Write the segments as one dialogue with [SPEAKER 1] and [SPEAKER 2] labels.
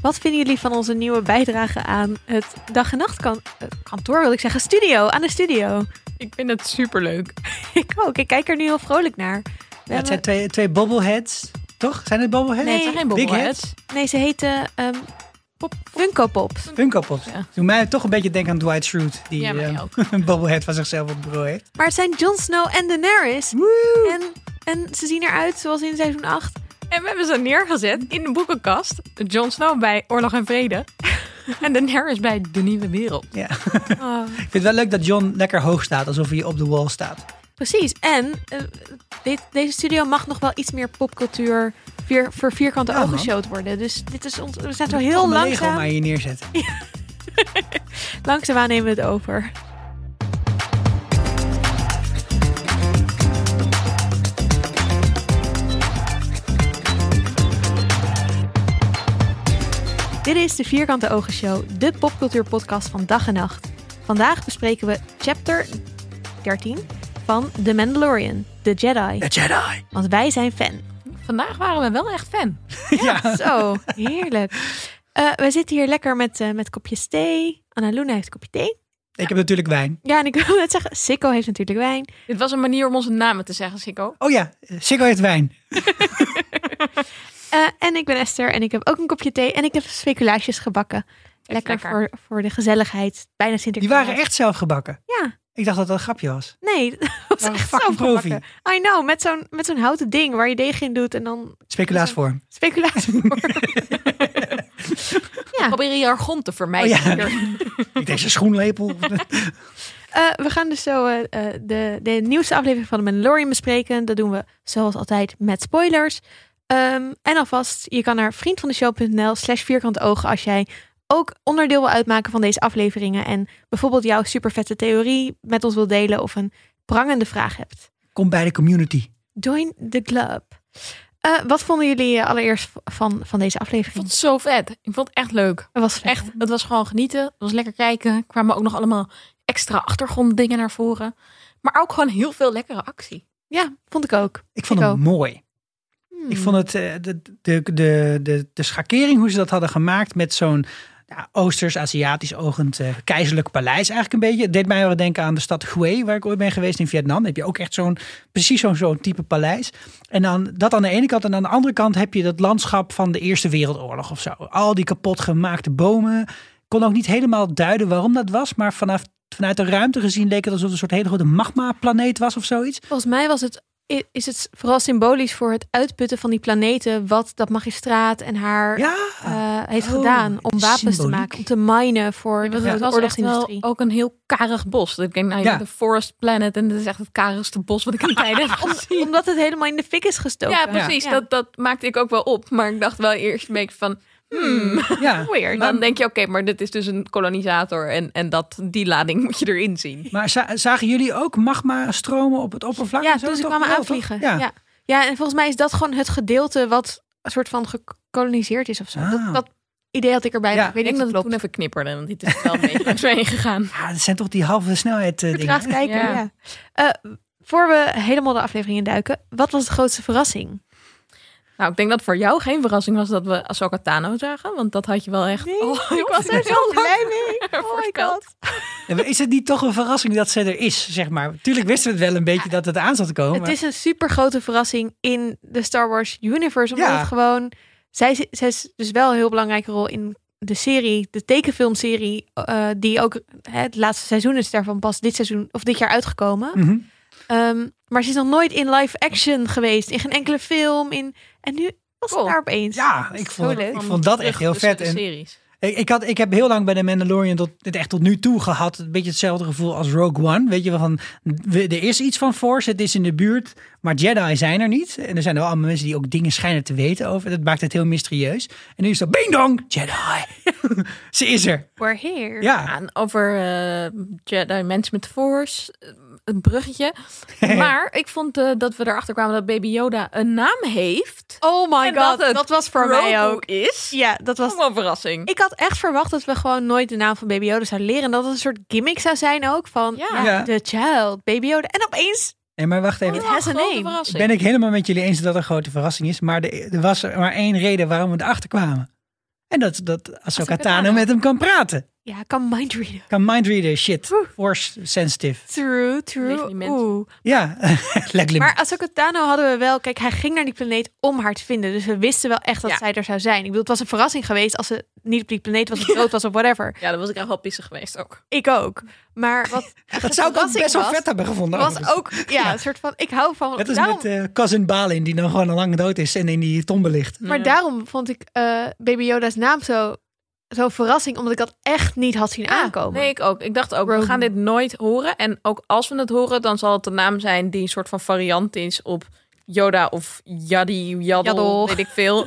[SPEAKER 1] Wat vinden jullie van onze nieuwe bijdrage aan het dag- en nachtkantoor, wil ik zeggen, studio, aan de studio?
[SPEAKER 2] Ik vind het superleuk.
[SPEAKER 1] Ik ook, ik kijk er nu heel vrolijk naar. We
[SPEAKER 3] Ja, het
[SPEAKER 1] hebben-
[SPEAKER 3] zijn twee, twee bobbleheads. Toch? Zijn het bobbleheads?
[SPEAKER 1] Nee,
[SPEAKER 2] het zijn geen
[SPEAKER 3] Big
[SPEAKER 2] bobbleheads.
[SPEAKER 1] Nee, ze heten ehm
[SPEAKER 2] Pop.
[SPEAKER 1] Funko Pops.
[SPEAKER 3] Funko Pops.
[SPEAKER 2] Ja.
[SPEAKER 3] Doe mij toch een beetje denken aan Dwight Schrute. Die
[SPEAKER 2] Ja, mij
[SPEAKER 3] eh,
[SPEAKER 2] ook.
[SPEAKER 3] een bobblehead van zichzelf op het bureau heeft.
[SPEAKER 1] Maar het zijn Jon Snow en Daenerys.
[SPEAKER 3] Woe!
[SPEAKER 1] En, en ze zien eruit zoals in seizoen 8.
[SPEAKER 2] En we hebben ze neergezet in de boekenkast. Jon Snow bij Oorlog en Vrede. en Daenerys bij De Nieuwe Wereld.
[SPEAKER 3] Ja.
[SPEAKER 1] Oh,
[SPEAKER 3] Ik vind het wel leuk dat John lekker hoog staat. Alsof hij op de wall staat.
[SPEAKER 1] precies. En eh, dit- deze studio mag nog wel iets meer popcultuur weer voor vierkante
[SPEAKER 3] Ja,
[SPEAKER 1] ogen
[SPEAKER 3] man.
[SPEAKER 1] showt worden. Dus dit is ons, we zijn zo
[SPEAKER 3] Al
[SPEAKER 1] heel
[SPEAKER 3] mijn Lego maar
[SPEAKER 1] langzaam.
[SPEAKER 3] hier neerzetten.
[SPEAKER 1] Langzaamaan nemen we het over. Dit is de Vierkante Ogen Show, de popcultuurpodcast van dag en nacht. Vandaag bespreken we chapter 13 van The Mandalorian, The Jedi.
[SPEAKER 3] The Jedi.
[SPEAKER 1] Want wij zijn fan.
[SPEAKER 2] Vandaag waren we wel echt fan.
[SPEAKER 3] Ja.
[SPEAKER 1] Zo, heerlijk. Eh, wij zitten hier lekker met, eh, met kopjes thee. Anna Luna heeft een kopje thee.
[SPEAKER 3] Ik heb natuurlijk wijn.
[SPEAKER 1] Ja, en ik wil net zeggen, Sikko heeft natuurlijk wijn.
[SPEAKER 2] Dit was een manier om onze namen te zeggen, Sikko.
[SPEAKER 3] Oh ja, Siggo heeft wijn.
[SPEAKER 1] Eh, en ik ben Esther en ik heb ook een kopje thee en ik heb speculaasjes gebakken. Lekker,
[SPEAKER 2] lekker.
[SPEAKER 1] Voor, voor de gezelligheid. Bijna
[SPEAKER 3] Die
[SPEAKER 1] Sinterklaas.
[SPEAKER 3] waren echt zelf gebakken.
[SPEAKER 1] Ja,
[SPEAKER 3] Ik dacht dat dat een grapje was.
[SPEAKER 1] nee. Dat was
[SPEAKER 3] waren
[SPEAKER 1] echt zo
[SPEAKER 3] fucking profi.
[SPEAKER 1] gebakken. I know, met zo'n, met zo'n houten ding waar je deeg in doet en dan
[SPEAKER 3] Speculaasvorm.
[SPEAKER 1] speculatie voor.
[SPEAKER 2] Probeer je jargon te vermijden.
[SPEAKER 3] Oh ja. Ik denk zijn schoenlepel.
[SPEAKER 1] Eh, we gaan dus zo eh, eh, de, de nieuwste aflevering van de Mandalorian bespreken. Dat doen we zoals altijd met spoilers. Ehm, en alvast, je kan naar vriendvandeshow.nl slash vierkant ogen als jij ook onderdeel wil uitmaken van deze afleveringen. En bijvoorbeeld jouw supervette theorie met ons wil delen of een prangende vraag hebt.
[SPEAKER 3] Kom bij de community.
[SPEAKER 1] Join the club. Eh, wat vonden jullie eh, allereerst van, van deze
[SPEAKER 2] Ik vond
[SPEAKER 1] aflevering?
[SPEAKER 2] het zo vet. Ik vond het echt leuk.
[SPEAKER 1] Het was vet,
[SPEAKER 2] Echt,
[SPEAKER 1] hè?
[SPEAKER 2] het was gewoon genieten. Het was lekker kijken. Er kwamen ook nog allemaal extra achtergronddingen naar voren. Maar ook gewoon heel veel lekkere actie.
[SPEAKER 1] Ja, vond ik ook.
[SPEAKER 3] Ik vond
[SPEAKER 1] Ik
[SPEAKER 3] hem
[SPEAKER 1] ook.
[SPEAKER 3] mooi. Ik
[SPEAKER 1] Hmm.
[SPEAKER 3] vond het, eh, de, de, de, de, de schakering hoe ze dat hadden gemaakt met zo'n ja, Oosters-Aziatisch ogend eh, keizerlijk paleis eigenlijk een beetje. Het deed mij wel denken aan de stad Hue, waar ik ooit ben geweest in Vietnam. Dan heb je ook echt zo'n, precies zo'n zo'n type paleis. En dan dat aan de ene kant. En aan de andere kant heb je dat landschap van de Eerste Wereldoorlog of zo. Al die kapot gemaakte bomen. Ik kon ook niet helemaal duiden waarom dat was. Maar vanaf, vanuit de ruimte gezien leek het alsof het een soort hele grote magma-planeet was of zoiets.
[SPEAKER 1] Volgens mij was het, i- is het vooral symbolisch voor het uitputten van die planeten. wat dat magistraat en haar
[SPEAKER 3] Ja,
[SPEAKER 1] eh, heeft
[SPEAKER 3] Oh,
[SPEAKER 1] gedaan. om wapens te
[SPEAKER 3] symboliek.
[SPEAKER 1] maken, om te minen voor de
[SPEAKER 2] Het
[SPEAKER 1] grote
[SPEAKER 2] was echt wel
[SPEAKER 1] oorlogsindustrie.
[SPEAKER 2] ook een heel karig bos. Dat Ik denk, nou, je
[SPEAKER 3] Ja.
[SPEAKER 2] bent de Forest Planet en dat is echt het karigste bos wat ik in tijden heb gezien.
[SPEAKER 1] Omdat het helemaal in de fik is gestoken.
[SPEAKER 2] Ja, precies.
[SPEAKER 1] Ja.
[SPEAKER 2] Dat, dat maakte ik ook wel op. Maar ik dacht wel eerst een beetje van, hmm,
[SPEAKER 3] ja.
[SPEAKER 2] weird. Dan denk je, oké, maar dit is dus een kolonisator. En, en dat, die lading moet je erin zien.
[SPEAKER 3] Maar za- zagen jullie ook magma stromen op het oppervlak?
[SPEAKER 1] Ja,
[SPEAKER 3] en zo?
[SPEAKER 1] toen ze
[SPEAKER 3] Toch
[SPEAKER 1] kwamen
[SPEAKER 3] wel,
[SPEAKER 1] aanvliegen.
[SPEAKER 3] toch?
[SPEAKER 1] Ja. Ja. en volgens mij is dat gewoon het gedeelte wat een soort van gekoloniseerd is of zo.
[SPEAKER 3] Ah.
[SPEAKER 1] Dat, dat idee had ik erbij.
[SPEAKER 3] Ja,
[SPEAKER 1] maar Ik weet
[SPEAKER 2] Ik denk
[SPEAKER 1] niet
[SPEAKER 2] dat
[SPEAKER 1] of het
[SPEAKER 2] het toen
[SPEAKER 1] klopt.
[SPEAKER 2] even knipperde, want dit is wel een beetje langs me heen gegaan.
[SPEAKER 3] Ja, dat zijn toch die halve snelheid eh, dingen.
[SPEAKER 1] Vertraagd kijken, ja.
[SPEAKER 2] Ja.
[SPEAKER 1] Eh, voor we helemaal de aflevering induiken. Wat was de grootste verrassing?
[SPEAKER 2] Nou, ik denk dat voor jou geen verrassing was dat we Ahsoka Tano zagen. Want dat had je wel echt... Oh,
[SPEAKER 1] ik was er zo blij mee. Oh my
[SPEAKER 2] Voorspeld.
[SPEAKER 1] god.
[SPEAKER 3] Ja, maar Is het niet toch een verrassing dat ze er is, zeg maar? Tuurlijk wisten we het wel een beetje dat het aan zat te komen.
[SPEAKER 1] Het is een super grote verrassing in de Star Wars universe. Omdat
[SPEAKER 3] Ja.
[SPEAKER 1] het gewoon. Zij, zi- zij is dus wel een heel belangrijke rol in de serie, de tekenfilmserie, eh, die ook hè, het laatste seizoen is daarvan pas dit seizoen of dit jaar uitgekomen.
[SPEAKER 3] maar- Mhm.
[SPEAKER 1] Ehm, maar ze is nog nooit in live action geweest, in geen enkele film. In, en nu was
[SPEAKER 2] Cool.
[SPEAKER 1] het daar opeens.
[SPEAKER 3] Ja,
[SPEAKER 1] Dat
[SPEAKER 3] ik
[SPEAKER 1] is
[SPEAKER 3] vond-
[SPEAKER 1] zo leuk.
[SPEAKER 3] ik vond dat echt heel vet.
[SPEAKER 2] En...
[SPEAKER 3] En-
[SPEAKER 2] Series.
[SPEAKER 3] Ik, ik, had, ik heb heel lang bij de Mandalorian tot, het echt tot nu toe gehad. Een beetje hetzelfde gevoel als Rogue One. Weet je wel van, we- er is iets van Force, het is in de buurt. Maar Jedi zijn er niet. En er zijn wel allemaal mensen die ook dingen schijnen te weten over. Dat maakt het heel mysterieus. En nu is dat, bing dong, Jedi. ze is er.
[SPEAKER 1] We're here.
[SPEAKER 3] Ja.
[SPEAKER 2] Ja, en over eh, Jedi, mensen met de Force, eh, het bruggetje. maar ik vond eh, dat we erachter kwamen dat Baby Yoda een naam heeft.
[SPEAKER 1] Oh my
[SPEAKER 2] En
[SPEAKER 1] god,
[SPEAKER 2] dat het
[SPEAKER 1] dat, was voor mij
[SPEAKER 2] Grogu
[SPEAKER 1] ook.
[SPEAKER 2] is. Ja,
[SPEAKER 1] Ja, dat was
[SPEAKER 2] was wel een verrassing.
[SPEAKER 1] Ik had echt verwacht dat we gewoon nooit de naam van Baby Yoda zouden leren. En dat het een soort gimmick zou zijn ook. Van
[SPEAKER 2] Ja.
[SPEAKER 1] ja,
[SPEAKER 3] Ja.
[SPEAKER 1] The Child, Baby Yoda. En opeens,
[SPEAKER 3] Nee, maar wacht
[SPEAKER 2] Oh,
[SPEAKER 3] even.
[SPEAKER 1] het has a
[SPEAKER 2] Grote
[SPEAKER 1] name.
[SPEAKER 2] verrassing.
[SPEAKER 3] Ben ik helemaal met jullie eens dat dat een grote verrassing is. Maar de- er was maar één reden waarom we erachter kwamen. En dat, dat Ahsoka Tano
[SPEAKER 1] Tano.
[SPEAKER 3] met hem kan praten.
[SPEAKER 1] Ja, ik kan mindreaden.
[SPEAKER 3] Kan mindreaden, shit.
[SPEAKER 1] Oeh.
[SPEAKER 3] Force sensitive.
[SPEAKER 1] True,
[SPEAKER 2] Leeg
[SPEAKER 1] true.
[SPEAKER 2] die mens.
[SPEAKER 1] Oeh.
[SPEAKER 3] Ja, Leglin.
[SPEAKER 1] Maar Ahsoka Tano hadden we wel... Kijk, hij ging naar die planeet om haar te vinden. Dus we wisten wel echt dat
[SPEAKER 2] Ja.
[SPEAKER 1] zij er zou zijn. Ik bedoel, het was een verrassing geweest als ze niet op die planeet was of dood was of whatever.
[SPEAKER 2] Ja, dan was ik echt wel pissig geweest ook.
[SPEAKER 1] Ik ook. Maar wat
[SPEAKER 3] dat zou ik ook
[SPEAKER 1] verrassing
[SPEAKER 3] best wel
[SPEAKER 1] was,
[SPEAKER 3] vet hebben gevonden.
[SPEAKER 1] was
[SPEAKER 3] overigens.
[SPEAKER 1] ook... Ja, een soort van... Ik hou van...
[SPEAKER 3] Het is
[SPEAKER 1] daarom-
[SPEAKER 3] met eh Cousin Balin, die dan gewoon al lang dood is en in die tombe ligt.
[SPEAKER 1] Maar
[SPEAKER 2] Ja.
[SPEAKER 1] daarom vond ik eh Baby Yoda's naam zo, zo verrassing. Omdat ik dat echt niet had zien aankomen.
[SPEAKER 2] Nee, ik ook. Ik dacht ook,
[SPEAKER 1] Rogue.
[SPEAKER 2] we gaan dit nooit horen. En ook als we het horen, dan zal het de naam zijn die een soort van variant is op Yoda of Yaddy, Yaddle,
[SPEAKER 1] Yaddle.
[SPEAKER 2] weet ik veel.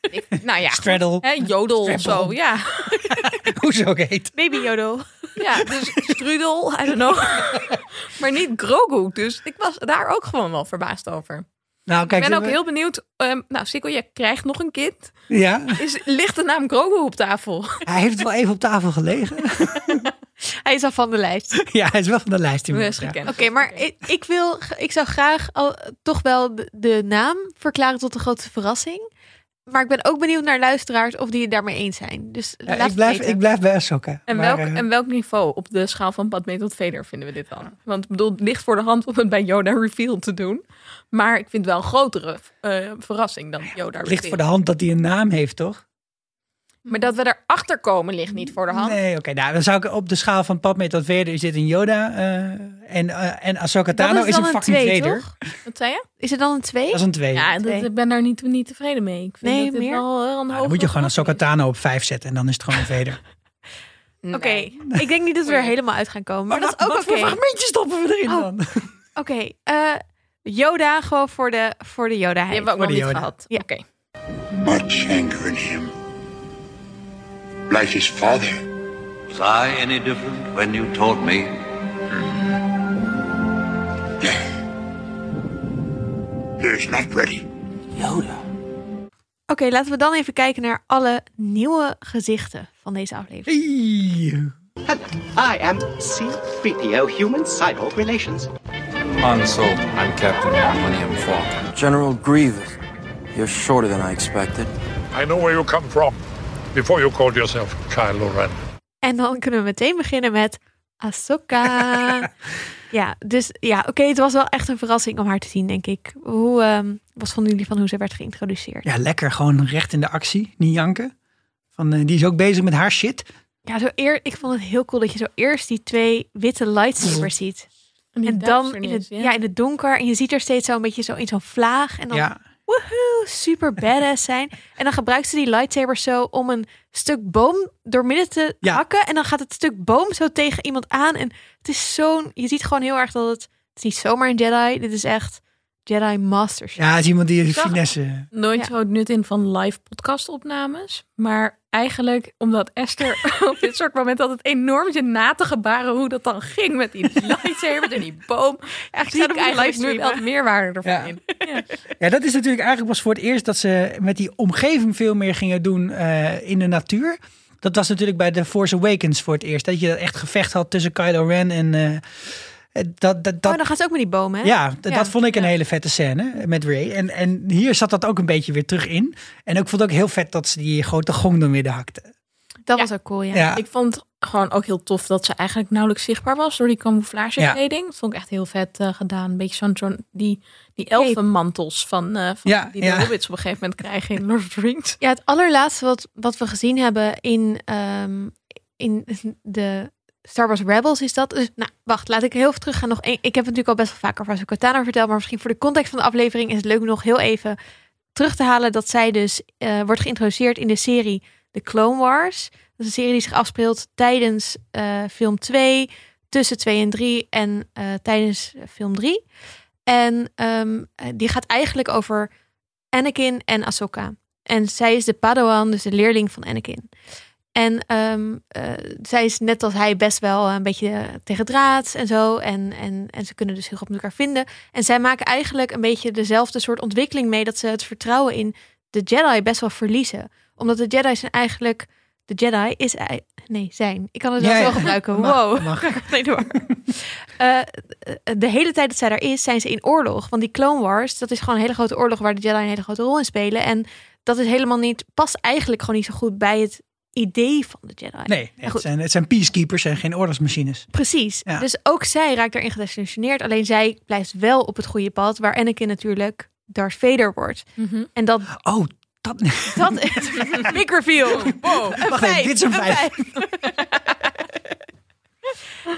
[SPEAKER 2] ik, nou ja,
[SPEAKER 3] Straddle,
[SPEAKER 2] hè, Jodel of
[SPEAKER 3] Straddle.
[SPEAKER 2] zo, ja.
[SPEAKER 3] hoe ze ook heet.
[SPEAKER 1] Baby Yoda.
[SPEAKER 2] Ja, dus Strudel, I don't know. maar niet Grogu, dus ik was daar ook gewoon wel verbaasd over.
[SPEAKER 3] Nou, kijk,
[SPEAKER 2] Ik ben ook
[SPEAKER 3] we-
[SPEAKER 2] heel benieuwd. ehm, nou, Sikkel, je krijgt nog een kind.
[SPEAKER 3] Ja,
[SPEAKER 2] Is, ligt de naam Grogu op tafel?
[SPEAKER 3] hij heeft wel even op tafel gelegen.
[SPEAKER 1] Hij is al van de lijst. Oké,
[SPEAKER 3] ja, hij is wel van de lijst. inmiddels,
[SPEAKER 2] Best
[SPEAKER 3] ja.
[SPEAKER 2] gekend.
[SPEAKER 1] maar ik, ik wil, ik zou graag al, toch wel de, de naam verklaren tot een grote verrassing. Maar ik ben ook benieuwd naar luisteraars of die het daarmee eens zijn. Dus
[SPEAKER 3] Ja,
[SPEAKER 1] laat
[SPEAKER 3] ik,
[SPEAKER 1] het
[SPEAKER 3] blijf,
[SPEAKER 1] weten.
[SPEAKER 3] ik blijf bij Ahsoka.
[SPEAKER 2] En,
[SPEAKER 3] Maar,
[SPEAKER 2] welk,
[SPEAKER 3] eh,
[SPEAKER 2] en welk niveau op de schaal van Padme tot Vader vinden we dit dan? Want ik bedoel, het ligt voor de hand om het bij Yoda Reveal te doen. Maar ik vind wel een grotere eh, verrassing dan Yoda
[SPEAKER 3] het ligt voor
[SPEAKER 2] Reveal.
[SPEAKER 3] de hand dat hij een naam heeft, toch?
[SPEAKER 2] Maar dat we erachter komen ligt niet voor de hand.
[SPEAKER 3] Nee, oké. nou, dan zou ik op de schaal van Padme tot Vader zit een Yoda. eh, en, eh, en Ahsoka
[SPEAKER 1] Dan
[SPEAKER 3] Tano
[SPEAKER 1] het
[SPEAKER 3] is
[SPEAKER 1] dan
[SPEAKER 3] een fucking
[SPEAKER 1] twee,
[SPEAKER 3] Vader.
[SPEAKER 1] toch?
[SPEAKER 2] Wat zei je?
[SPEAKER 1] Is het dan een twee?
[SPEAKER 3] Dat is een twee.
[SPEAKER 2] Ja,
[SPEAKER 3] Nou,
[SPEAKER 2] dat,
[SPEAKER 1] Nee.
[SPEAKER 2] ik ben daar niet, niet tevreden mee. Ik vind
[SPEAKER 1] Nee,
[SPEAKER 2] dat dit
[SPEAKER 1] meer?
[SPEAKER 2] wel eh, een hoge
[SPEAKER 3] dan moet je gewoon Ahsoka
[SPEAKER 2] verrassing is.
[SPEAKER 3] Tano op vijf zetten en dan is het gewoon een Vader.
[SPEAKER 2] Nee.
[SPEAKER 1] Oké, ik denk niet dat we er
[SPEAKER 2] Oei.
[SPEAKER 1] helemaal uit gaan komen. Maar, dat
[SPEAKER 3] wat-
[SPEAKER 1] is ook
[SPEAKER 3] Oh, wat
[SPEAKER 1] oké.
[SPEAKER 3] voor fragmentjes stoppen we erin
[SPEAKER 1] Oh.
[SPEAKER 3] dan?
[SPEAKER 1] Oké, eh, Yoda gewoon voor de, voor de
[SPEAKER 2] Die
[SPEAKER 1] Yoda-heid.
[SPEAKER 2] hebben we ook
[SPEAKER 3] Voor
[SPEAKER 2] nog
[SPEAKER 3] de
[SPEAKER 2] niet
[SPEAKER 3] Yoda.
[SPEAKER 2] gehad.
[SPEAKER 1] Ja.
[SPEAKER 2] Oké.
[SPEAKER 4] much anger in him. Like his father.
[SPEAKER 5] Was I any different when you told me?
[SPEAKER 4] He is not ready.
[SPEAKER 1] Oké, laten we dan even kijken naar alle nieuwe gezichten van deze aflevering.
[SPEAKER 3] Eeeh.
[SPEAKER 6] Hello, I am C-3PO Human Cyborg Relations.
[SPEAKER 7] Han Solo. I'm Captain Millennium Falcon.
[SPEAKER 8] General Grievous, you're shorter than I expected.
[SPEAKER 9] I know where you come from before you called yourself Kylo Ren.
[SPEAKER 1] En dan kunnen we meteen beginnen met Ahsoka. ja, dus ja, oké, het was wel echt een verrassing om haar te zien, denk ik. Hoe ehm was vonden jullie van hoe ze werd geïntroduceerd?
[SPEAKER 3] Ja, lekker. Gewoon recht in de actie. Niet janken. Van, eh, die is ook bezig met haar shit.
[SPEAKER 1] Ja, zo eer, ik vond het heel cool dat je zo eerst die twee witte lightsabers ziet.
[SPEAKER 2] die
[SPEAKER 1] En dan in
[SPEAKER 2] duisternis,
[SPEAKER 1] het,
[SPEAKER 2] ja.
[SPEAKER 1] ja, in het donker. En je ziet er steeds zo een beetje zo in zo'n vlaag. En dan
[SPEAKER 3] Ja.
[SPEAKER 1] woehoe, super badass zijn. En dan gebruikt ze die lightsabers zo om een stuk boom door midden te
[SPEAKER 3] Ja.
[SPEAKER 1] hakken. En dan gaat het stuk boom zo tegen iemand aan. En het is zo'n... Je ziet gewoon heel erg dat het... Het is niet zomaar een Jedi. Dit is echt Jedi Masterchef.
[SPEAKER 3] Ja, is iemand die
[SPEAKER 2] Zag-
[SPEAKER 3] finesse...
[SPEAKER 2] nooit
[SPEAKER 1] Ja.
[SPEAKER 2] zo het nut in van live podcastopnames. Maar eigenlijk omdat Esther op dit soort momenten altijd enorm zit na te gebaren hoe dat dan ging met die lightsabers en die boom. Eigenlijk zie
[SPEAKER 1] zouden
[SPEAKER 2] ik
[SPEAKER 1] we
[SPEAKER 2] eigenlijk nu
[SPEAKER 1] livestreamen.
[SPEAKER 2] wel het meerwaarde ervan
[SPEAKER 3] Ja.
[SPEAKER 2] in.
[SPEAKER 3] Ja, dat is natuurlijk eigenlijk was voor het eerst dat ze met die omgeving veel meer gingen doen eh, in de natuur. Dat was natuurlijk bij The Force Awakens voor het eerst. Dat je dat echt gevecht had tussen Kylo Ren en... eh, dat, dat, dat,
[SPEAKER 1] oh, dan gaat ze ook met die boom, hè?
[SPEAKER 3] Ja, d-
[SPEAKER 1] Ja,
[SPEAKER 3] dat vond ik een
[SPEAKER 1] ja.
[SPEAKER 3] hele vette scène met Ray. En, en hier zat dat ook een beetje weer terug in. En ik vond het ook heel vet dat ze die grote gong door midden hakte.
[SPEAKER 1] Dat
[SPEAKER 2] Ja.
[SPEAKER 1] was ook cool, ja.
[SPEAKER 3] Ja,
[SPEAKER 2] Ik vond gewoon ook heel tof dat ze eigenlijk nauwelijks zichtbaar was door die camouflagekleding. Dat vond ik echt heel vet eh, gedaan. Een beetje zo'n zo'n- die, die elfenmantels van, eh, van
[SPEAKER 3] Ja,
[SPEAKER 2] die de
[SPEAKER 3] ja.
[SPEAKER 2] hobbits op een gegeven moment krijgen in Lord of the Rings.
[SPEAKER 1] Ja, het allerlaatste wat, wat we gezien hebben in, ehm, in de Star Wars Rebels is dat. Dus, nou, wacht, laat ik heel even teruggaan. Nog één, ik heb het natuurlijk al best wel vaker over Ahsoka Tano verteld. Maar misschien voor de context van de aflevering is het leuk om nog heel even terug te halen. Dat zij dus eh, wordt geïntroduceerd in de serie The Clone Wars. Dat is een serie die zich afspeelt tijdens eh, film 2, tussen 2 en 3 en eh, tijdens film 3. En ehm, eh, die gaat eigenlijk over Anakin en Ahsoka. En zij is de Padawan, dus de leerling van Anakin. En ehm, eh, zij is net als hij best wel een beetje eh, tegen draad en zo. En, en, en ze kunnen dus heel goed met elkaar vinden. En zij maken eigenlijk een beetje dezelfde soort ontwikkeling mee dat ze het vertrouwen in de Jedi best wel verliezen. Omdat de Jedi zijn eigenlijk. De Jedi is. ei- Nee, zijn. Ik kan het wel
[SPEAKER 3] Ja,
[SPEAKER 1] zo
[SPEAKER 3] ja.
[SPEAKER 1] gebruiken.
[SPEAKER 3] Mag,
[SPEAKER 1] Wow.
[SPEAKER 3] mag.
[SPEAKER 1] Ik ga niet door. Eh, de hele tijd dat zij daar is, zijn ze in oorlog. Want die Clone Wars, dat is gewoon een hele grote oorlog waar de Jedi een hele grote rol in spelen. En dat is helemaal niet, past eigenlijk gewoon niet zo goed bij het idee van de Jedi.
[SPEAKER 3] Nee,
[SPEAKER 1] Maar
[SPEAKER 3] het
[SPEAKER 1] goed,
[SPEAKER 3] zijn, het zijn peacekeepers en geen ordersmachines.
[SPEAKER 1] precies.
[SPEAKER 3] Ja.
[SPEAKER 1] Dus ook zij raakt daarin gedesillusioneerd. Alleen zij blijft wel op het goede pad, waar Anakin natuurlijk Darth Vader wordt. En dat,
[SPEAKER 3] Oh, dat...
[SPEAKER 1] dat is big reveal.
[SPEAKER 2] Wow.
[SPEAKER 3] Wacht even, dit is een vijf.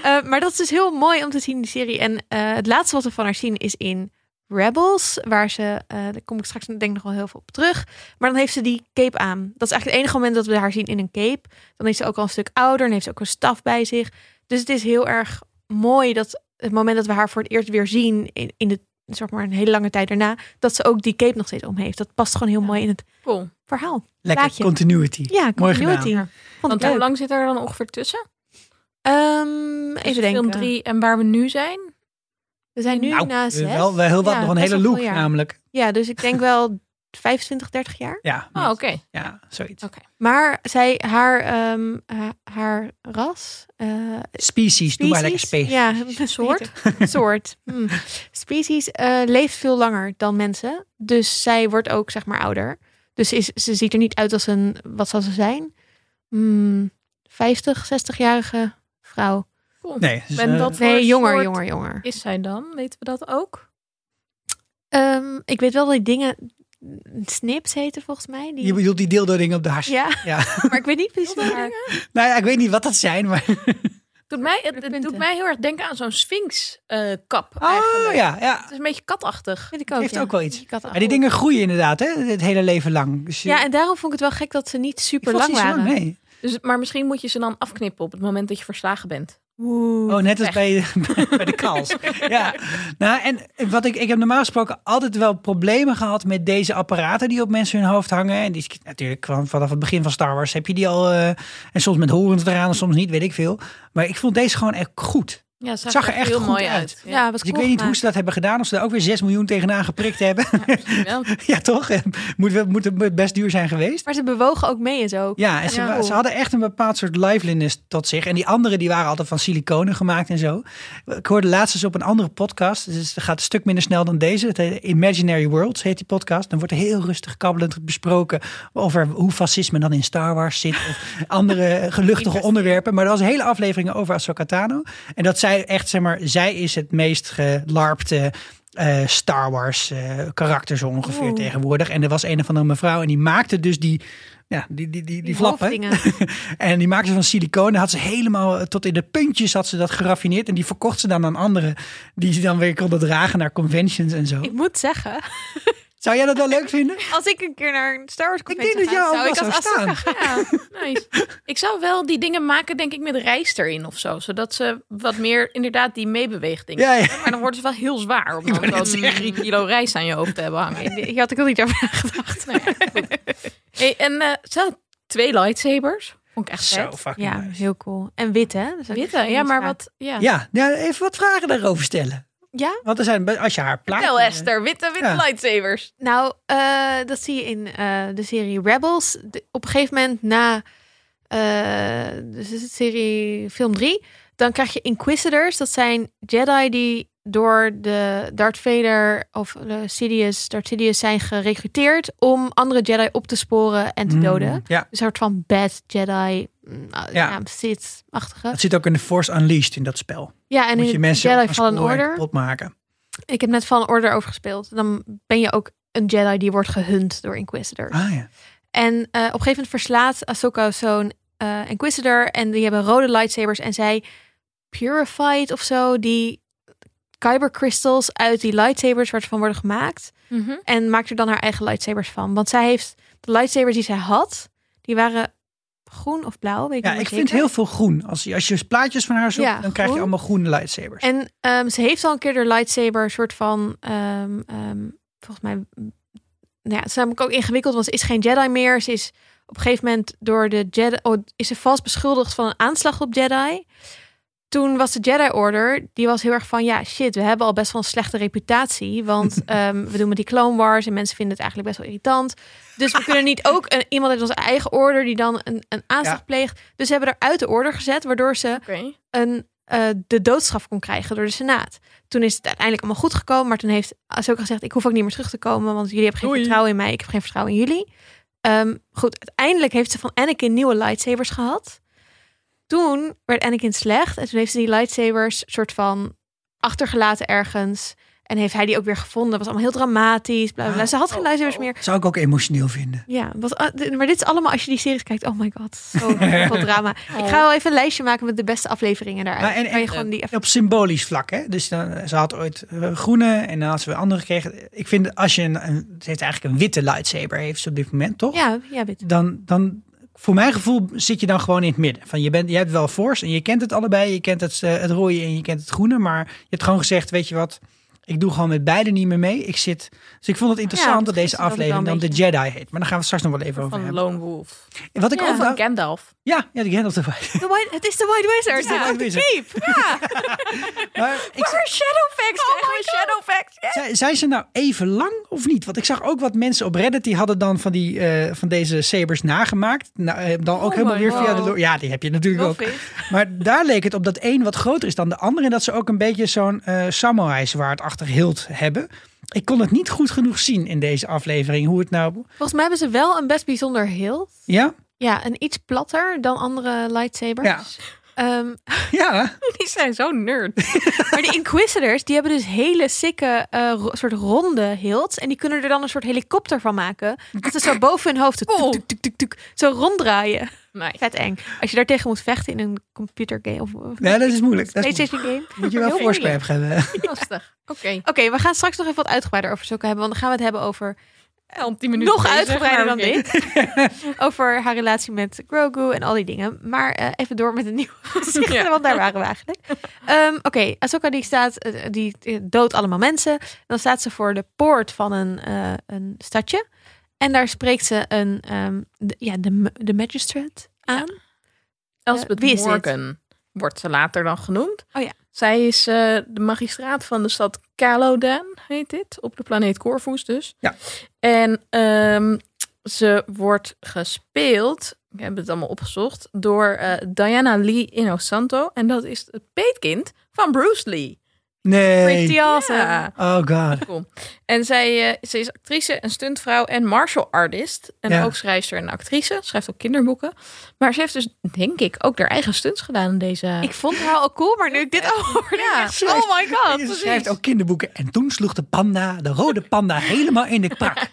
[SPEAKER 1] Eh, maar dat is dus heel mooi om te zien, die serie. En eh, het laatste wat we van haar zien is in Rebels, waar ze, eh, daar kom ik straks denk ik nog wel heel veel op terug, maar dan heeft ze die cape aan. Dat is eigenlijk het enige moment dat we haar zien in een cape. Dan is ze ook al een stuk ouder en heeft ze ook een staf bij zich. Dus het is heel erg mooi dat het moment dat we haar voor het eerst weer zien, in, in de, zeg maar een hele lange tijd daarna, dat ze ook die cape nog steeds om heeft. Dat past gewoon heel mooi in het
[SPEAKER 2] Cool.
[SPEAKER 1] verhaal.
[SPEAKER 3] Lekker,
[SPEAKER 1] Plaatje.
[SPEAKER 3] continuity.
[SPEAKER 1] Ja,
[SPEAKER 3] Mooi
[SPEAKER 1] continuity.
[SPEAKER 3] gedaan.
[SPEAKER 1] Vond ik
[SPEAKER 2] Want hoe
[SPEAKER 1] leuk.
[SPEAKER 2] lang zit er dan ongeveer tussen?
[SPEAKER 1] Ehm,
[SPEAKER 2] Dus
[SPEAKER 1] even denken.
[SPEAKER 2] Film 3 en waar we nu zijn?
[SPEAKER 1] We zijn nu
[SPEAKER 3] Nou,
[SPEAKER 1] na
[SPEAKER 3] eh,
[SPEAKER 1] zes.
[SPEAKER 3] Wel, wel heel wat,
[SPEAKER 1] Ja,
[SPEAKER 3] nog een
[SPEAKER 1] best
[SPEAKER 3] hele
[SPEAKER 1] wel
[SPEAKER 3] loop
[SPEAKER 1] veel jaar.
[SPEAKER 3] namelijk.
[SPEAKER 1] Ja, dus ik denk wel 25, 30 jaar.
[SPEAKER 3] Ja,
[SPEAKER 2] Oh, oké.
[SPEAKER 3] ja zoiets.
[SPEAKER 1] Maar zij, haar, ehm, ha- haar ras, eh,
[SPEAKER 3] Species, doe maar lekker
[SPEAKER 1] species,
[SPEAKER 3] species.
[SPEAKER 1] ja, een soort, soort hm. species eh, leeft veel langer dan mensen. Dus zij wordt ook zeg maar ouder. Dus ze is, ze ziet er niet uit als een, wat zal ze zijn? Hmm, 50, 60-jarige vrouw.
[SPEAKER 2] Cool.
[SPEAKER 3] Nee, dus,
[SPEAKER 2] Ben
[SPEAKER 3] eh,
[SPEAKER 2] dat- Wat voor
[SPEAKER 1] Nee, jonger,
[SPEAKER 2] soort-
[SPEAKER 1] jonger, jonger.
[SPEAKER 2] Is zij dan? Weten we dat ook?
[SPEAKER 1] Ehm, ik weet wel dat die dingen snips heten volgens mij. Die,
[SPEAKER 3] je bedoelt die deeldoring op de hars.
[SPEAKER 1] ja,
[SPEAKER 3] Ja.
[SPEAKER 1] maar ik weet niet precies waar.
[SPEAKER 3] nou ja, ik weet niet wat dat zijn, maar...
[SPEAKER 2] Doet mij, het, het doet
[SPEAKER 1] punten.
[SPEAKER 2] mij heel erg denken aan zo'n Sphinx-kap.
[SPEAKER 3] Oh, ja, ja.
[SPEAKER 2] Het is een beetje katachtig.
[SPEAKER 1] Weet ik ook.
[SPEAKER 3] Heeft
[SPEAKER 1] ja.
[SPEAKER 3] ook wel iets.
[SPEAKER 1] Ik had al-
[SPEAKER 3] Maar die dingen groeien inderdaad, hè? Het hele leven lang. Dus je-
[SPEAKER 1] Ja, en daarom vond ik het wel gek dat ze niet
[SPEAKER 3] ik
[SPEAKER 1] super
[SPEAKER 3] vond het
[SPEAKER 1] lang
[SPEAKER 3] niet zo
[SPEAKER 1] waren.
[SPEAKER 3] lang, nee.
[SPEAKER 2] Dus, maar misschien moet je ze dan afknippen op het moment dat je verslagen bent.
[SPEAKER 1] Oeh.
[SPEAKER 3] Oh, net als bij, bij de kals. Ja. Nou, en wat ik, ik heb normaal gesproken altijd wel problemen gehad met deze apparaten die op mensen hun hoofd hangen. En die is natuurlijk van- vanaf het begin van Star Wars heb je die al. eh, en soms met horens eraan en soms niet, weet ik veel. Maar ik vond deze gewoon echt goed.
[SPEAKER 2] Ja, het
[SPEAKER 3] zag er echt
[SPEAKER 2] heel
[SPEAKER 3] goed
[SPEAKER 2] mooi
[SPEAKER 3] uit.
[SPEAKER 2] uit.
[SPEAKER 1] Ja, was
[SPEAKER 3] Dus ik weet niet hoe ze dat hebben gedaan. Of ze daar ook weer 6 miljoen tegenaan geprikt hebben.
[SPEAKER 2] wel.
[SPEAKER 3] ja, toch? Moet, wel- moet het best duur zijn geweest.
[SPEAKER 1] Maar ze bewogen ook mee en zo.
[SPEAKER 3] Ja, en ze,
[SPEAKER 2] Ja.
[SPEAKER 3] wa- ze hadden echt een bepaald soort liveliness tot zich. En die anderen die waren altijd van siliconen gemaakt en zo. Ik hoorde laatst eens op een andere podcast. Dus het gaat een stuk minder snel dan deze. Het heet Imaginary Worlds heet die podcast. Dan wordt er heel rustig kabbelend besproken over hoe fascisme dan in Star Wars zit. Of andere geluchtige onderwerpen. Maar er was een hele aflevering over Ahsoka Tano. En dat zij echt, zeg maar, zij is het meest gelarpte... eh, Star Wars eh, karakter zo ongeveer
[SPEAKER 1] Oeh.
[SPEAKER 3] tegenwoordig. En er was een of andere mevrouw en die maakte dus die, ja, die, die, die, die, flappen.
[SPEAKER 1] hoofddingen.
[SPEAKER 3] En die maakte ze van siliconen. Had ze helemaal eh, tot in de puntjes had ze dat geraffineerd. En die verkocht ze dan aan anderen. Die ze dan weer konden dragen naar conventions en zo.
[SPEAKER 1] Ik moet zeggen,
[SPEAKER 3] Zou jij dat wel leuk vinden?
[SPEAKER 1] als ik een keer naar een Star Wars
[SPEAKER 3] Ik
[SPEAKER 1] conventie
[SPEAKER 3] denk dat
[SPEAKER 1] ga,
[SPEAKER 3] jou
[SPEAKER 1] zou
[SPEAKER 3] wel
[SPEAKER 1] ik
[SPEAKER 3] zou
[SPEAKER 1] als Ahsoka
[SPEAKER 3] staan.
[SPEAKER 2] Ja, nice. Ik zou wel die dingen maken, denk ik, met rijst erin of zo. Zodat ze wat meer inderdaad die meebeweegdingen.
[SPEAKER 3] Ja, ja.
[SPEAKER 2] Maar dan wordt het wel heel zwaar om
[SPEAKER 3] wou
[SPEAKER 2] dan
[SPEAKER 3] net
[SPEAKER 2] zo'n
[SPEAKER 3] zeggen.
[SPEAKER 2] kilo rijst aan je hoofd te hebben hangen.
[SPEAKER 1] Hier had ik al niet over nagedacht.
[SPEAKER 2] Nou ja, goed. Hey, en eh, ze had twee lightsabers. Vond ik echt
[SPEAKER 3] Zo
[SPEAKER 2] vet.
[SPEAKER 3] fucking
[SPEAKER 1] Ja,
[SPEAKER 3] nice.
[SPEAKER 1] heel cool. En wit, hè? Dus dat is
[SPEAKER 2] Witte,
[SPEAKER 1] ook
[SPEAKER 2] ja,
[SPEAKER 1] iets
[SPEAKER 2] maar
[SPEAKER 1] vaak.
[SPEAKER 2] wat... Ja.
[SPEAKER 3] Ja, ja, even wat vragen daarover stellen.
[SPEAKER 1] Ja?
[SPEAKER 3] Want er zijn, als je haar plaat...
[SPEAKER 2] Vertel Esther, witte, witte
[SPEAKER 3] Ja.
[SPEAKER 2] lightsabers.
[SPEAKER 1] Nou, eh, dat zie je in eh, de serie Rebels. De- op een gegeven moment na... eh, dus is het serie film 3. Dan krijg je Inquisitors. Dat zijn Jedi die door de Darth Vader of de Sidious, Darth Sidious zijn gerecruiteerd... om andere Jedi op te sporen en te doden.
[SPEAKER 3] Mm, Ja,
[SPEAKER 1] Een soort van bad Jedi, mm,
[SPEAKER 3] Ja.
[SPEAKER 1] ja, Sith-achtige.
[SPEAKER 3] dat zit ook in de Force Unleashed in dat spel.
[SPEAKER 1] Ja, en
[SPEAKER 3] Moet je
[SPEAKER 1] in
[SPEAKER 3] mensen
[SPEAKER 1] Jedi
[SPEAKER 3] van
[SPEAKER 1] Fallen
[SPEAKER 3] sporen
[SPEAKER 1] Order.
[SPEAKER 3] kapot maken.
[SPEAKER 1] Ik heb net Fallen Order over gespeeld. Dan ben je ook een Jedi die wordt gehunt door Inquisitors.
[SPEAKER 3] Ah ja.
[SPEAKER 1] En eh, op een gegeven moment verslaat Ahsoka zo'n eh, Inquisitor. En die hebben rode lightsabers. En zij purified of zo die kyber crystals uit die lightsabers waar ze van worden gemaakt. En maakt er dan haar eigen lightsabers van. Want zij heeft de lightsabers die zij had, die waren groen of blauw. Weet ik
[SPEAKER 3] Ja,
[SPEAKER 1] niet
[SPEAKER 3] ik
[SPEAKER 1] meer
[SPEAKER 3] vind
[SPEAKER 1] zeker.
[SPEAKER 3] heel veel groen. Als je, als je plaatjes van haar zoekt,
[SPEAKER 1] Ja,
[SPEAKER 3] dan krijg je
[SPEAKER 1] groen.
[SPEAKER 3] allemaal groene lightsabers.
[SPEAKER 1] En ehm, ze heeft al een keer de lightsaber soort van, ehm, ehm, volgens mij, nou ja, het is namelijk ook ingewikkeld, want ze is geen Jedi meer. Ze is op een gegeven moment door de Jedi, oh, is ze vast beschuldigd van een aanslag op Jedi. Toen was de Jedi Order, die was heel erg van, ja shit, we hebben al best wel een slechte reputatie, want ehm, we doen met die Clone Wars en mensen vinden het eigenlijk best wel irritant. Dus we kunnen niet ook een, iemand uit onze eigen order die dan een, een aanslag
[SPEAKER 3] Ja.
[SPEAKER 1] pleegt. Dus ze hebben haar uit de order gezet, waardoor ze
[SPEAKER 2] Oké.
[SPEAKER 1] een, eh, de doodstraf kon krijgen door de Senaat. Toen is het uiteindelijk allemaal goed gekomen. Maar toen heeft Ahsoka gezegd, ik hoef ook niet meer terug te komen. Want jullie hebben geen vertrouwen in mij. Ik heb geen vertrouwen in jullie. Ehm, goed, uiteindelijk heeft ze van Anakin nieuwe lightsabers gehad. Toen werd Anakin slecht en toen heeft ze die lightsabers soort van achtergelaten ergens. En heeft hij die ook weer gevonden. was allemaal heel dramatisch. Bla bla. bla. Ze had geen lightsabers meer.
[SPEAKER 3] Zou ik ook emotioneel vinden.
[SPEAKER 1] Ja, wat, ah, d- maar dit is allemaal als je die series kijkt. Oh my god, zo veel drama. Ik ga wel even een lijstje maken met de beste afleveringen daaruit.
[SPEAKER 3] Maar en-
[SPEAKER 1] waar je
[SPEAKER 3] en-
[SPEAKER 1] gewoon die
[SPEAKER 3] Op symbolisch vlak, hè? Dus dan, ze had ooit eh, groene en dan had ze weer andere gekregen. Ik vind als je een, een- ze heeft eigenlijk een witte lightsaber heeft ze op dit moment, toch?
[SPEAKER 1] Ja, ja, dit.
[SPEAKER 3] Dan, dan, voor mijn gevoel zit je dan gewoon in het midden. Van je, bent, je hebt wel force en je kent het allebei. Je kent het, eh, het rode en je kent het groene. Maar je hebt gewoon gezegd, weet je wat? Ik doe gewoon met beide niet meer mee. Ik zit, dus ik vond het interessant
[SPEAKER 1] dat
[SPEAKER 3] dat deze
[SPEAKER 1] gisteren had ik wel
[SPEAKER 3] aflevering
[SPEAKER 1] een
[SPEAKER 3] dan de Jedi heet. Maar daar gaan we het straks nog wel even over
[SPEAKER 2] Van
[SPEAKER 3] hebben.
[SPEAKER 2] Lone Wolf.
[SPEAKER 3] Wat ik
[SPEAKER 1] Ja.
[SPEAKER 3] ook
[SPEAKER 2] Van
[SPEAKER 3] wel...
[SPEAKER 2] Gandalf.
[SPEAKER 3] Ja, ja, die Gandalf erbij.
[SPEAKER 1] The White- het is de White Wizard.
[SPEAKER 3] Het is de
[SPEAKER 1] Ja,
[SPEAKER 3] White
[SPEAKER 1] de
[SPEAKER 3] Wizard.
[SPEAKER 1] cape.
[SPEAKER 3] Maar ik,
[SPEAKER 2] Waar Shadowfax? Oh my Shadowfax.
[SPEAKER 3] Zijn, zijn ze nou even lang of niet? Want ik zag ook wat mensen op Reddit die hadden dan van, die, eh, van deze sabers nagemaakt. Nou, eh, dan ook helemaal
[SPEAKER 2] my
[SPEAKER 3] weer via
[SPEAKER 2] God.
[SPEAKER 3] de. lo- Ja, die heb je natuurlijk ook. Maar daar leek het op dat één wat groter is dan de andere. En dat ze ook een beetje zo'n eh samurai zwaardachtig hilt hebben. Ik kon het niet goed genoeg zien in deze aflevering. Hoe het nou.
[SPEAKER 1] Volgens mij hebben ze wel een best bijzonder heel.
[SPEAKER 3] Ja?
[SPEAKER 1] Ja, een iets platter dan andere lightsabers.
[SPEAKER 3] Ja.
[SPEAKER 1] Ehm,
[SPEAKER 3] Ja.
[SPEAKER 2] Die zijn zo nerd.
[SPEAKER 1] maar die Inquisitors, die hebben dus hele sikke eh, ro- soort ronde hilts. En die kunnen er dan een soort helikopter van maken. Dat ze zo boven hun hoofd tuk,
[SPEAKER 3] Oh.
[SPEAKER 1] tuk, tuk, tuk, tuk, tuk, zo ronddraaien.
[SPEAKER 2] Nee.
[SPEAKER 1] Vet eng. Als je daartegen moet vechten in een computergame of of
[SPEAKER 3] Nee, dat is moeilijk. Dat is moeilijk.
[SPEAKER 1] PlayStation game.
[SPEAKER 3] Moet je wel voorsprep hebben.
[SPEAKER 2] Lastig. Oké.
[SPEAKER 1] Oké, we gaan straks nog even wat uitgebreider over zulke hebben. Want dan gaan we het hebben over
[SPEAKER 2] Ja, om 10 minuten
[SPEAKER 1] nog
[SPEAKER 2] bezig,
[SPEAKER 1] uitgebreider
[SPEAKER 2] maar
[SPEAKER 1] dan
[SPEAKER 2] oké.
[SPEAKER 1] dit. Over haar relatie met Grogu en al die dingen. Maar eh, even door met een nieuwe gezichten,
[SPEAKER 2] Ja.
[SPEAKER 1] want daar waren we eigenlijk. Ehm, Oké, Ahsoka die staat, eh, die eh, doodt allemaal mensen. Dan staat ze voor de poort van een, eh, een stadje. En daar spreekt ze een, ehm, de, ja, de, ma- de magistrate aan.
[SPEAKER 2] Elspeth
[SPEAKER 1] Eh, wie is dit?
[SPEAKER 2] Morgan wordt ze later dan genoemd.
[SPEAKER 1] Oh ja.
[SPEAKER 2] Zij is eh, de magistraat van de stad Calodan, heet dit. Op de planeet Corvus dus.
[SPEAKER 3] Ja.
[SPEAKER 2] En ehm, ze wordt gespeeld, ik heb het allemaal opgezocht, door eh, Diana Lee Inosanto. En dat is het peetkind van Bruce Lee.
[SPEAKER 1] Pretty
[SPEAKER 3] Nee.
[SPEAKER 1] awesome.
[SPEAKER 2] Ja.
[SPEAKER 3] Oh god.
[SPEAKER 2] En zij eh, ze is actrice, een stuntvrouw en martial artist. En
[SPEAKER 3] Ja.
[SPEAKER 2] ook schrijfster en actrice. Schrijft ook kinderboeken. Maar ze heeft dus, denk ik, ook haar eigen stunts gedaan in deze...
[SPEAKER 1] Ik vond haar al cool, maar nu ik dit al hoor,
[SPEAKER 2] Ja.
[SPEAKER 1] denk ik, oh my god.
[SPEAKER 3] Ze
[SPEAKER 1] precies.
[SPEAKER 3] schrijft ook kinderboeken. En toen sloeg de panda, de rode panda, helemaal in de prak.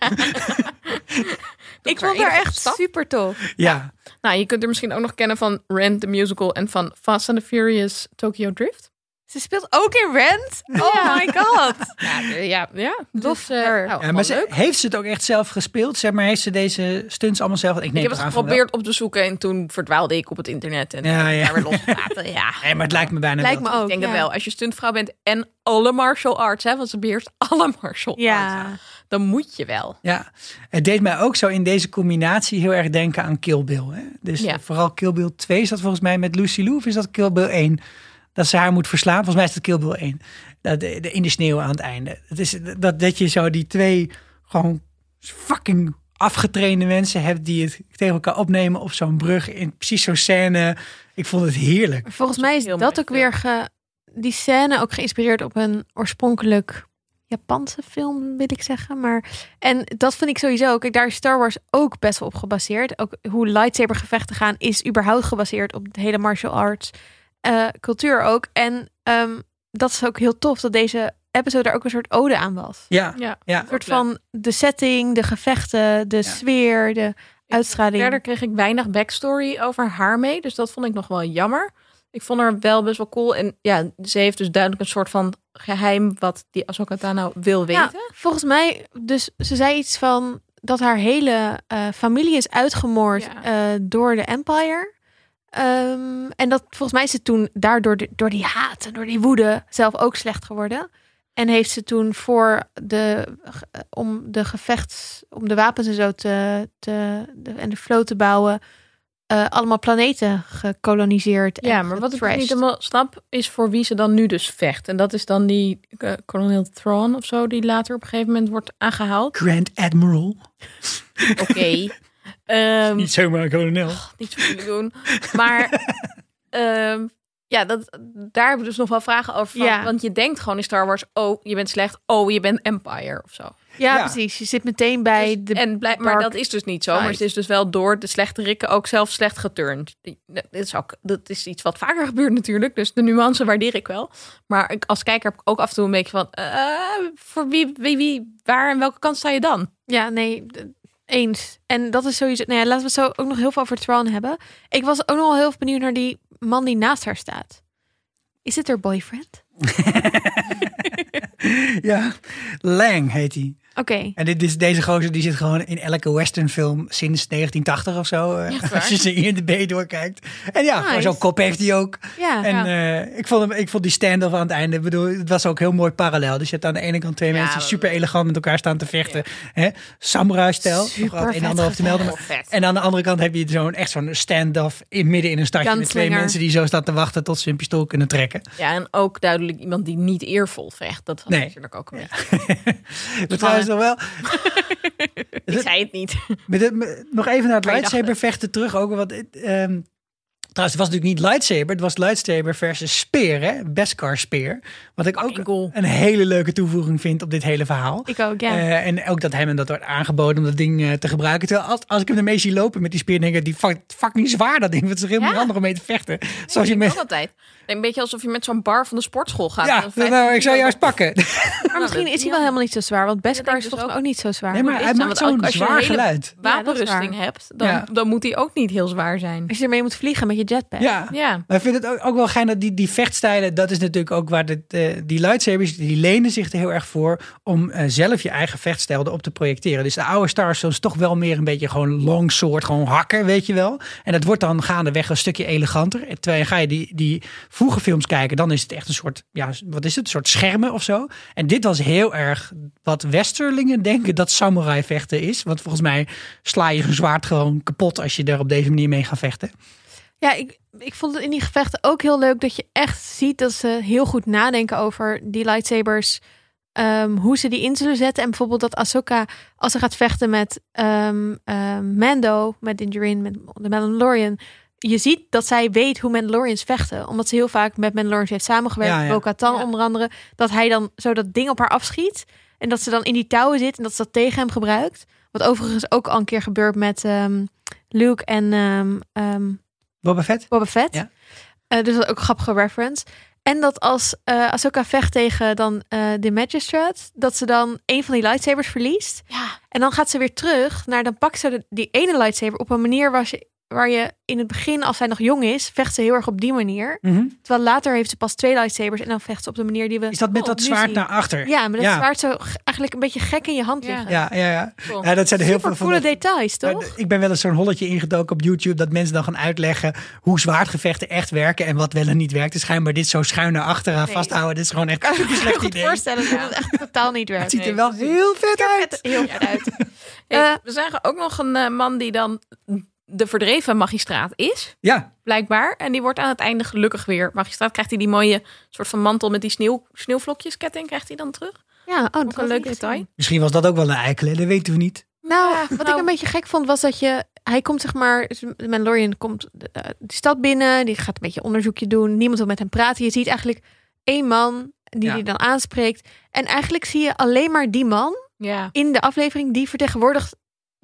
[SPEAKER 1] Ik
[SPEAKER 2] haar
[SPEAKER 1] vond haar
[SPEAKER 2] enige
[SPEAKER 1] echt
[SPEAKER 2] stap.
[SPEAKER 1] super tof.
[SPEAKER 3] Ja.
[SPEAKER 2] Nou, je kunt er misschien ook nog kennen van Rent the Musical en van Fast and the Furious Tokyo Drift.
[SPEAKER 1] Ze speelt ook in Rent. Oh my god.
[SPEAKER 2] Ja, eh, ja, ja.
[SPEAKER 1] Lof
[SPEAKER 2] Dus, eh,
[SPEAKER 1] haar.
[SPEAKER 2] nou,
[SPEAKER 3] Ja,
[SPEAKER 2] wel
[SPEAKER 3] maar ze-
[SPEAKER 2] leuk.
[SPEAKER 3] heeft ze het ook echt zelf gespeeld? Zeg maar, heeft ze deze stunts allemaal zelf? Ik, neem
[SPEAKER 2] Ik heb
[SPEAKER 3] het
[SPEAKER 2] het
[SPEAKER 3] aan van
[SPEAKER 2] geprobeerd op te zoeken en toen verdwaalde ik op het internet en
[SPEAKER 3] wel. Ja, ja.
[SPEAKER 2] daar weer losgelaten. Ja,
[SPEAKER 3] Nee, maar het lijkt me bijna
[SPEAKER 1] Lijkt
[SPEAKER 3] wel.
[SPEAKER 1] me ook.
[SPEAKER 2] ik denk
[SPEAKER 1] ja.
[SPEAKER 2] dat wel. Als je stuntvrouw bent en alle martial arts, hè, want ze beheerst alle martial
[SPEAKER 1] Ja.
[SPEAKER 2] arts, dan moet je wel.
[SPEAKER 3] Ja, het deed mij ook zo in deze combinatie heel erg denken aan Kill Bill. Hè? Dus
[SPEAKER 2] Ja.
[SPEAKER 3] vooral Kill Bill 2 is dat volgens mij met Lucy Lou of is dat Kill Bill 1? Dat ze haar moet verslaan. Volgens mij is dat Kill Bill 1. Dat, eh, de, de- in de sneeuw aan het einde. Het is, eh, dat, dat je zo die twee gewoon fucking afgetrainde mensen hebt die het tegen elkaar opnemen op zo'n brug. In precies zo'n scène. Ik vond het heerlijk.
[SPEAKER 1] Volgens mij is
[SPEAKER 2] Heel
[SPEAKER 1] dat
[SPEAKER 2] mooi
[SPEAKER 1] ook weer ge- die scène ook geïnspireerd op een oorspronkelijk Japanse film, wil ik zeggen. Maar, en dat vind ik sowieso. Kijk, daar is Star Wars ook best wel op gebaseerd. Ook hoe lightsaber gevechten gaan is überhaupt gebaseerd op de hele martial arts eh, cultuur ook. En ehm, dat is ook heel tof dat deze episode daar ook een soort ode aan was.
[SPEAKER 3] Ja,
[SPEAKER 2] Ja.
[SPEAKER 3] ja.
[SPEAKER 1] Een soort van de setting, de gevechten, de sfeer, de uitstraling.
[SPEAKER 2] Verder kreeg ik weinig backstory over haar mee, dus dat vond ik nog wel jammer. Ik vond haar wel best wel cool en ja, ze heeft dus duidelijk een soort van geheim wat die Ahsoka Tano wil weten.
[SPEAKER 1] Ja, volgens mij, dus ze zei iets van dat haar hele eh, familie is uitgemoord
[SPEAKER 2] Ja.
[SPEAKER 1] eh, door de Empire. Ehm, en dat volgens mij is ze toen daardoor de- door die haat en door die woede zelf ook slecht geworden. En heeft ze toen voor de eh, om de gevechts, om de wapens en zo te, te de- en de vloot te bouwen, eh, allemaal planeten gekoloniseerd.
[SPEAKER 2] Ja,
[SPEAKER 1] en
[SPEAKER 2] maar wat ik nog
[SPEAKER 1] getrashed.
[SPEAKER 2] niet helemaal snap is voor wie ze dan nu dus vecht. En dat is dan die eh, kolonel Thrawn of zo, die later op een gegeven moment wordt aangehaald.
[SPEAKER 3] Grand Admiral.
[SPEAKER 2] Oké. Ehm,
[SPEAKER 3] Niet zomaar een kolonel.
[SPEAKER 2] niet zo moeilijk doen. Maar ehm, ja, dat, daar hebben we dus nog wel vragen over. van,
[SPEAKER 1] Ja.
[SPEAKER 2] Want je denkt gewoon in Star Wars, oh, je bent slecht. Oh, je bent Empire of zo.
[SPEAKER 1] Ja,
[SPEAKER 3] Ja.
[SPEAKER 1] precies. Je zit meteen bij
[SPEAKER 2] Dus-
[SPEAKER 1] de.
[SPEAKER 2] en blij, maar
[SPEAKER 1] dark
[SPEAKER 2] dat is dus niet zo. Maar
[SPEAKER 1] side.
[SPEAKER 2] het is dus wel door de slechte rikken ook zelf slecht geturnd. Die- Dat is, ook, dat is iets wat vaker gebeurt natuurlijk. Dus de nuance waardeer ik wel. Maar ik, als kijker heb ik ook af en toe een beetje van... eh, voor wie, wie, wie, waar en welke kant sta je dan?
[SPEAKER 1] Ja, nee, d- eens. En dat is sowieso. Nou ja, laten we het zo ook nog heel veel over Tron hebben. Ik was ook nog wel heel benieuwd naar die man die naast haar staat. Is het haar boyfriend?
[SPEAKER 3] Ja, Lang heet hij.
[SPEAKER 1] Oké.
[SPEAKER 3] En dit is, deze gozer die zit gewoon in elke westernfilm sinds 1980 of zo. eh,
[SPEAKER 2] Echt waar?
[SPEAKER 3] als je ze in de B doorkijkt. En ja, gewoon
[SPEAKER 1] Nice.
[SPEAKER 3] zo'n kop heeft hij ook.
[SPEAKER 1] Ja.
[SPEAKER 3] En
[SPEAKER 1] ja.
[SPEAKER 3] eh, ik, vond hem, ik vond die stand-off aan het einde, ik bedoel, het was ook heel mooi parallel. Dus je hebt aan de ene kant twee
[SPEAKER 2] Ja,
[SPEAKER 3] mensen die
[SPEAKER 2] dat-
[SPEAKER 3] super elegant met elkaar staan te vechten. hè, Samurai-stijl.
[SPEAKER 1] Super
[SPEAKER 3] Nog een
[SPEAKER 1] vet
[SPEAKER 3] en ander te melden.
[SPEAKER 2] gevecht. Vet.
[SPEAKER 3] En aan de andere kant heb je zo'n, echt zo'n stand-off in, midden in een stadje met twee
[SPEAKER 1] Gunslinger.
[SPEAKER 3] mensen die zo staan te wachten tot ze hun pistool kunnen trekken.
[SPEAKER 2] Ja, en ook duidelijk iemand die niet eervol vecht. Dat was
[SPEAKER 3] Nee.
[SPEAKER 2] natuurlijk ook een beetje.
[SPEAKER 3] Maar trouwens nog wel,
[SPEAKER 2] Ik zei het niet.
[SPEAKER 3] Met het- met- nog even naar het
[SPEAKER 2] Maar je dacht
[SPEAKER 3] lightsaber vechten terug. Ook, want, het, ehm, trouwens, het was natuurlijk niet lightsaber. Het was lightsaber versus speer. Hè? Beskar speer. Wat ik ook
[SPEAKER 2] Fucking cool.
[SPEAKER 3] een hele leuke toevoeging vind op dit hele verhaal.
[SPEAKER 1] Ik ook, ja.
[SPEAKER 3] Eh, en ook dat hem dat wordt aangeboden om dat ding eh, te gebruiken. Terwijl als, als ik hem ermee zie lopen met die speer, denk ik, die fuck- fucking zwaar dat ding. Want het is heel
[SPEAKER 2] Ja.
[SPEAKER 3] handig handig om mee te vechten. Zoals je
[SPEAKER 2] Ik ook
[SPEAKER 3] met...
[SPEAKER 2] altijd. Een beetje alsof je met zo'n bar van de sportschool gaat.
[SPEAKER 3] Ja,
[SPEAKER 2] Dat is
[SPEAKER 3] nou, ik zou
[SPEAKER 2] fijn.
[SPEAKER 3] juist pakken.
[SPEAKER 1] maar misschien
[SPEAKER 2] dat-
[SPEAKER 1] is hij
[SPEAKER 2] ja.
[SPEAKER 1] wel helemaal niet zo zwaar. Want Beskar
[SPEAKER 2] denk
[SPEAKER 1] is
[SPEAKER 2] dus
[SPEAKER 1] volgens mij
[SPEAKER 2] ook.
[SPEAKER 1] ook niet zo zwaar.
[SPEAKER 3] Nee, maar hij
[SPEAKER 2] Nou,
[SPEAKER 3] maakt
[SPEAKER 2] want
[SPEAKER 3] zo'n
[SPEAKER 2] als je een
[SPEAKER 3] zwaar
[SPEAKER 2] hele
[SPEAKER 3] geluid.
[SPEAKER 2] wapenrusting
[SPEAKER 1] Ja,
[SPEAKER 2] hebt, dan,
[SPEAKER 3] Ja.
[SPEAKER 2] dan moet die ook niet heel zwaar zijn.
[SPEAKER 1] Als je ermee moet vliegen met je jetpack.
[SPEAKER 3] Ja.
[SPEAKER 2] Ja.
[SPEAKER 3] Maar ik vind het ook, ook wel gein dat die, die vechtstijlen, dat is natuurlijk ook waar dit, eh, die lightsabers, die lenen zich er heel erg voor om eh, zelf je eigen vechtstijl erop te projecteren. Dus de oude Star Wars is toch wel meer een beetje gewoon longsword, gewoon hakken, weet je wel. En dat wordt dan gaandeweg een stukje eleganter. En Terwijl ga je die, die vroege films kijken, dan is het echt een soort, ja, wat is het, een soort schermen of zo. En dit was heel erg wat westerlingen denken dat samurai vechten is. Want volgens mij sla je een zwaard gewoon kapot als je er op deze manier mee gaat vechten.
[SPEAKER 1] Ja, ik, ik vond het in die gevechten ook heel leuk dat je echt ziet dat ze heel goed nadenken over die lightsabers. ehm, hoe ze die in zullen zetten. En bijvoorbeeld dat Ahsoka, als ze gaat vechten met ehm, ehm, Mando, met Dingerin, met de Mandalorian. Je ziet dat zij weet hoe Mandalorians vechten. Omdat ze heel vaak met Mandalorians heeft samengewerkt.
[SPEAKER 3] Ja,
[SPEAKER 1] Ja,
[SPEAKER 3] ja.
[SPEAKER 1] Bo-Katan
[SPEAKER 2] Ja.
[SPEAKER 1] onder andere. Dat hij dan zo dat ding op haar afschiet. En dat ze dan in die touwen zit en dat ze dat tegen hem gebruikt. Wat overigens ook al een keer gebeurt met ehm, Luke en ehm, ehm,
[SPEAKER 3] Boba Fett?
[SPEAKER 1] Boba Fett.
[SPEAKER 3] Ja.
[SPEAKER 1] Eh, dus dat is ook een grappige reference. En dat als eh Ahsoka vecht tegen dan eh, de Magistrate, dat ze dan een van die lightsabers verliest.
[SPEAKER 2] Ja.
[SPEAKER 1] En dan gaat ze weer terug naar, dan pakt ze de- die ene lightsaber op een manier waar, ze, waar je in het begin, als zij nog jong is, vecht ze heel erg op die manier.
[SPEAKER 3] Mhm.
[SPEAKER 1] Terwijl later heeft ze pas twee lightsabers en dan vecht ze op de manier die we.
[SPEAKER 3] Is dat met
[SPEAKER 1] Oh,
[SPEAKER 3] dat
[SPEAKER 1] nu
[SPEAKER 3] zwaard
[SPEAKER 1] zie-
[SPEAKER 3] naar achter?
[SPEAKER 1] Ja, maar dat
[SPEAKER 3] Ja.
[SPEAKER 1] zwaard zo g- eigenlijk een beetje gek in je hand
[SPEAKER 2] Ja.
[SPEAKER 1] liggen.
[SPEAKER 3] Ja, ja, ja.
[SPEAKER 2] Cool.
[SPEAKER 3] ja dat zijn heel
[SPEAKER 1] Super
[SPEAKER 3] veel van
[SPEAKER 1] coole
[SPEAKER 3] dat-
[SPEAKER 1] details, toch?
[SPEAKER 3] Ik ben wel eens zo'n holletje ingedoken op YouTube dat mensen dan gaan uitleggen hoe zwaardgevechten echt werken en wat wel en niet werkt. Dus schijnbaar dit zo schuin naar achteren
[SPEAKER 1] Nee.
[SPEAKER 3] vasthouden, dit is gewoon echt een super
[SPEAKER 1] Ik
[SPEAKER 3] slecht
[SPEAKER 1] kan me
[SPEAKER 3] idee. Het
[SPEAKER 1] voorstellen dat het echt totaal niet werkt.
[SPEAKER 3] ziet er wel heel vet uit.
[SPEAKER 1] Heel vet uit.
[SPEAKER 2] Hey,
[SPEAKER 1] Eh,
[SPEAKER 2] we zagen ook nog een eh, man die dan de verdreven magistraat is,
[SPEAKER 3] Ja,
[SPEAKER 2] blijkbaar. En die wordt aan het einde gelukkig weer magistraat. Krijgt hij die mooie soort van mantel met die sneeuw, sneeuwvlokjesketting, krijgt hij dan terug.
[SPEAKER 1] Ja, oh,
[SPEAKER 2] Ook
[SPEAKER 1] dat
[SPEAKER 2] een
[SPEAKER 1] had
[SPEAKER 2] leuk
[SPEAKER 1] ik niet
[SPEAKER 2] detail.
[SPEAKER 1] gezien.
[SPEAKER 3] misschien was dat ook wel een eikel, hè? dat weten we niet.
[SPEAKER 1] Nou, wat
[SPEAKER 2] nou.
[SPEAKER 1] ik een beetje gek vond was dat je... Hij komt zeg maar... Mandalorian komt eh, de stad binnen. Die gaat een beetje onderzoekje doen. Niemand wil met hem praten. Je ziet eigenlijk één man die
[SPEAKER 3] Ja.
[SPEAKER 1] hij dan aanspreekt. En eigenlijk zie je alleen maar die man
[SPEAKER 2] Ja.
[SPEAKER 1] in de aflevering. Die vertegenwoordigt,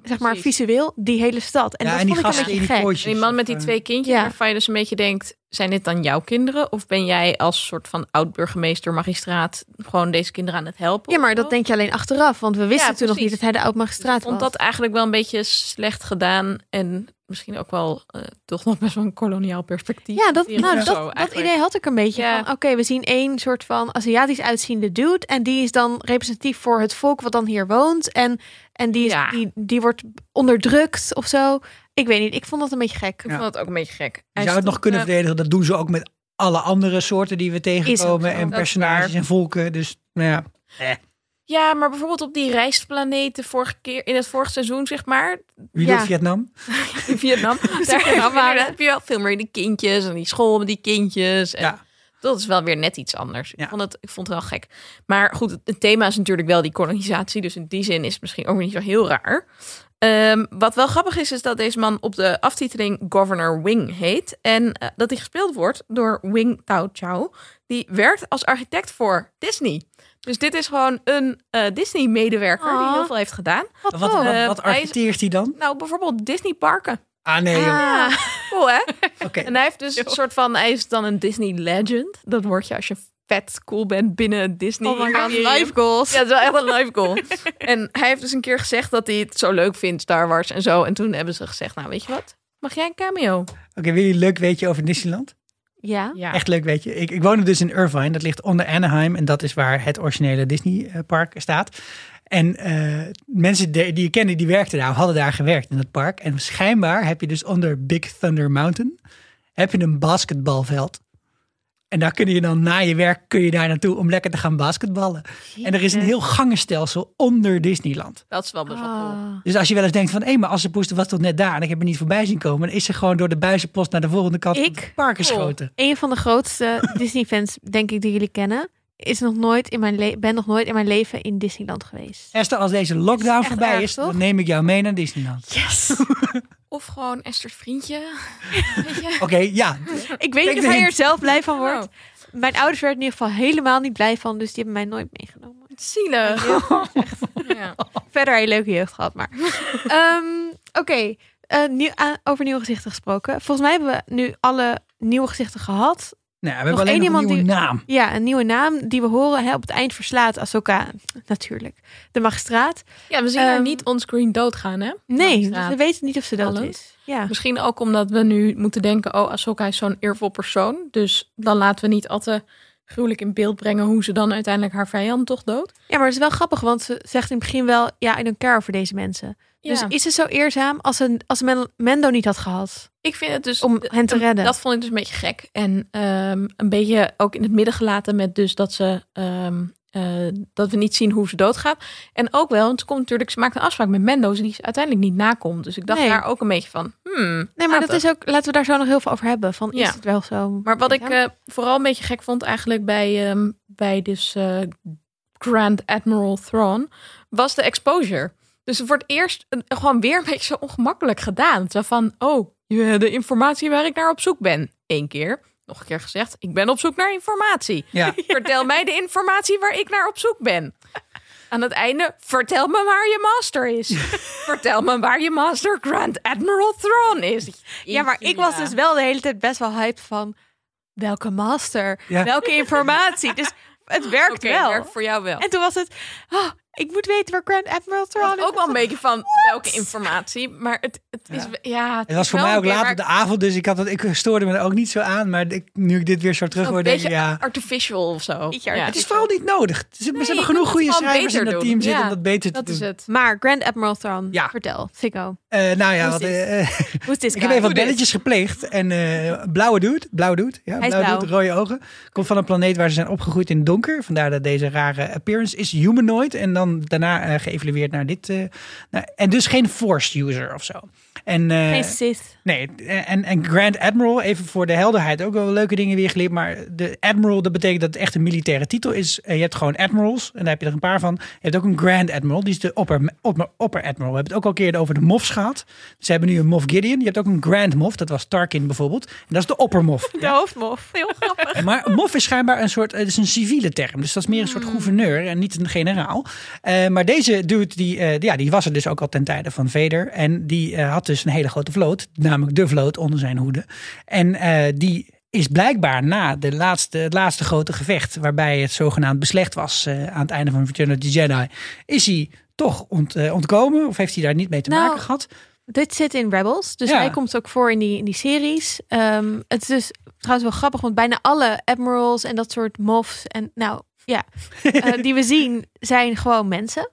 [SPEAKER 1] zeg maar
[SPEAKER 2] Precies.
[SPEAKER 1] visueel, die hele stad. En
[SPEAKER 3] ja,
[SPEAKER 1] dat
[SPEAKER 3] en die
[SPEAKER 1] vond ik een
[SPEAKER 3] gasten
[SPEAKER 1] beetje
[SPEAKER 3] in die
[SPEAKER 1] gek.
[SPEAKER 3] kooitjes.
[SPEAKER 2] En die man met die
[SPEAKER 3] Eh,
[SPEAKER 2] twee kindjes,
[SPEAKER 1] Ja.
[SPEAKER 2] waarvan je dus een beetje denkt, zijn dit dan jouw kinderen? Of ben jij als soort van oud-burgemeester, magistraat, gewoon deze kinderen aan het helpen?
[SPEAKER 1] Ja,
[SPEAKER 2] of
[SPEAKER 1] maar
[SPEAKER 2] zo?
[SPEAKER 1] dat denk je alleen achteraf. Want we wisten
[SPEAKER 2] Ja,
[SPEAKER 1] toen nog niet
[SPEAKER 2] precies.
[SPEAKER 1] dat hij de
[SPEAKER 2] Ik
[SPEAKER 1] oud-magistraat was.
[SPEAKER 2] vond dat eigenlijk wel een beetje slecht gedaan. En misschien ook wel eh, toch nog best wel een koloniaal perspectief.
[SPEAKER 1] Ja, dat,
[SPEAKER 2] Hier
[SPEAKER 1] nou,
[SPEAKER 2] of
[SPEAKER 1] dat,
[SPEAKER 2] zo
[SPEAKER 1] dat
[SPEAKER 2] eigenlijk.
[SPEAKER 1] idee had ik een beetje.
[SPEAKER 2] Ja.
[SPEAKER 1] van, Oké, we zien één soort van Aziatisch uitziende dude. En die is dan representatief voor het volk wat dan hier woont. En, en die, is,
[SPEAKER 2] Ja.
[SPEAKER 1] die, die wordt onderdrukt of zo. Ik weet niet, ik vond dat een beetje gek.
[SPEAKER 2] Ik vond het ook een beetje gek.
[SPEAKER 3] Je
[SPEAKER 2] Hij
[SPEAKER 3] zou het nog
[SPEAKER 2] stond,
[SPEAKER 3] kunnen
[SPEAKER 2] eh,
[SPEAKER 3] verdedigen, dat doen ze ook met alle andere soorten die we tegenkomen
[SPEAKER 1] zo.
[SPEAKER 3] en
[SPEAKER 2] Dat is
[SPEAKER 3] personages
[SPEAKER 2] waar.
[SPEAKER 3] en volken. Dus nou ja,
[SPEAKER 2] Ja, maar bijvoorbeeld op die rijstplaneten vorige keer, in het vorige seizoen, zeg maar,
[SPEAKER 3] wie
[SPEAKER 1] Ja.
[SPEAKER 3] doet Vietnam?
[SPEAKER 2] in Vietnam.
[SPEAKER 3] nou
[SPEAKER 2] daar waren. heb je wel veel meer die kindjes en die school met die kindjes. En
[SPEAKER 3] Ja.
[SPEAKER 2] Dat is wel weer net iets anders.
[SPEAKER 3] Ja.
[SPEAKER 2] Ik, vond het, ik vond het wel gek. Maar goed, het, het thema is natuurlijk wel die kolonisatie. Dus in die zin is het misschien ook niet zo heel raar. Eh, Ehm, wat wel grappig is, is dat deze man op de aftiteling Governor Wing heet. En eh, dat hij gespeeld wordt door Wing Tao Chow. Die werkt als architect voor Disney. Dus dit is gewoon een eh, Disney-medewerker die
[SPEAKER 1] Aw.
[SPEAKER 2] heel veel heeft gedaan.
[SPEAKER 3] Wat,
[SPEAKER 1] Oh,
[SPEAKER 3] wat, wat,
[SPEAKER 2] Eh,
[SPEAKER 3] wat
[SPEAKER 2] hij is-
[SPEAKER 3] architeert hij dan?
[SPEAKER 2] Nou, bijvoorbeeld Disney-parken.
[SPEAKER 3] Ah nee, joh.
[SPEAKER 2] Ja, cool hè?
[SPEAKER 3] Oké.
[SPEAKER 2] En hij heeft dus een soort van, hij is dan een Disney legend. Dat word je als je vet cool bent binnen Disney.
[SPEAKER 1] Oh my god,
[SPEAKER 2] Imperium.
[SPEAKER 1] life goals.
[SPEAKER 2] Ja, dat is wel echt een life goal. en hij heeft dus een keer gezegd dat hij het zo leuk vindt, Star Wars en zo. En toen hebben ze gezegd, nou weet je wat, mag jij een cameo?
[SPEAKER 3] Oké, wil je een leuk weetje over Disneyland?
[SPEAKER 1] Ja.
[SPEAKER 2] Ja.
[SPEAKER 3] Echt leuk, weet je. Ik, ik woonde dus in Irvine, dat ligt onder Anaheim. En dat is waar het originele Disney-park staat. En eh, mensen de- die je kende, die werkten daar, hadden daar gewerkt in dat park. En schijnbaar heb je dus onder Big Thunder Mountain, heb je een basketbalveld. En daar kun je dan na je werk, kun je daar naartoe om lekker te gaan basketballen. En er is een heel gangenstelsel onder Disneyland.
[SPEAKER 2] Dat is wel best wel cool.
[SPEAKER 3] Dus als je wel eens denkt van, hé, maar als ze poesten was tot net daar en ik heb er niet voorbij zien komen, dan is ze gewoon door de buizenpost naar de volgende kant van
[SPEAKER 1] Ik?
[SPEAKER 3] het park geschoten.
[SPEAKER 1] Een van de grootste Disney-fans, denk ik, die jullie kennen, is nog nooit in mijn le- ben nog nooit in mijn leven in Disneyland geweest.
[SPEAKER 2] Oh.
[SPEAKER 3] Esther, als deze lockdown
[SPEAKER 1] echt
[SPEAKER 3] voorbij
[SPEAKER 1] erg,
[SPEAKER 3] is,
[SPEAKER 1] toch?
[SPEAKER 3] dan neem ik jou mee naar Disneyland.
[SPEAKER 1] Yes!
[SPEAKER 2] Of gewoon Esther's vriendje.
[SPEAKER 3] Oké, ja. Nou,
[SPEAKER 1] ik weet
[SPEAKER 3] Kijk
[SPEAKER 1] niet of hij
[SPEAKER 3] erin.
[SPEAKER 1] er zelf blij
[SPEAKER 2] Oh.
[SPEAKER 1] van wordt. Mijn ouders werden in ieder geval helemaal niet blij van, dus die hebben mij nooit meegenomen.
[SPEAKER 2] Zielig. Ja.
[SPEAKER 1] Verder heb je leuke jeugd gehad, maar. Ehm, Oké, eh, nieuw- a- over nieuwe gezichten gesproken. Volgens mij hebben we nu alle nieuwe gezichten gehad.
[SPEAKER 3] Nou, we hebben alleen
[SPEAKER 1] één
[SPEAKER 3] nog
[SPEAKER 1] iemand
[SPEAKER 3] een nieuwe
[SPEAKER 1] die-
[SPEAKER 3] naam.
[SPEAKER 1] Ja, een nieuwe naam die we horen hè, op het eind verslaat Ahsoka, natuurlijk, de magistraat.
[SPEAKER 2] ja, we zien haar
[SPEAKER 1] Ehm,
[SPEAKER 2] niet onscreen doodgaan hè?
[SPEAKER 1] Nee,
[SPEAKER 2] Magistraat.
[SPEAKER 1] we weten niet of ze dood
[SPEAKER 2] Allen.
[SPEAKER 1] is. Ja.
[SPEAKER 2] Misschien ook omdat we nu moeten denken, oh, Ahsoka is zo'n eervol persoon. Dus dan laten we niet al te gruwelijk in beeld brengen hoe ze dan uiteindelijk haar vijand toch dood.
[SPEAKER 1] ja, maar het is wel grappig, want ze zegt in het begin wel... ja, I don't care voor deze mensen. Dus
[SPEAKER 2] Dus
[SPEAKER 1] is ze zo eerzaam als ze, als ze Men- Mendo niet had gehad
[SPEAKER 2] ik vind het dus...
[SPEAKER 1] om hen te redden?
[SPEAKER 2] Dat vond ik dus een beetje gek. En ehm, een beetje ook in het midden gelaten met dus dat ze... ehm, eh, dat we niet zien hoe ze doodgaat. En ook wel, want ze, komt natuurlijk, ze maakt een afspraak met Mendo's die ze uiteindelijk niet nakomt. Dus ik dacht
[SPEAKER 1] Nee.
[SPEAKER 2] daar ook een beetje van, hmm,
[SPEAKER 1] nee, maar dat
[SPEAKER 2] laten.
[SPEAKER 1] is ook... Laten we daar zo nog heel veel over hebben. Van,
[SPEAKER 2] Ja.
[SPEAKER 1] is het wel zo?
[SPEAKER 2] Maar wat ik
[SPEAKER 1] Ja.
[SPEAKER 2] eh, vooral een beetje gek vond eigenlijk bij, ehm, bij dus eh, Grand Admiral Thrawn, was de exposure. Dus het wordt eerst een- gewoon weer een beetje zo ongemakkelijk gedaan. Zo van, oh, je- de informatie waar ik naar op zoek ben. Eén keer, nog een keer gezegd, ik ben op zoek naar informatie.
[SPEAKER 3] Ja.
[SPEAKER 2] Vertel mij de informatie waar ik naar op zoek ben. Aan het einde, vertel me waar je master is. vertel me waar je master Grand Admiral Thrawn is.
[SPEAKER 1] ja, maar ik was dus wel de hele tijd best wel hyped van... welke master?
[SPEAKER 3] Ja.
[SPEAKER 1] Welke informatie? dus het werkt
[SPEAKER 2] Oké,
[SPEAKER 1] wel.
[SPEAKER 2] werkt voor jou wel.
[SPEAKER 1] En toen was het... ah, ik moet weten waar Grand Admiral
[SPEAKER 2] Ik
[SPEAKER 1] Thrawn
[SPEAKER 2] had
[SPEAKER 1] is.
[SPEAKER 2] ook wel een beetje van welke informatie, maar het, het is ja.
[SPEAKER 3] Het was voor mij ook laat op de avond, dus ik, had het, ik stoorde me er ook niet zo aan. Maar ik, nu ik dit weer zo terug
[SPEAKER 2] Een
[SPEAKER 3] hoor, denk
[SPEAKER 2] beetje
[SPEAKER 3] ik, ja...
[SPEAKER 2] artificial of
[SPEAKER 1] Beetje
[SPEAKER 2] zo. Ja.
[SPEAKER 3] Het is
[SPEAKER 1] artificial.
[SPEAKER 3] vooral niet nodig. Ze, ze
[SPEAKER 2] je
[SPEAKER 3] hebben
[SPEAKER 2] kunt
[SPEAKER 3] genoeg
[SPEAKER 2] het
[SPEAKER 3] goede
[SPEAKER 2] gewoon
[SPEAKER 3] schrijvers in
[SPEAKER 2] beter
[SPEAKER 3] dat
[SPEAKER 2] doen.
[SPEAKER 3] team zitten
[SPEAKER 2] Ja,
[SPEAKER 3] om dat beter te
[SPEAKER 2] Dat
[SPEAKER 3] doen.
[SPEAKER 2] is het.
[SPEAKER 1] Maar Grand Admiral Thrawn,
[SPEAKER 3] Ja.
[SPEAKER 1] vertel, Sikko.
[SPEAKER 3] Eh, nou ja,
[SPEAKER 1] Hoe
[SPEAKER 3] wat,
[SPEAKER 1] is dit?
[SPEAKER 3] eh, eh,
[SPEAKER 1] Hoe is dit guy?
[SPEAKER 3] ik heb even wat
[SPEAKER 1] Hoe dit?
[SPEAKER 3] belletjes gepleegd. En eh, blauwe dude, blauwe dude, ja,
[SPEAKER 1] Hij is
[SPEAKER 3] blauwe
[SPEAKER 1] blauw.
[SPEAKER 3] dude, rode ogen. Komt van een planeet waar ze zijn opgegroeid in het donker. Vandaar dat deze rare appearance is humanoid. En dan daarna eh, geëvalueerd naar dit. eh, naar- en dus geen force user of zo. En, eh,
[SPEAKER 1] Geen Sith.
[SPEAKER 3] Nee, en, en Grand Admiral, even voor de helderheid, ook wel leuke dingen weer geleerd. Maar de Admiral, dat betekent dat het echt een militaire titel is. Eh, Je hebt gewoon Admirals, en daar heb je er een paar van. Je hebt ook een Grand Admiral, die is de Opper, opper, opper Admiral. We hebben het ook al een keer over de Moffs gehad. Ze hebben nu een Moff Gideon. Je hebt ook een Grand Moff, dat was Tarkin bijvoorbeeld. En dat is de Opper Moff.
[SPEAKER 1] De hoofdmof. Heel grappig.
[SPEAKER 3] Maar mof is schijnbaar een soort, eh, het is een civiele term. Dus dat is meer een soort
[SPEAKER 1] Hmm.
[SPEAKER 3] gouverneur en niet een generaal. Eh, maar deze dude, die, eh, ja, die was er dus ook al ten tijde van Vader. En die eh, had dus een hele grote vloot, namelijk de vloot onder zijn hoede. En eh, die is blijkbaar na de laatste, het laatste grote gevecht, waarbij het zogenaamd beslecht was eh, aan het einde van Return of the Jedi, is hij toch ont, eh, ontkomen of heeft hij daar niet mee te
[SPEAKER 1] Nou,
[SPEAKER 3] maken gehad?
[SPEAKER 1] Dit zit in Rebels, dus
[SPEAKER 3] Ja.
[SPEAKER 1] hij komt ook voor in die, in die series. Ehm, het is dus trouwens wel grappig, want bijna alle admirals en dat soort mofs en nou ja, eh, die we zien zijn gewoon mensen.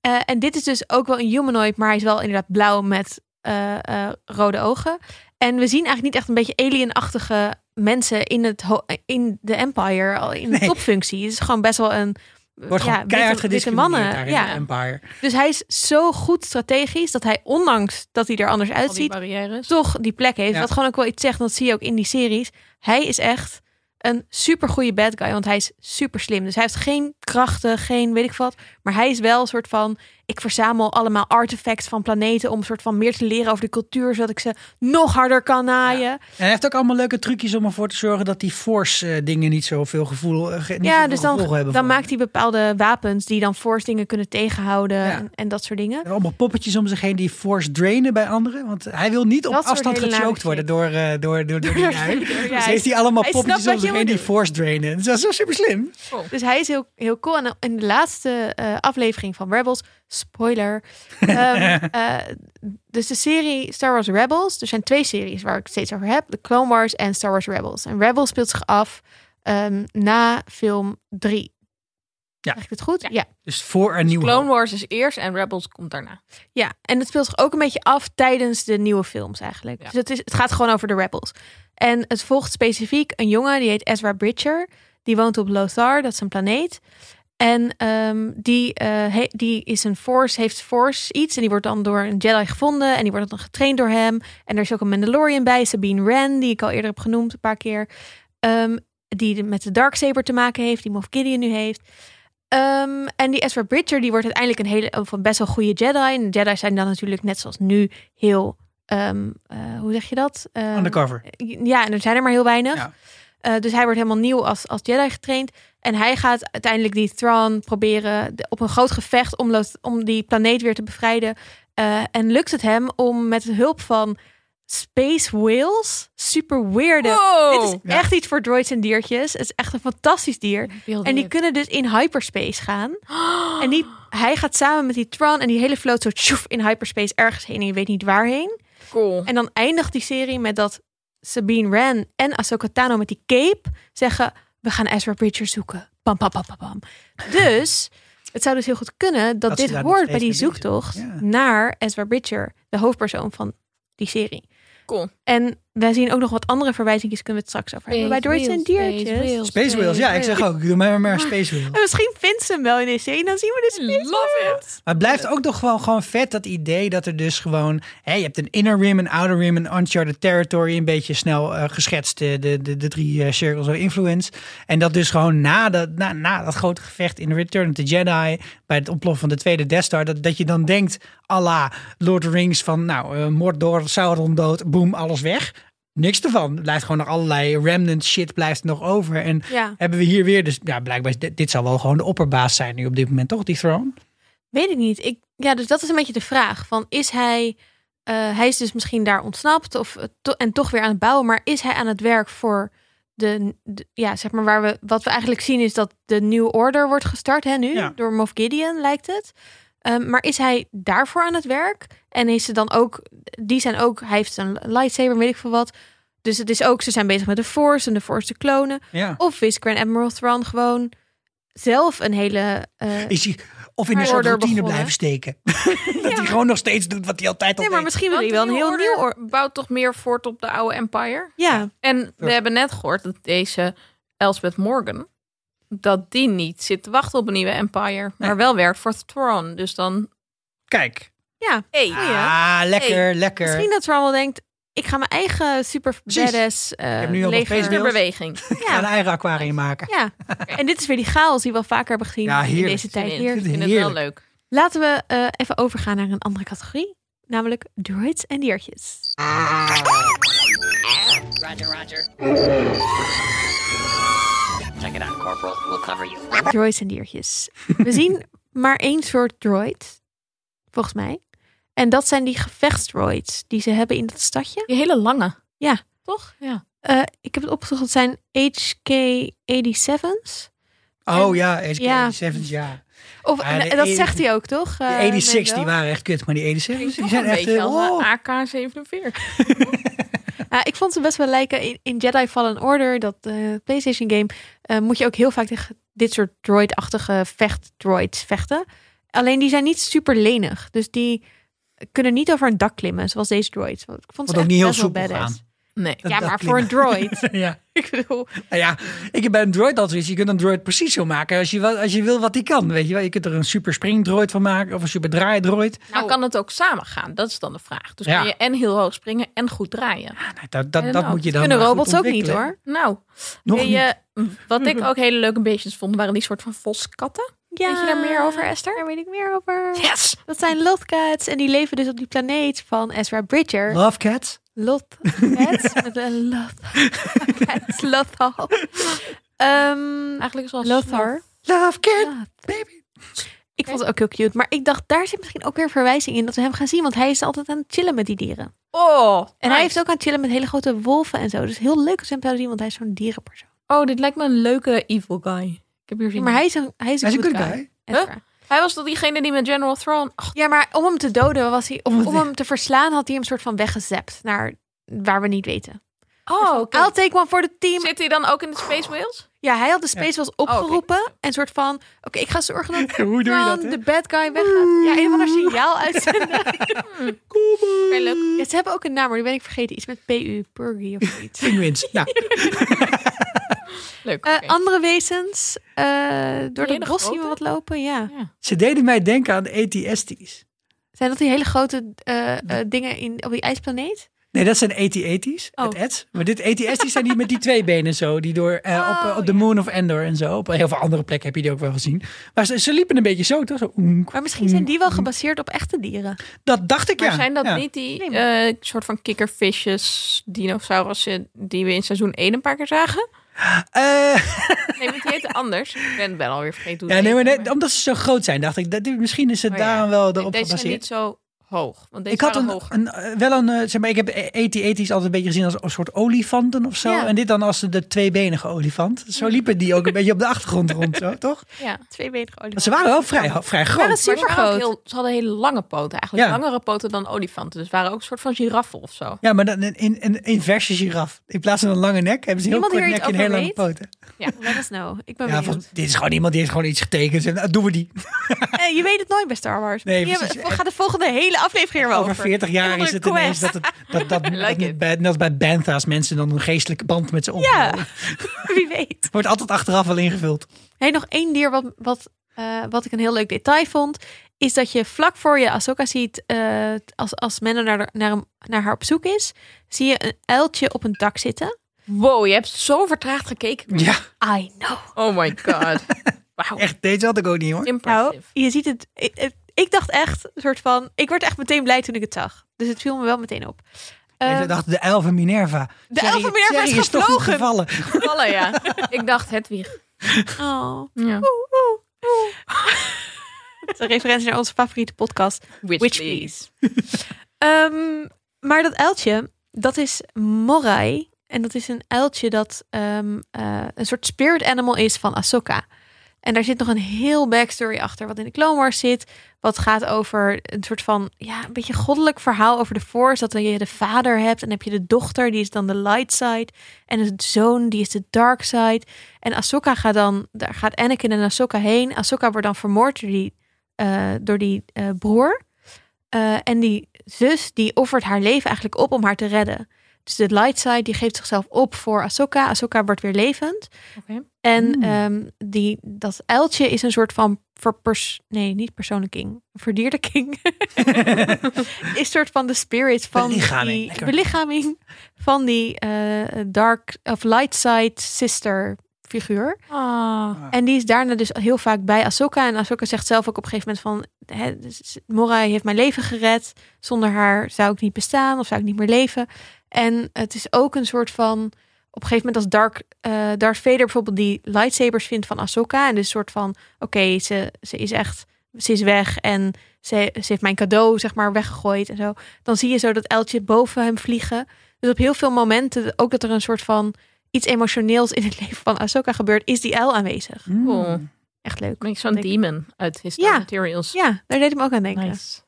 [SPEAKER 1] Eh, en dit is dus ook wel een humanoid, maar hij is wel inderdaad blauw met eh, eh, rode ogen. En we zien eigenlijk niet echt een beetje alienachtige mensen in, het ho- in de Empire, al in de
[SPEAKER 3] Nee.
[SPEAKER 1] topfunctie. Het is gewoon best wel een.
[SPEAKER 3] Wordt gewoon keihard gediscrimineerd daar in de
[SPEAKER 1] Ja.
[SPEAKER 3] Empire.
[SPEAKER 1] Dus hij is zo goed strategisch dat hij, ondanks dat hij er anders
[SPEAKER 2] Al die
[SPEAKER 1] uitziet,
[SPEAKER 2] barrières.
[SPEAKER 1] toch die plek heeft.
[SPEAKER 3] Ja.
[SPEAKER 1] Wat gewoon ook wel iets zegt, dat zie je ook in die series. Hij is echt een super goede bad guy, want hij is super slim. Dus hij heeft geen krachten, geen weet ik wat. Maar hij is wel een soort van, ik verzamel allemaal artefacts van planeten om een soort van meer te leren over de cultuur, zodat ik ze nog harder kan naaien. Ja,
[SPEAKER 3] hij heeft ook allemaal leuke trucjes om ervoor te zorgen dat die force eh, dingen niet zoveel gevoel eh, ge- niet zoveel
[SPEAKER 1] dus dan,
[SPEAKER 3] gevolgen hebben.
[SPEAKER 1] dan
[SPEAKER 3] voor hem.
[SPEAKER 1] maakt hij bepaalde wapens die dan force dingen kunnen tegenhouden
[SPEAKER 3] Ja.
[SPEAKER 1] en, en dat soort dingen.
[SPEAKER 3] Er zijn allemaal poppetjes om zich heen die force drainen bij anderen. Want hij wil niet op
[SPEAKER 1] Dat soort
[SPEAKER 3] afstand
[SPEAKER 1] hele nare
[SPEAKER 3] gechoked worden
[SPEAKER 1] shit.
[SPEAKER 3] door, eh, door, door, door die lui.
[SPEAKER 1] Ja,
[SPEAKER 3] Dus
[SPEAKER 1] hij
[SPEAKER 3] heeft hij allemaal
[SPEAKER 1] hij snapt
[SPEAKER 3] poppetjes
[SPEAKER 1] wat
[SPEAKER 3] om
[SPEAKER 1] je
[SPEAKER 3] zich
[SPEAKER 1] moet
[SPEAKER 3] heen die
[SPEAKER 1] doen.
[SPEAKER 3] force drainen. Dat is zo super slim.
[SPEAKER 1] Dus hij is heel, heel cool. En in de laatste eh, aflevering van Rebels, spoiler. ehm, eh, dus de serie Star Wars Rebels. Er zijn twee series waar ik het steeds over heb: de Clone Wars en Star Wars Rebels. En Rebels speelt zich af ehm, na film 3.
[SPEAKER 3] Ja.
[SPEAKER 1] Zeg ik het goed?
[SPEAKER 2] Ja.
[SPEAKER 1] ja.
[SPEAKER 3] Dus voor een nieuwe.
[SPEAKER 2] Clone Wars is eerst en Rebels komt daarna.
[SPEAKER 1] Ja, en het speelt zich ook een beetje af tijdens de nieuwe films eigenlijk.
[SPEAKER 2] Ja.
[SPEAKER 1] Dus het, is, het gaat gewoon over de Rebels. En het volgt specifiek een jongen die heet Ezra Bridger. Die woont op Lothar, dat is een planeet. En ehm, die, eh, he- die is een force, heeft force iets. En die wordt dan door een Jedi gevonden. En die wordt dan getraind door hem. En er is ook een Mandalorian bij, Sabine Wren, die ik al eerder heb genoemd een paar keer. Ehm, die de- met de Darksaber te maken heeft, die Moff Gideon nu heeft. Ehm, en die Ezra Bridger, die wordt uiteindelijk een hele, of een best wel goede Jedi. En Jedi's zijn dan natuurlijk net zoals nu heel, ehm, eh, hoe zeg je dat? Ehm,
[SPEAKER 3] Undercover.
[SPEAKER 1] ja, en er zijn er maar heel weinig.
[SPEAKER 3] Ja.
[SPEAKER 1] Eh, dus hij wordt helemaal nieuw als, als Jedi getraind. En hij gaat uiteindelijk die Thrawn proberen de- op een groot gevecht om, Loth- om die planeet weer te bevrijden. Eh, en lukt het hem om met hulp van Space Whales, super weirde.
[SPEAKER 2] Wow.
[SPEAKER 1] Dit is echt iets voor droids en diertjes. Het is echt een fantastisch dier.
[SPEAKER 2] Wilde
[SPEAKER 1] En die
[SPEAKER 2] dit.
[SPEAKER 1] kunnen dus in hyperspace gaan. En die, hij gaat samen met die Tron en die hele vloot zo tjoef in hyperspace ergens heen. En je weet niet waarheen.
[SPEAKER 2] Cool.
[SPEAKER 1] En dan eindigt die serie met dat Sabine Wren en Ahsoka Tano met die cape zeggen... we gaan Ezra Bridger zoeken. Pam, pam, pam, pam, pam. Dus het zou dus heel goed kunnen dat,
[SPEAKER 3] Dat ze
[SPEAKER 1] dit
[SPEAKER 3] daar
[SPEAKER 1] hoort
[SPEAKER 3] nog
[SPEAKER 1] bij die
[SPEAKER 3] steeds mee bezig
[SPEAKER 1] zoektocht...
[SPEAKER 3] zijn. Ja.
[SPEAKER 1] naar Ezra Bridger, de hoofdpersoon van die serie.
[SPEAKER 2] Cool.
[SPEAKER 1] En wij zien ook nog wat andere verwijzingjes, kunnen we het straks over hebben. Bij Droids en Diertjes.
[SPEAKER 3] Space Whales, ja, ik zeg ook. Doe mij maar, maar Space Whales.
[SPEAKER 1] En misschien vindt ze hem wel in de serie. Dan zien we de Space
[SPEAKER 2] Love
[SPEAKER 1] Whales.
[SPEAKER 2] it.
[SPEAKER 3] Maar het blijft ook nog gewoon, gewoon vet dat idee dat er dus gewoon... Hè, je hebt een inner rim, een outer rim, een uncharted territory. Een beetje snel eh, geschetst, de, de, de, de drie eh, circles of influence. En dat dus gewoon na dat, na, na dat grote gevecht in Return of the Jedi... bij het ontploffen van de tweede Death Star... dat, dat je dan denkt, alla Lord of the Rings van... nou, eh, Mordor, Sauron dood, boem, alles weg. Niks ervan. Er Blijft gewoon nog allerlei remnant shit blijft nog over. En
[SPEAKER 1] Ja.
[SPEAKER 3] hebben we hier weer... Dus ja, blijkbaar, is dit, dit zal wel gewoon de opperbaas zijn nu op dit moment, toch? Die throne?
[SPEAKER 1] Weet ik niet. Ik, ja, dus dat is een beetje de vraag. Van is hij. eh, hij is dus misschien daar ontsnapt of, eh, to- en toch weer aan het bouwen. Maar is hij aan het werk voor de, de- Ja, zeg maar waar we. Wat we eigenlijk zien is dat de New Order wordt gestart hè, nu.
[SPEAKER 3] Ja.
[SPEAKER 1] Door Moff Gideon lijkt het. Ehm, maar is hij daarvoor aan het werk? En is ze dan ook. Die zijn ook. Hij heeft een lightsaber, weet ik veel wat. Dus het is ook. Ze zijn bezig met de Force en de Force te klonen.
[SPEAKER 3] Ja.
[SPEAKER 1] Of is Grand Admiral Thrawn gewoon zelf een hele. eh,
[SPEAKER 3] Is hij, of in een
[SPEAKER 1] Maar
[SPEAKER 3] soort
[SPEAKER 1] order
[SPEAKER 3] routine
[SPEAKER 1] begonnen.
[SPEAKER 3] blijven steken. dat hij gewoon nog steeds doet wat hij altijd al
[SPEAKER 1] Nee, maar
[SPEAKER 3] deed.
[SPEAKER 1] misschien wil hij wel een heel nieuw oor-
[SPEAKER 2] bouwt toch meer voort op de oude Empire?
[SPEAKER 1] Ja,
[SPEAKER 2] En we hebben net gehoord dat deze Elspeth Morgan, dat die niet zit te wachten op een nieuwe Empire, maar wel werkt voor Thrawn. Dus dan,
[SPEAKER 3] Kijk.
[SPEAKER 1] ja.
[SPEAKER 2] hey,
[SPEAKER 3] Ah, lekker,
[SPEAKER 2] Hey,
[SPEAKER 3] lekker.
[SPEAKER 1] Misschien dat Thrawn wel denkt, ik ga mijn eigen super
[SPEAKER 3] Precies.
[SPEAKER 1] badass eh,
[SPEAKER 3] heb nu al wat
[SPEAKER 1] leger-
[SPEAKER 3] feestbeeld.
[SPEAKER 2] beweging.
[SPEAKER 3] Ik ga een eigen aquarium maken.
[SPEAKER 1] Ja, en dit is weer die chaos die we al vaker hebben gezien
[SPEAKER 3] Ja,
[SPEAKER 1] in
[SPEAKER 3] heerlijk.
[SPEAKER 1] deze tijd.
[SPEAKER 2] Ik
[SPEAKER 1] Heerlijk.
[SPEAKER 2] vind het wel
[SPEAKER 3] Heerlijk.
[SPEAKER 2] leuk.
[SPEAKER 1] Laten we eh, even overgaan naar een andere categorie, namelijk droids en diertjes.
[SPEAKER 10] Roger, roger. Check it out, Corporal. We'll cover you.
[SPEAKER 1] Droids en diertjes. We zien maar één soort droid, volgens mij. En dat zijn die gevechtsdroids die ze hebben in dat stadje.
[SPEAKER 2] Die hele lange,
[SPEAKER 1] Ja,
[SPEAKER 2] toch? Ja.
[SPEAKER 1] eh, ik heb het opgezocht, dat zijn HK-87's.
[SPEAKER 3] Oh ja, HK
[SPEAKER 1] Ja.
[SPEAKER 3] 87, ja.
[SPEAKER 1] Of,
[SPEAKER 3] Ja,
[SPEAKER 1] en
[SPEAKER 3] de
[SPEAKER 1] dat
[SPEAKER 3] e-
[SPEAKER 1] zegt hij ook, toch?
[SPEAKER 3] De
[SPEAKER 1] Eh,
[SPEAKER 3] 86
[SPEAKER 1] Mendo?
[SPEAKER 3] die waren echt kut, maar die 87 die
[SPEAKER 2] Toch
[SPEAKER 3] zijn
[SPEAKER 2] een
[SPEAKER 3] echt...
[SPEAKER 2] beetje
[SPEAKER 3] eh,
[SPEAKER 2] als
[SPEAKER 3] oh.
[SPEAKER 2] een AK-47.
[SPEAKER 1] Ja, ik vond ze best wel lijken. In, in Jedi Fallen Order, dat eh, PlayStation game, eh, moet je ook heel vaak tegen dit soort droid-achtige vechtdroids vechten. Alleen die zijn niet super lenig. Dus die kunnen niet over een dak klimmen, zoals deze droids. Want Ik vond ze
[SPEAKER 3] Wat ook
[SPEAKER 1] echt
[SPEAKER 3] niet heel
[SPEAKER 1] best wel
[SPEAKER 3] soepel
[SPEAKER 1] badass.
[SPEAKER 3] gaan.
[SPEAKER 2] Nee. Nou.
[SPEAKER 3] Dat
[SPEAKER 1] ja,
[SPEAKER 3] dak
[SPEAKER 1] maar voor een
[SPEAKER 3] klimmen.
[SPEAKER 1] droid.
[SPEAKER 3] ja.
[SPEAKER 1] ik bedoel,
[SPEAKER 3] Nou ja, ik heb bij een droid altijd zoiets. Je kunt een droid precies zo maken als je, wel- als je wil wat die kan. Weet je, wel. je kunt er een super springdroid van maken of een super draaidroid.
[SPEAKER 2] Maar kan het ook samen gaan? Dat is dan de vraag. Dus
[SPEAKER 3] Ja.
[SPEAKER 2] kan je en heel hoog springen en goed draaien?
[SPEAKER 3] Nou, dat dat,
[SPEAKER 2] En
[SPEAKER 3] dat
[SPEAKER 2] dan-
[SPEAKER 3] moet je dan
[SPEAKER 1] kunnen
[SPEAKER 3] maar goed
[SPEAKER 1] robots ook niet
[SPEAKER 3] ontwikkelen.
[SPEAKER 1] hoor.
[SPEAKER 2] Nou,
[SPEAKER 3] Nog
[SPEAKER 2] die, eh, wat ik ook hele leuke beestjes vond, waren die soort van voskatten.
[SPEAKER 1] Ja,
[SPEAKER 2] Weet je daar meer over, Esther?
[SPEAKER 1] Daar weet ik meer over.
[SPEAKER 2] Yes!
[SPEAKER 1] Dat zijn Lothcats en die leven dus op die planeet van Ezra Bridger.
[SPEAKER 3] Love Cats.
[SPEAKER 1] Lothcats met een Lothcats. Lothal. Ehm,
[SPEAKER 2] Eigenlijk zoals...
[SPEAKER 1] Lothar.
[SPEAKER 3] Love Cat,
[SPEAKER 1] Ja.
[SPEAKER 3] baby.
[SPEAKER 1] Ik vond het ook heel cute. Maar ik dacht, daar zit misschien ook weer verwijzing in dat we hem gaan zien. Want hij is altijd aan het chillen met die dieren. En
[SPEAKER 2] Oh,
[SPEAKER 1] hij
[SPEAKER 2] nice.
[SPEAKER 1] heeft ook aan het chillen met hele grote wolven en zo. Dus heel leuk als we hem zouden zien, want hij is zo'n dierenpersoon.
[SPEAKER 2] Oh, dit lijkt me een leuke evil guy. Ik heb hier zin
[SPEAKER 1] Maar
[SPEAKER 2] in.
[SPEAKER 1] hij is een, hij is een,
[SPEAKER 3] Hij is een
[SPEAKER 1] good
[SPEAKER 3] good
[SPEAKER 1] guy.
[SPEAKER 3] guy.
[SPEAKER 1] Ezra.
[SPEAKER 2] Hij was toch diegene die met General Thrawn... Oh, Ach,
[SPEAKER 1] Ja, maar om hem te doden was hij, of
[SPEAKER 3] Om het-
[SPEAKER 1] om hem te verslaan, had hij hem soort van weggezept naar waar we niet weten.
[SPEAKER 2] oh, oké.
[SPEAKER 1] I'll take one for the team.
[SPEAKER 2] Zit hij dan ook in de Space Whales?
[SPEAKER 1] Ja, hij had de Space Whales
[SPEAKER 2] oké.
[SPEAKER 1] opgeroepen en soort van, oké, ik ga zorgen dat
[SPEAKER 3] Oh, Hoe doe je dat,
[SPEAKER 1] Thrawn,
[SPEAKER 3] hè?
[SPEAKER 1] de bad guy weggaat. Ja, een van haar signaal uitzenden.
[SPEAKER 2] Heel leuk.
[SPEAKER 1] Ja, ze hebben ook een naam, maar die ben ik vergeten. Iets met PU, Purgy of zoiets.
[SPEAKER 3] Penguins. Nou, Ja.
[SPEAKER 2] Leuk.
[SPEAKER 1] Eh,
[SPEAKER 2] oké.
[SPEAKER 1] andere wezens. eh, door
[SPEAKER 2] hele
[SPEAKER 1] het bos zien we
[SPEAKER 2] grote?
[SPEAKER 1] wat lopen, ja.
[SPEAKER 3] Ze deden mij denken aan E ATST's.
[SPEAKER 1] Zijn dat die hele grote eh, eh, dingen in, op die ijsplaneet?
[SPEAKER 3] Nee, dat zijn E AT-AT's.
[SPEAKER 2] Oh.
[SPEAKER 3] Het ads. Maar dit E AT-AT's zijn die met die twee benen zo. Die door eh, op,
[SPEAKER 2] Oh,
[SPEAKER 3] eh, op de Moon of Endor en zo. Op heel veel andere plekken heb je die ook wel gezien. Maar ze, ze liepen een beetje zo, toch? Zo, oenk.
[SPEAKER 1] Maar misschien zijn die
[SPEAKER 3] Hmm.
[SPEAKER 1] wel gebaseerd op echte dieren.
[SPEAKER 3] Dat dacht ik,
[SPEAKER 2] Maar
[SPEAKER 3] ja.
[SPEAKER 2] zijn dat
[SPEAKER 3] Ja.
[SPEAKER 2] niet die
[SPEAKER 1] Nee,
[SPEAKER 2] eh, soort van kikkervisjes, dinosaurussen die we in seizoen 1 een paar keer zagen?
[SPEAKER 3] Eh,
[SPEAKER 2] Nee, want die heten anders. Ik ben, ben alweer vergeten hoe
[SPEAKER 3] ja,
[SPEAKER 2] die
[SPEAKER 3] nee, maar
[SPEAKER 2] heten,
[SPEAKER 3] net, omdat ze zo groot zijn, dacht ik. Dat, dit- misschien is het
[SPEAKER 2] Oh, ja.
[SPEAKER 3] daarom wel erop
[SPEAKER 2] Deze zijn
[SPEAKER 3] gebaseerd.
[SPEAKER 2] niet zo hoog, want deze
[SPEAKER 3] Ik had
[SPEAKER 2] waren
[SPEAKER 3] een,
[SPEAKER 2] hoger.
[SPEAKER 3] een, eh, wel een, eh, zeg maar, ik heb AT-AT's altijd een beetje gezien als een soort olifanten of zo.
[SPEAKER 1] Ja.
[SPEAKER 3] En dit dan als de tweebenige olifant. Zo liepen die ook een beetje op de achtergrond rond, zo, toch?
[SPEAKER 2] Ja.
[SPEAKER 1] Twee meter olifant.
[SPEAKER 3] Want ze waren wel vrij, vrij
[SPEAKER 1] Ze waren
[SPEAKER 3] groot.
[SPEAKER 2] Maar ze, waren ook
[SPEAKER 1] supergroot.
[SPEAKER 2] heel, ze hadden hele lange poten eigenlijk.
[SPEAKER 3] Ja.
[SPEAKER 2] Langere poten dan olifanten. Dus waren ook een soort van giraffen of zo.
[SPEAKER 3] Ja, maar dan in, in, in inverse giraf. In plaats van een lange nek hebben ze heel
[SPEAKER 1] Niemand
[SPEAKER 3] kort
[SPEAKER 1] hier iets
[SPEAKER 3] nek en heel
[SPEAKER 1] over
[SPEAKER 3] lange poten.
[SPEAKER 1] Let us know. Ik ben
[SPEAKER 3] Ja,
[SPEAKER 1] benieuwd.
[SPEAKER 3] volgens- dit is gewoon iemand die heeft gewoon iets getekend. en, nou, doen we die.
[SPEAKER 1] Eh, je weet het nooit bij Star Wars.
[SPEAKER 3] Nee,
[SPEAKER 1] Die hebben-
[SPEAKER 3] precies.
[SPEAKER 1] we gaan de volgende hele aflevering er wel
[SPEAKER 3] Over 40 jaar is het ineens dat het, dat, dat, dat,
[SPEAKER 2] it.
[SPEAKER 3] bij, net als bij Bantha's mensen dan een geestelijke band met ze op.
[SPEAKER 1] Ja, wie weet.
[SPEAKER 3] Wordt altijd achteraf wel ingevuld.
[SPEAKER 1] Hey, nog één dier wat, wat, eh, wat ik een heel leuk detail vond. Is dat je vlak voor je Ahsoka ziet, eh, als, als Menno naar, de- naar, hem- naar haar op zoek is, zie je een uiltje op een dak zitten.
[SPEAKER 2] Wow, je hebt zo vertraagd gekeken.
[SPEAKER 3] Ja,
[SPEAKER 1] I know.
[SPEAKER 2] Oh my god. Wauw.
[SPEAKER 3] echt. Deze had ik ook niet hoor.
[SPEAKER 1] Nou,
[SPEAKER 2] Impressive.
[SPEAKER 1] je ziet het. Ik, ik- ik dacht echt, een soort van. Ik werd echt meteen blij toen ik het zag. Dus het viel me wel meteen op.
[SPEAKER 3] En
[SPEAKER 1] Ehm,
[SPEAKER 3] ze dachten de uil van Minerva.
[SPEAKER 1] de
[SPEAKER 3] Jerry-
[SPEAKER 1] uil van Minerva
[SPEAKER 3] Jerry
[SPEAKER 1] is
[SPEAKER 3] toch niet
[SPEAKER 1] gevlogen.
[SPEAKER 3] gevallen.
[SPEAKER 2] Vallen, ja. Ik dacht Hedwig.
[SPEAKER 1] oh.
[SPEAKER 2] Ja.
[SPEAKER 1] Oeh, oeh, oeh. Dat is een referentie naar onze favoriete podcast.
[SPEAKER 2] Witch,
[SPEAKER 1] Witch
[SPEAKER 2] please.
[SPEAKER 1] Ehm, maar dat uiltje, dat is Morai. En dat is een uiltje dat ehm, eh, een soort spirit animal is van Ahsoka. En daar zit nog een heel backstory achter, wat in de Clone Wars zit. Wat gaat over een soort van, ja, een beetje goddelijk verhaal over de Force. Dat je de vader hebt en dan heb je de dochter, die is dan de light side. En de zoon, die is de dark side. En Ahsoka gaat dan, daar gaat Anakin en Ahsoka heen. Ahsoka wordt dan vermoord door die, eh, door die eh, broer. Eh, en die zus, die offert haar leven eigenlijk op om haar te redden. Dus de light side, die geeft zichzelf op voor Ahsoka. Ahsoka wordt weer levend.
[SPEAKER 2] Oké.
[SPEAKER 1] En
[SPEAKER 3] Hmm.
[SPEAKER 1] ehm, die, dat uiltje is een soort van verpers... Nee, niet persoonlijk king. Verdierde king. is een soort van de spirit van
[SPEAKER 3] Belichaming,
[SPEAKER 1] die...
[SPEAKER 3] lekker.
[SPEAKER 1] Belichaming van die eh, dark of light side sister figuur.
[SPEAKER 2] Ah.
[SPEAKER 1] En die is daarna dus heel vaak bij Ahsoka. En Ahsoka zegt zelf ook op een gegeven moment van... Hè, dus Morai heeft mijn leven gered. Zonder haar zou ik niet bestaan of zou ik niet meer leven. En het is ook een soort van... Op een gegeven moment als Dark, eh, Darth Vader bijvoorbeeld die lightsabers vindt van Ahsoka. En dus een soort van, oké, ze, ze is echt... Ze is weg en ze, ze heeft mijn cadeau, zeg maar, weggegooid en zo. Dan zie je zo dat uiltje boven hem vliegen. Dus op heel veel momenten ook dat er een soort van... Iets emotioneels in het leven van Ahsoka gebeurt, is die uil aanwezig.
[SPEAKER 2] Cool.
[SPEAKER 3] Hmm.
[SPEAKER 1] Echt leuk.
[SPEAKER 2] Denk zo'n
[SPEAKER 1] Denk-
[SPEAKER 2] demon uit History
[SPEAKER 1] Ja.
[SPEAKER 2] Materials.
[SPEAKER 1] Ja, daar deed ik me ook aan denken.
[SPEAKER 2] Nice.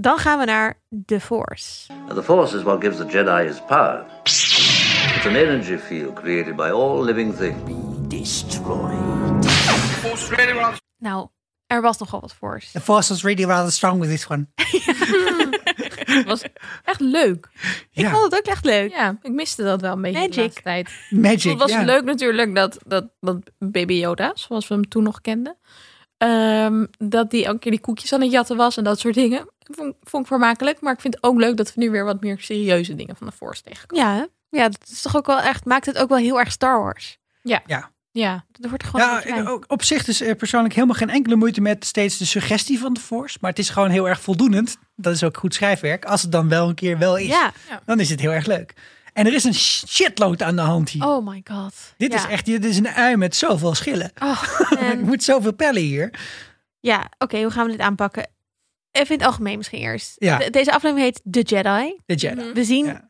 [SPEAKER 1] Dan gaan we naar The Force.
[SPEAKER 5] Now, the Force is what gives the Jedi his power. It's an energy field created by all living things.
[SPEAKER 1] Nou, er was nogal wat Force.
[SPEAKER 3] The force was really rather strong with this one.
[SPEAKER 2] Het was echt leuk.
[SPEAKER 1] Ik vond het ook echt leuk.
[SPEAKER 2] Ja, ik miste dat wel een beetje
[SPEAKER 1] Magic.
[SPEAKER 2] de laatste tijd.
[SPEAKER 3] Magic.
[SPEAKER 2] Het was
[SPEAKER 3] ja.
[SPEAKER 2] leuk natuurlijk dat, dat, dat Baby Yoda, zoals we hem toen nog kenden, ehm, dat die elke keer die koekjes aan het jatten was en dat soort dingen. Vond, vond ik vermakelijk, maar ik vind het ook leuk dat we nu weer wat meer serieuze dingen van de Force tegenkomen.
[SPEAKER 1] Ja, hè? ja dat is toch ook wel echt, maakt het ook wel heel erg Star Wars.
[SPEAKER 2] Ja.
[SPEAKER 3] Ja.
[SPEAKER 2] Ja.
[SPEAKER 1] Er wordt gewoon.
[SPEAKER 3] Ja,
[SPEAKER 1] een beetje bij.
[SPEAKER 3] ook op zich is er persoonlijk helemaal geen enkele moeite met steeds de suggestie van de Force. Maar het is gewoon heel erg voldoenend. Dat is ook goed schrijfwerk. Als het dan wel een keer wel is,
[SPEAKER 1] Ja.
[SPEAKER 3] dan is het heel erg leuk. En er is een shitload aan de hand hier.
[SPEAKER 1] Oh my god.
[SPEAKER 3] dit is
[SPEAKER 1] Ja.
[SPEAKER 3] echt dit is een ui met zoveel schillen.
[SPEAKER 1] Oh,
[SPEAKER 3] Ik
[SPEAKER 1] man.
[SPEAKER 3] moet zoveel pellen hier.
[SPEAKER 1] ja, oké, hoe gaan we dit aanpakken? Even in het algemeen misschien eerst.
[SPEAKER 3] Ja.
[SPEAKER 1] De- deze aflevering heet The Jedi.
[SPEAKER 3] De Jedi.
[SPEAKER 1] We zien
[SPEAKER 3] Ja.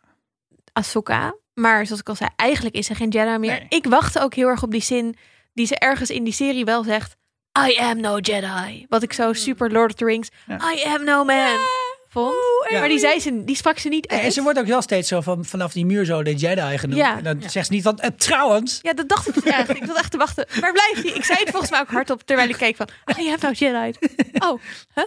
[SPEAKER 1] Ahsoka. Maar zoals ik al zei, eigenlijk is ze geen Jedi meer.
[SPEAKER 3] Nee.
[SPEAKER 1] Ik wachtte ook heel erg op die zin die ze ergens in die serie wel zegt. I am no Jedi. Wat ik zo super Lord of the Rings.
[SPEAKER 3] Ja.
[SPEAKER 1] I am no man. Vond.
[SPEAKER 3] Ja.
[SPEAKER 1] Maar die, zei ze, die sprak ze niet
[SPEAKER 3] Nee,
[SPEAKER 1] uit.
[SPEAKER 3] en ze wordt ook wel steeds zo van, vanaf die muur zo de Jedi genoemd.
[SPEAKER 1] Ja.
[SPEAKER 3] En dan zegt ze niet van, eh, trouwens.
[SPEAKER 1] Ja, dat dacht ik dus eigenlijk. Ik zat echt te wachten. Waar blijft hij? Ik zei het volgens mij ook hardop terwijl ik keek van... Oh, je hebt nou Jedi. Oh, huh?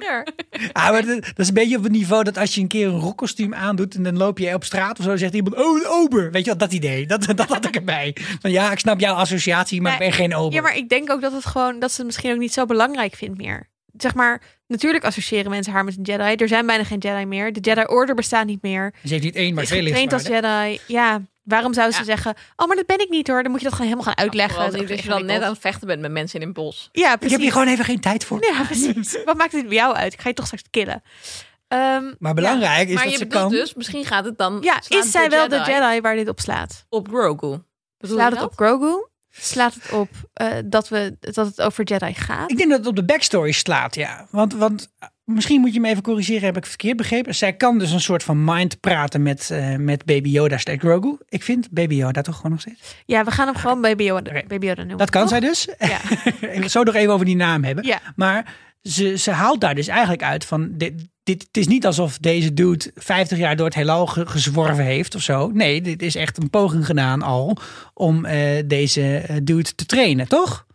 [SPEAKER 1] Ja.
[SPEAKER 3] Ah, maar dat, dat is een beetje op het niveau dat als je een keer een rockkostuum aandoet... en dan loop je op straat of zo, zegt iemand, oh, een ober. Weet je wat, dat idee. Dat, dat had ik erbij. Van, ja, ik snap jouw associatie, maar
[SPEAKER 1] Nee.
[SPEAKER 3] ik ben geen ober.
[SPEAKER 1] ja, maar ik denk ook dat het gewoon... dat ze het misschien ook niet zo belangrijk vindt meer. Zeg maar, natuurlijk associëren mensen haar met een Jedi. Er zijn bijna geen Jedi meer. De Jedi Order bestaat niet meer.
[SPEAKER 3] Ze heeft niet één, maar
[SPEAKER 1] Is
[SPEAKER 3] twee
[SPEAKER 1] getraind als
[SPEAKER 3] lichtwaarden.
[SPEAKER 1] Jedi. Ja, waarom zou ze
[SPEAKER 2] Ja.
[SPEAKER 1] zeggen... Oh, maar dat ben ik niet hoor. Dan moet je dat gewoon helemaal gaan uitleggen.
[SPEAKER 2] Vooral
[SPEAKER 1] Dat
[SPEAKER 2] niet
[SPEAKER 1] is
[SPEAKER 2] dat je dan dus net aan
[SPEAKER 1] ingewikkeld.
[SPEAKER 2] het vechten bent met mensen in een bos.
[SPEAKER 1] Ja,
[SPEAKER 3] Ik
[SPEAKER 1] precies.
[SPEAKER 3] heb hier gewoon even geen tijd voor.
[SPEAKER 1] Ja, precies. Wat maakt het bij jou uit? Ik ga je toch straks killen. Ehm,
[SPEAKER 3] Maar belangrijk is
[SPEAKER 2] maar
[SPEAKER 3] dat
[SPEAKER 2] je
[SPEAKER 3] ze
[SPEAKER 2] bedoelt
[SPEAKER 3] kan...
[SPEAKER 2] dus, misschien gaat het dan...
[SPEAKER 1] ja,
[SPEAKER 2] slaat
[SPEAKER 1] is zij wel de
[SPEAKER 2] Jedi
[SPEAKER 1] Jedi waar dit op slaat?
[SPEAKER 2] Op Grogu. Bedoel
[SPEAKER 1] Slaat
[SPEAKER 2] je
[SPEAKER 1] het
[SPEAKER 2] dat?
[SPEAKER 1] op Grogu? Slaat het op eh, dat, we, dat het over Jedi gaat?
[SPEAKER 3] Ik denk dat het op de backstory slaat, ja. Want, want eh, misschien moet je me even corrigeren, heb ik het verkeerd begrepen? Zij kan dus een soort van mind praten met, eh, met Baby Yoda slash Grogu. Ik vind Baby Yoda toch gewoon nog steeds.
[SPEAKER 1] Ja, we gaan hem gewoon Baby Yoda,
[SPEAKER 3] Ah, Oké.
[SPEAKER 1] Baby Yoda noemen.
[SPEAKER 3] Dat kan
[SPEAKER 1] toch?
[SPEAKER 3] zij dus.
[SPEAKER 1] Ja.
[SPEAKER 3] Ik wil zo nog even over die naam hebben.
[SPEAKER 1] Ja.
[SPEAKER 3] Maar ze, ze haalt daar dus eigenlijk uit van... Dit, dit, het is niet alsof deze dude 50 jaar door het heelal ge- gezworven heeft of zo. Nee, dit is echt een poging gedaan al om eh, deze eh, dude te trainen, toch?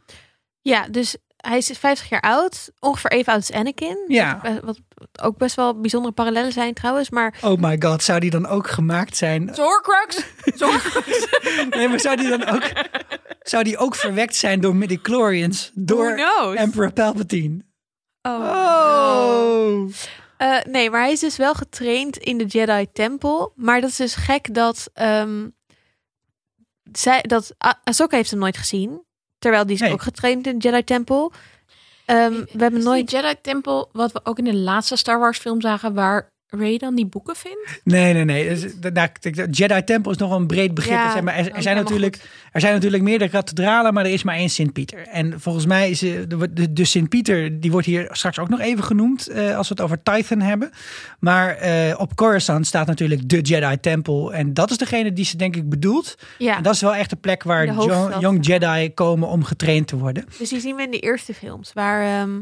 [SPEAKER 1] Ja, dus hij is 50 jaar oud. Ongeveer even oud als Anakin.
[SPEAKER 3] Ja.
[SPEAKER 1] Eh, Wat ook best wel bijzondere parallellen zijn trouwens. Maar
[SPEAKER 3] Oh my god, zou die dan ook gemaakt zijn
[SPEAKER 2] Zorcrux?
[SPEAKER 3] Nee, maar zou die dan ook, zou die ook verwekt zijn door midichlorians? Door
[SPEAKER 1] knows?
[SPEAKER 3] Emperor Palpatine?
[SPEAKER 1] Oh.
[SPEAKER 3] Oh.
[SPEAKER 1] Eh, nee, maar hij is dus wel getraind in de Jedi Tempel. Maar dat is dus gek dat. ehm, zij, dat Ah- Ahsoka heeft hem nooit gezien. Terwijl die is
[SPEAKER 3] Nee.
[SPEAKER 1] ook getraind in de Jedi Tempel. Ehm, we hebben nooit.
[SPEAKER 2] nooit Jedi Tempel, wat we ook in de laatste Star Wars film zagen, waar Ray dan die boeken vindt?
[SPEAKER 3] Nee, nee, nee. Dus, eh, nou, ik denk dat Jedi Tempel is nog wel een breed begrip.
[SPEAKER 1] Ja, oh,
[SPEAKER 3] Er zijn maar- er, er
[SPEAKER 2] helemaal
[SPEAKER 3] zijn natuurlijk, er zijn natuurlijk meerdere kathedralen, maar er is maar één Sint-Pieter. En volgens mij is eh, de, de, de Sint-Pieter, die wordt hier straks ook nog even genoemd eh, als we het over Titan hebben. Maar eh, op Coruscant staat natuurlijk de Jedi Tempel. En dat is degene die ze denk ik bedoelt.
[SPEAKER 1] Ja,
[SPEAKER 3] En dat is wel echt de plek waar
[SPEAKER 1] De
[SPEAKER 3] jo-
[SPEAKER 1] hoofdstad.
[SPEAKER 3] young Jedi komen om getraind te worden.
[SPEAKER 1] dus die zien we in de eerste films. Waar ehm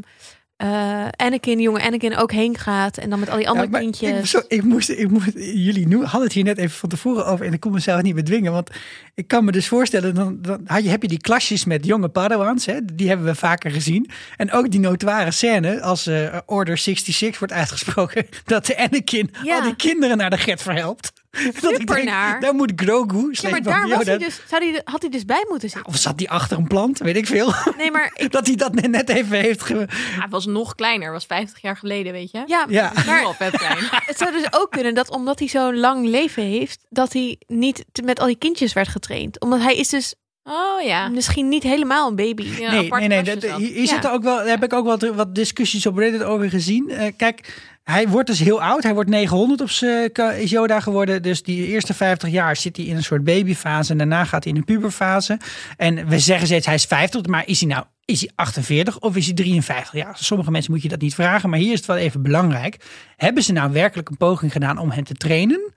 [SPEAKER 1] eh, Anakin, jonge Anakin, ook heen gaat. En dan met al die andere
[SPEAKER 3] Ja, maar
[SPEAKER 1] kindjes.
[SPEAKER 3] Ik, zo, ik moest, ik moest, jullie noem- hadden het hier net even van tevoren over en ik kon mezelf niet bedwingen. Want ik kan me dus voorstellen, dan, dan had je, heb je die klasjes met jonge padawans, hè, die hebben we vaker gezien. En ook die notoire scène als eh, Order 66 wordt uitgesproken, dat de Anakin
[SPEAKER 1] Ja.
[SPEAKER 3] al die kinderen naar de get verhelpt. dat ik denk,
[SPEAKER 1] naar.
[SPEAKER 3] daar moet Grogu
[SPEAKER 1] ja, maar
[SPEAKER 3] slecht
[SPEAKER 1] daar was hij dus, zou die, had hij dus bij moeten
[SPEAKER 2] Nou.
[SPEAKER 1] zitten.
[SPEAKER 3] Of zat die achter een plant, weet ik veel.
[SPEAKER 1] Nee, maar ik,
[SPEAKER 3] dat hij dat net even heeft ge...
[SPEAKER 2] Hij was nog kleiner, was 50 jaar geleden, weet je?
[SPEAKER 1] ja,
[SPEAKER 3] Ja.
[SPEAKER 2] Nu
[SPEAKER 1] maar
[SPEAKER 2] al vet klein.
[SPEAKER 1] Het zou dus ook kunnen dat omdat hij zo'n lang leven heeft, dat hij niet te- met al die kindjes werd getraind. Omdat hij is dus
[SPEAKER 2] Oh ja.
[SPEAKER 1] misschien niet helemaal een baby.
[SPEAKER 2] Ja, dus
[SPEAKER 3] nee,
[SPEAKER 2] aparte
[SPEAKER 3] nee, nee.
[SPEAKER 2] klasjes
[SPEAKER 3] dat-
[SPEAKER 2] dan.
[SPEAKER 3] hier hier
[SPEAKER 1] Ja.
[SPEAKER 3] zitten ook wel, daar heb ik ook wat, wat discussies op Reddit over gezien. Eh, kijk, hij wordt dus heel oud. Hij wordt 900 op zijn ka- is Yoda geworden. Dus die eerste 50 jaar zit hij in een soort babyfase. En daarna gaat hij in een puberfase. En we zeggen steeds hij is 50, maar is hij nou... Is hij 48 of is hij 53? Ja, sommige mensen moet je dat niet vragen, maar hier is het wel even belangrijk. Hebben ze nou werkelijk een poging gedaan om hem te trainen?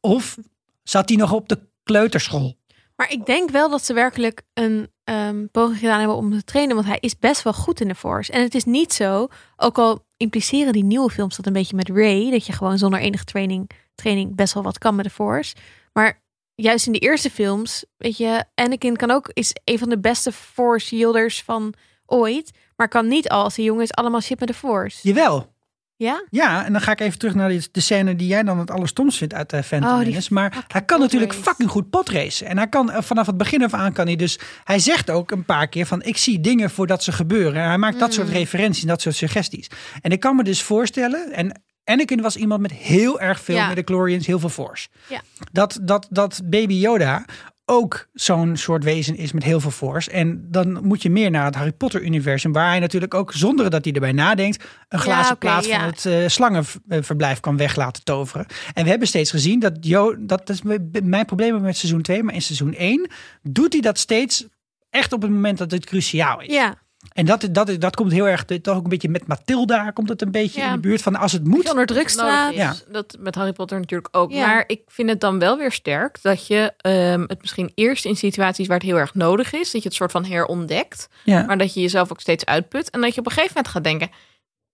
[SPEAKER 3] Of zat hij nog op de kleuterschool?
[SPEAKER 1] Maar ik denk wel dat ze werkelijk een ehm, poging gedaan hebben om hem te trainen. Want hij is best wel goed in de Force. En het is niet zo, ook al impliceren die nieuwe films dat een beetje met Ray. Dat je gewoon zonder enige training, training best wel wat kan met de Force. Maar juist in de eerste films, weet je, Anakin kan ook, is een van de beste Force Yielders van ooit. Maar kan niet al als hij jong is allemaal shit met de Force.
[SPEAKER 3] Jawel,
[SPEAKER 1] Ja?
[SPEAKER 3] Ja, en dan ga ik even terug naar die- de scène die jij dan het allerstomst vindt uit de Phantom
[SPEAKER 1] Oh, die
[SPEAKER 3] Menace. Maar
[SPEAKER 1] fucking
[SPEAKER 3] hij kan natuurlijk
[SPEAKER 1] potrace.
[SPEAKER 3] fucking goed potracen. En hij kan eh, vanaf het begin af aan kan hij dus... Hij zegt ook een paar keer van ik zie dingen voordat ze gebeuren. En hij maakt dat
[SPEAKER 1] Mm.
[SPEAKER 3] soort referenties en dat soort suggesties. En ik kan me dus voorstellen... En Anakin was iemand met heel erg veel
[SPEAKER 1] Ja.
[SPEAKER 3] midichlorians, heel veel force.
[SPEAKER 1] Ja.
[SPEAKER 3] Dat, dat, dat baby Yoda ook zo'n soort wezen is met heel veel force. En dan moet je meer naar het Harry Potter-universum, waar hij natuurlijk ook zonder dat hij erbij nadenkt, een glazen
[SPEAKER 1] oké,
[SPEAKER 3] plaats
[SPEAKER 1] ja.
[SPEAKER 3] van het eh, slangenverblijf kan weg laten toveren. En we hebben steeds gezien dat, Jo, dat is m- mijn probleem met seizoen 2, maar in seizoen 1 doet hij dat steeds echt op het moment dat het cruciaal is.
[SPEAKER 1] Ja,
[SPEAKER 3] En dat, dat, dat komt heel erg, toch ook een beetje met Matilda, komt het een beetje
[SPEAKER 1] Ja.
[SPEAKER 3] in de buurt van als het moet.
[SPEAKER 1] onder druk staat.
[SPEAKER 3] Ja.
[SPEAKER 2] Ja. dus Dat met Harry Potter natuurlijk ook.
[SPEAKER 1] Ja.
[SPEAKER 2] Maar ik vind het dan wel weer sterk dat je ehm, het misschien eerst in situaties waar het heel erg nodig is, dat je het soort van herontdekt.
[SPEAKER 3] Ja.
[SPEAKER 2] Maar dat je jezelf ook steeds uitput. En dat je op een gegeven moment gaat denken.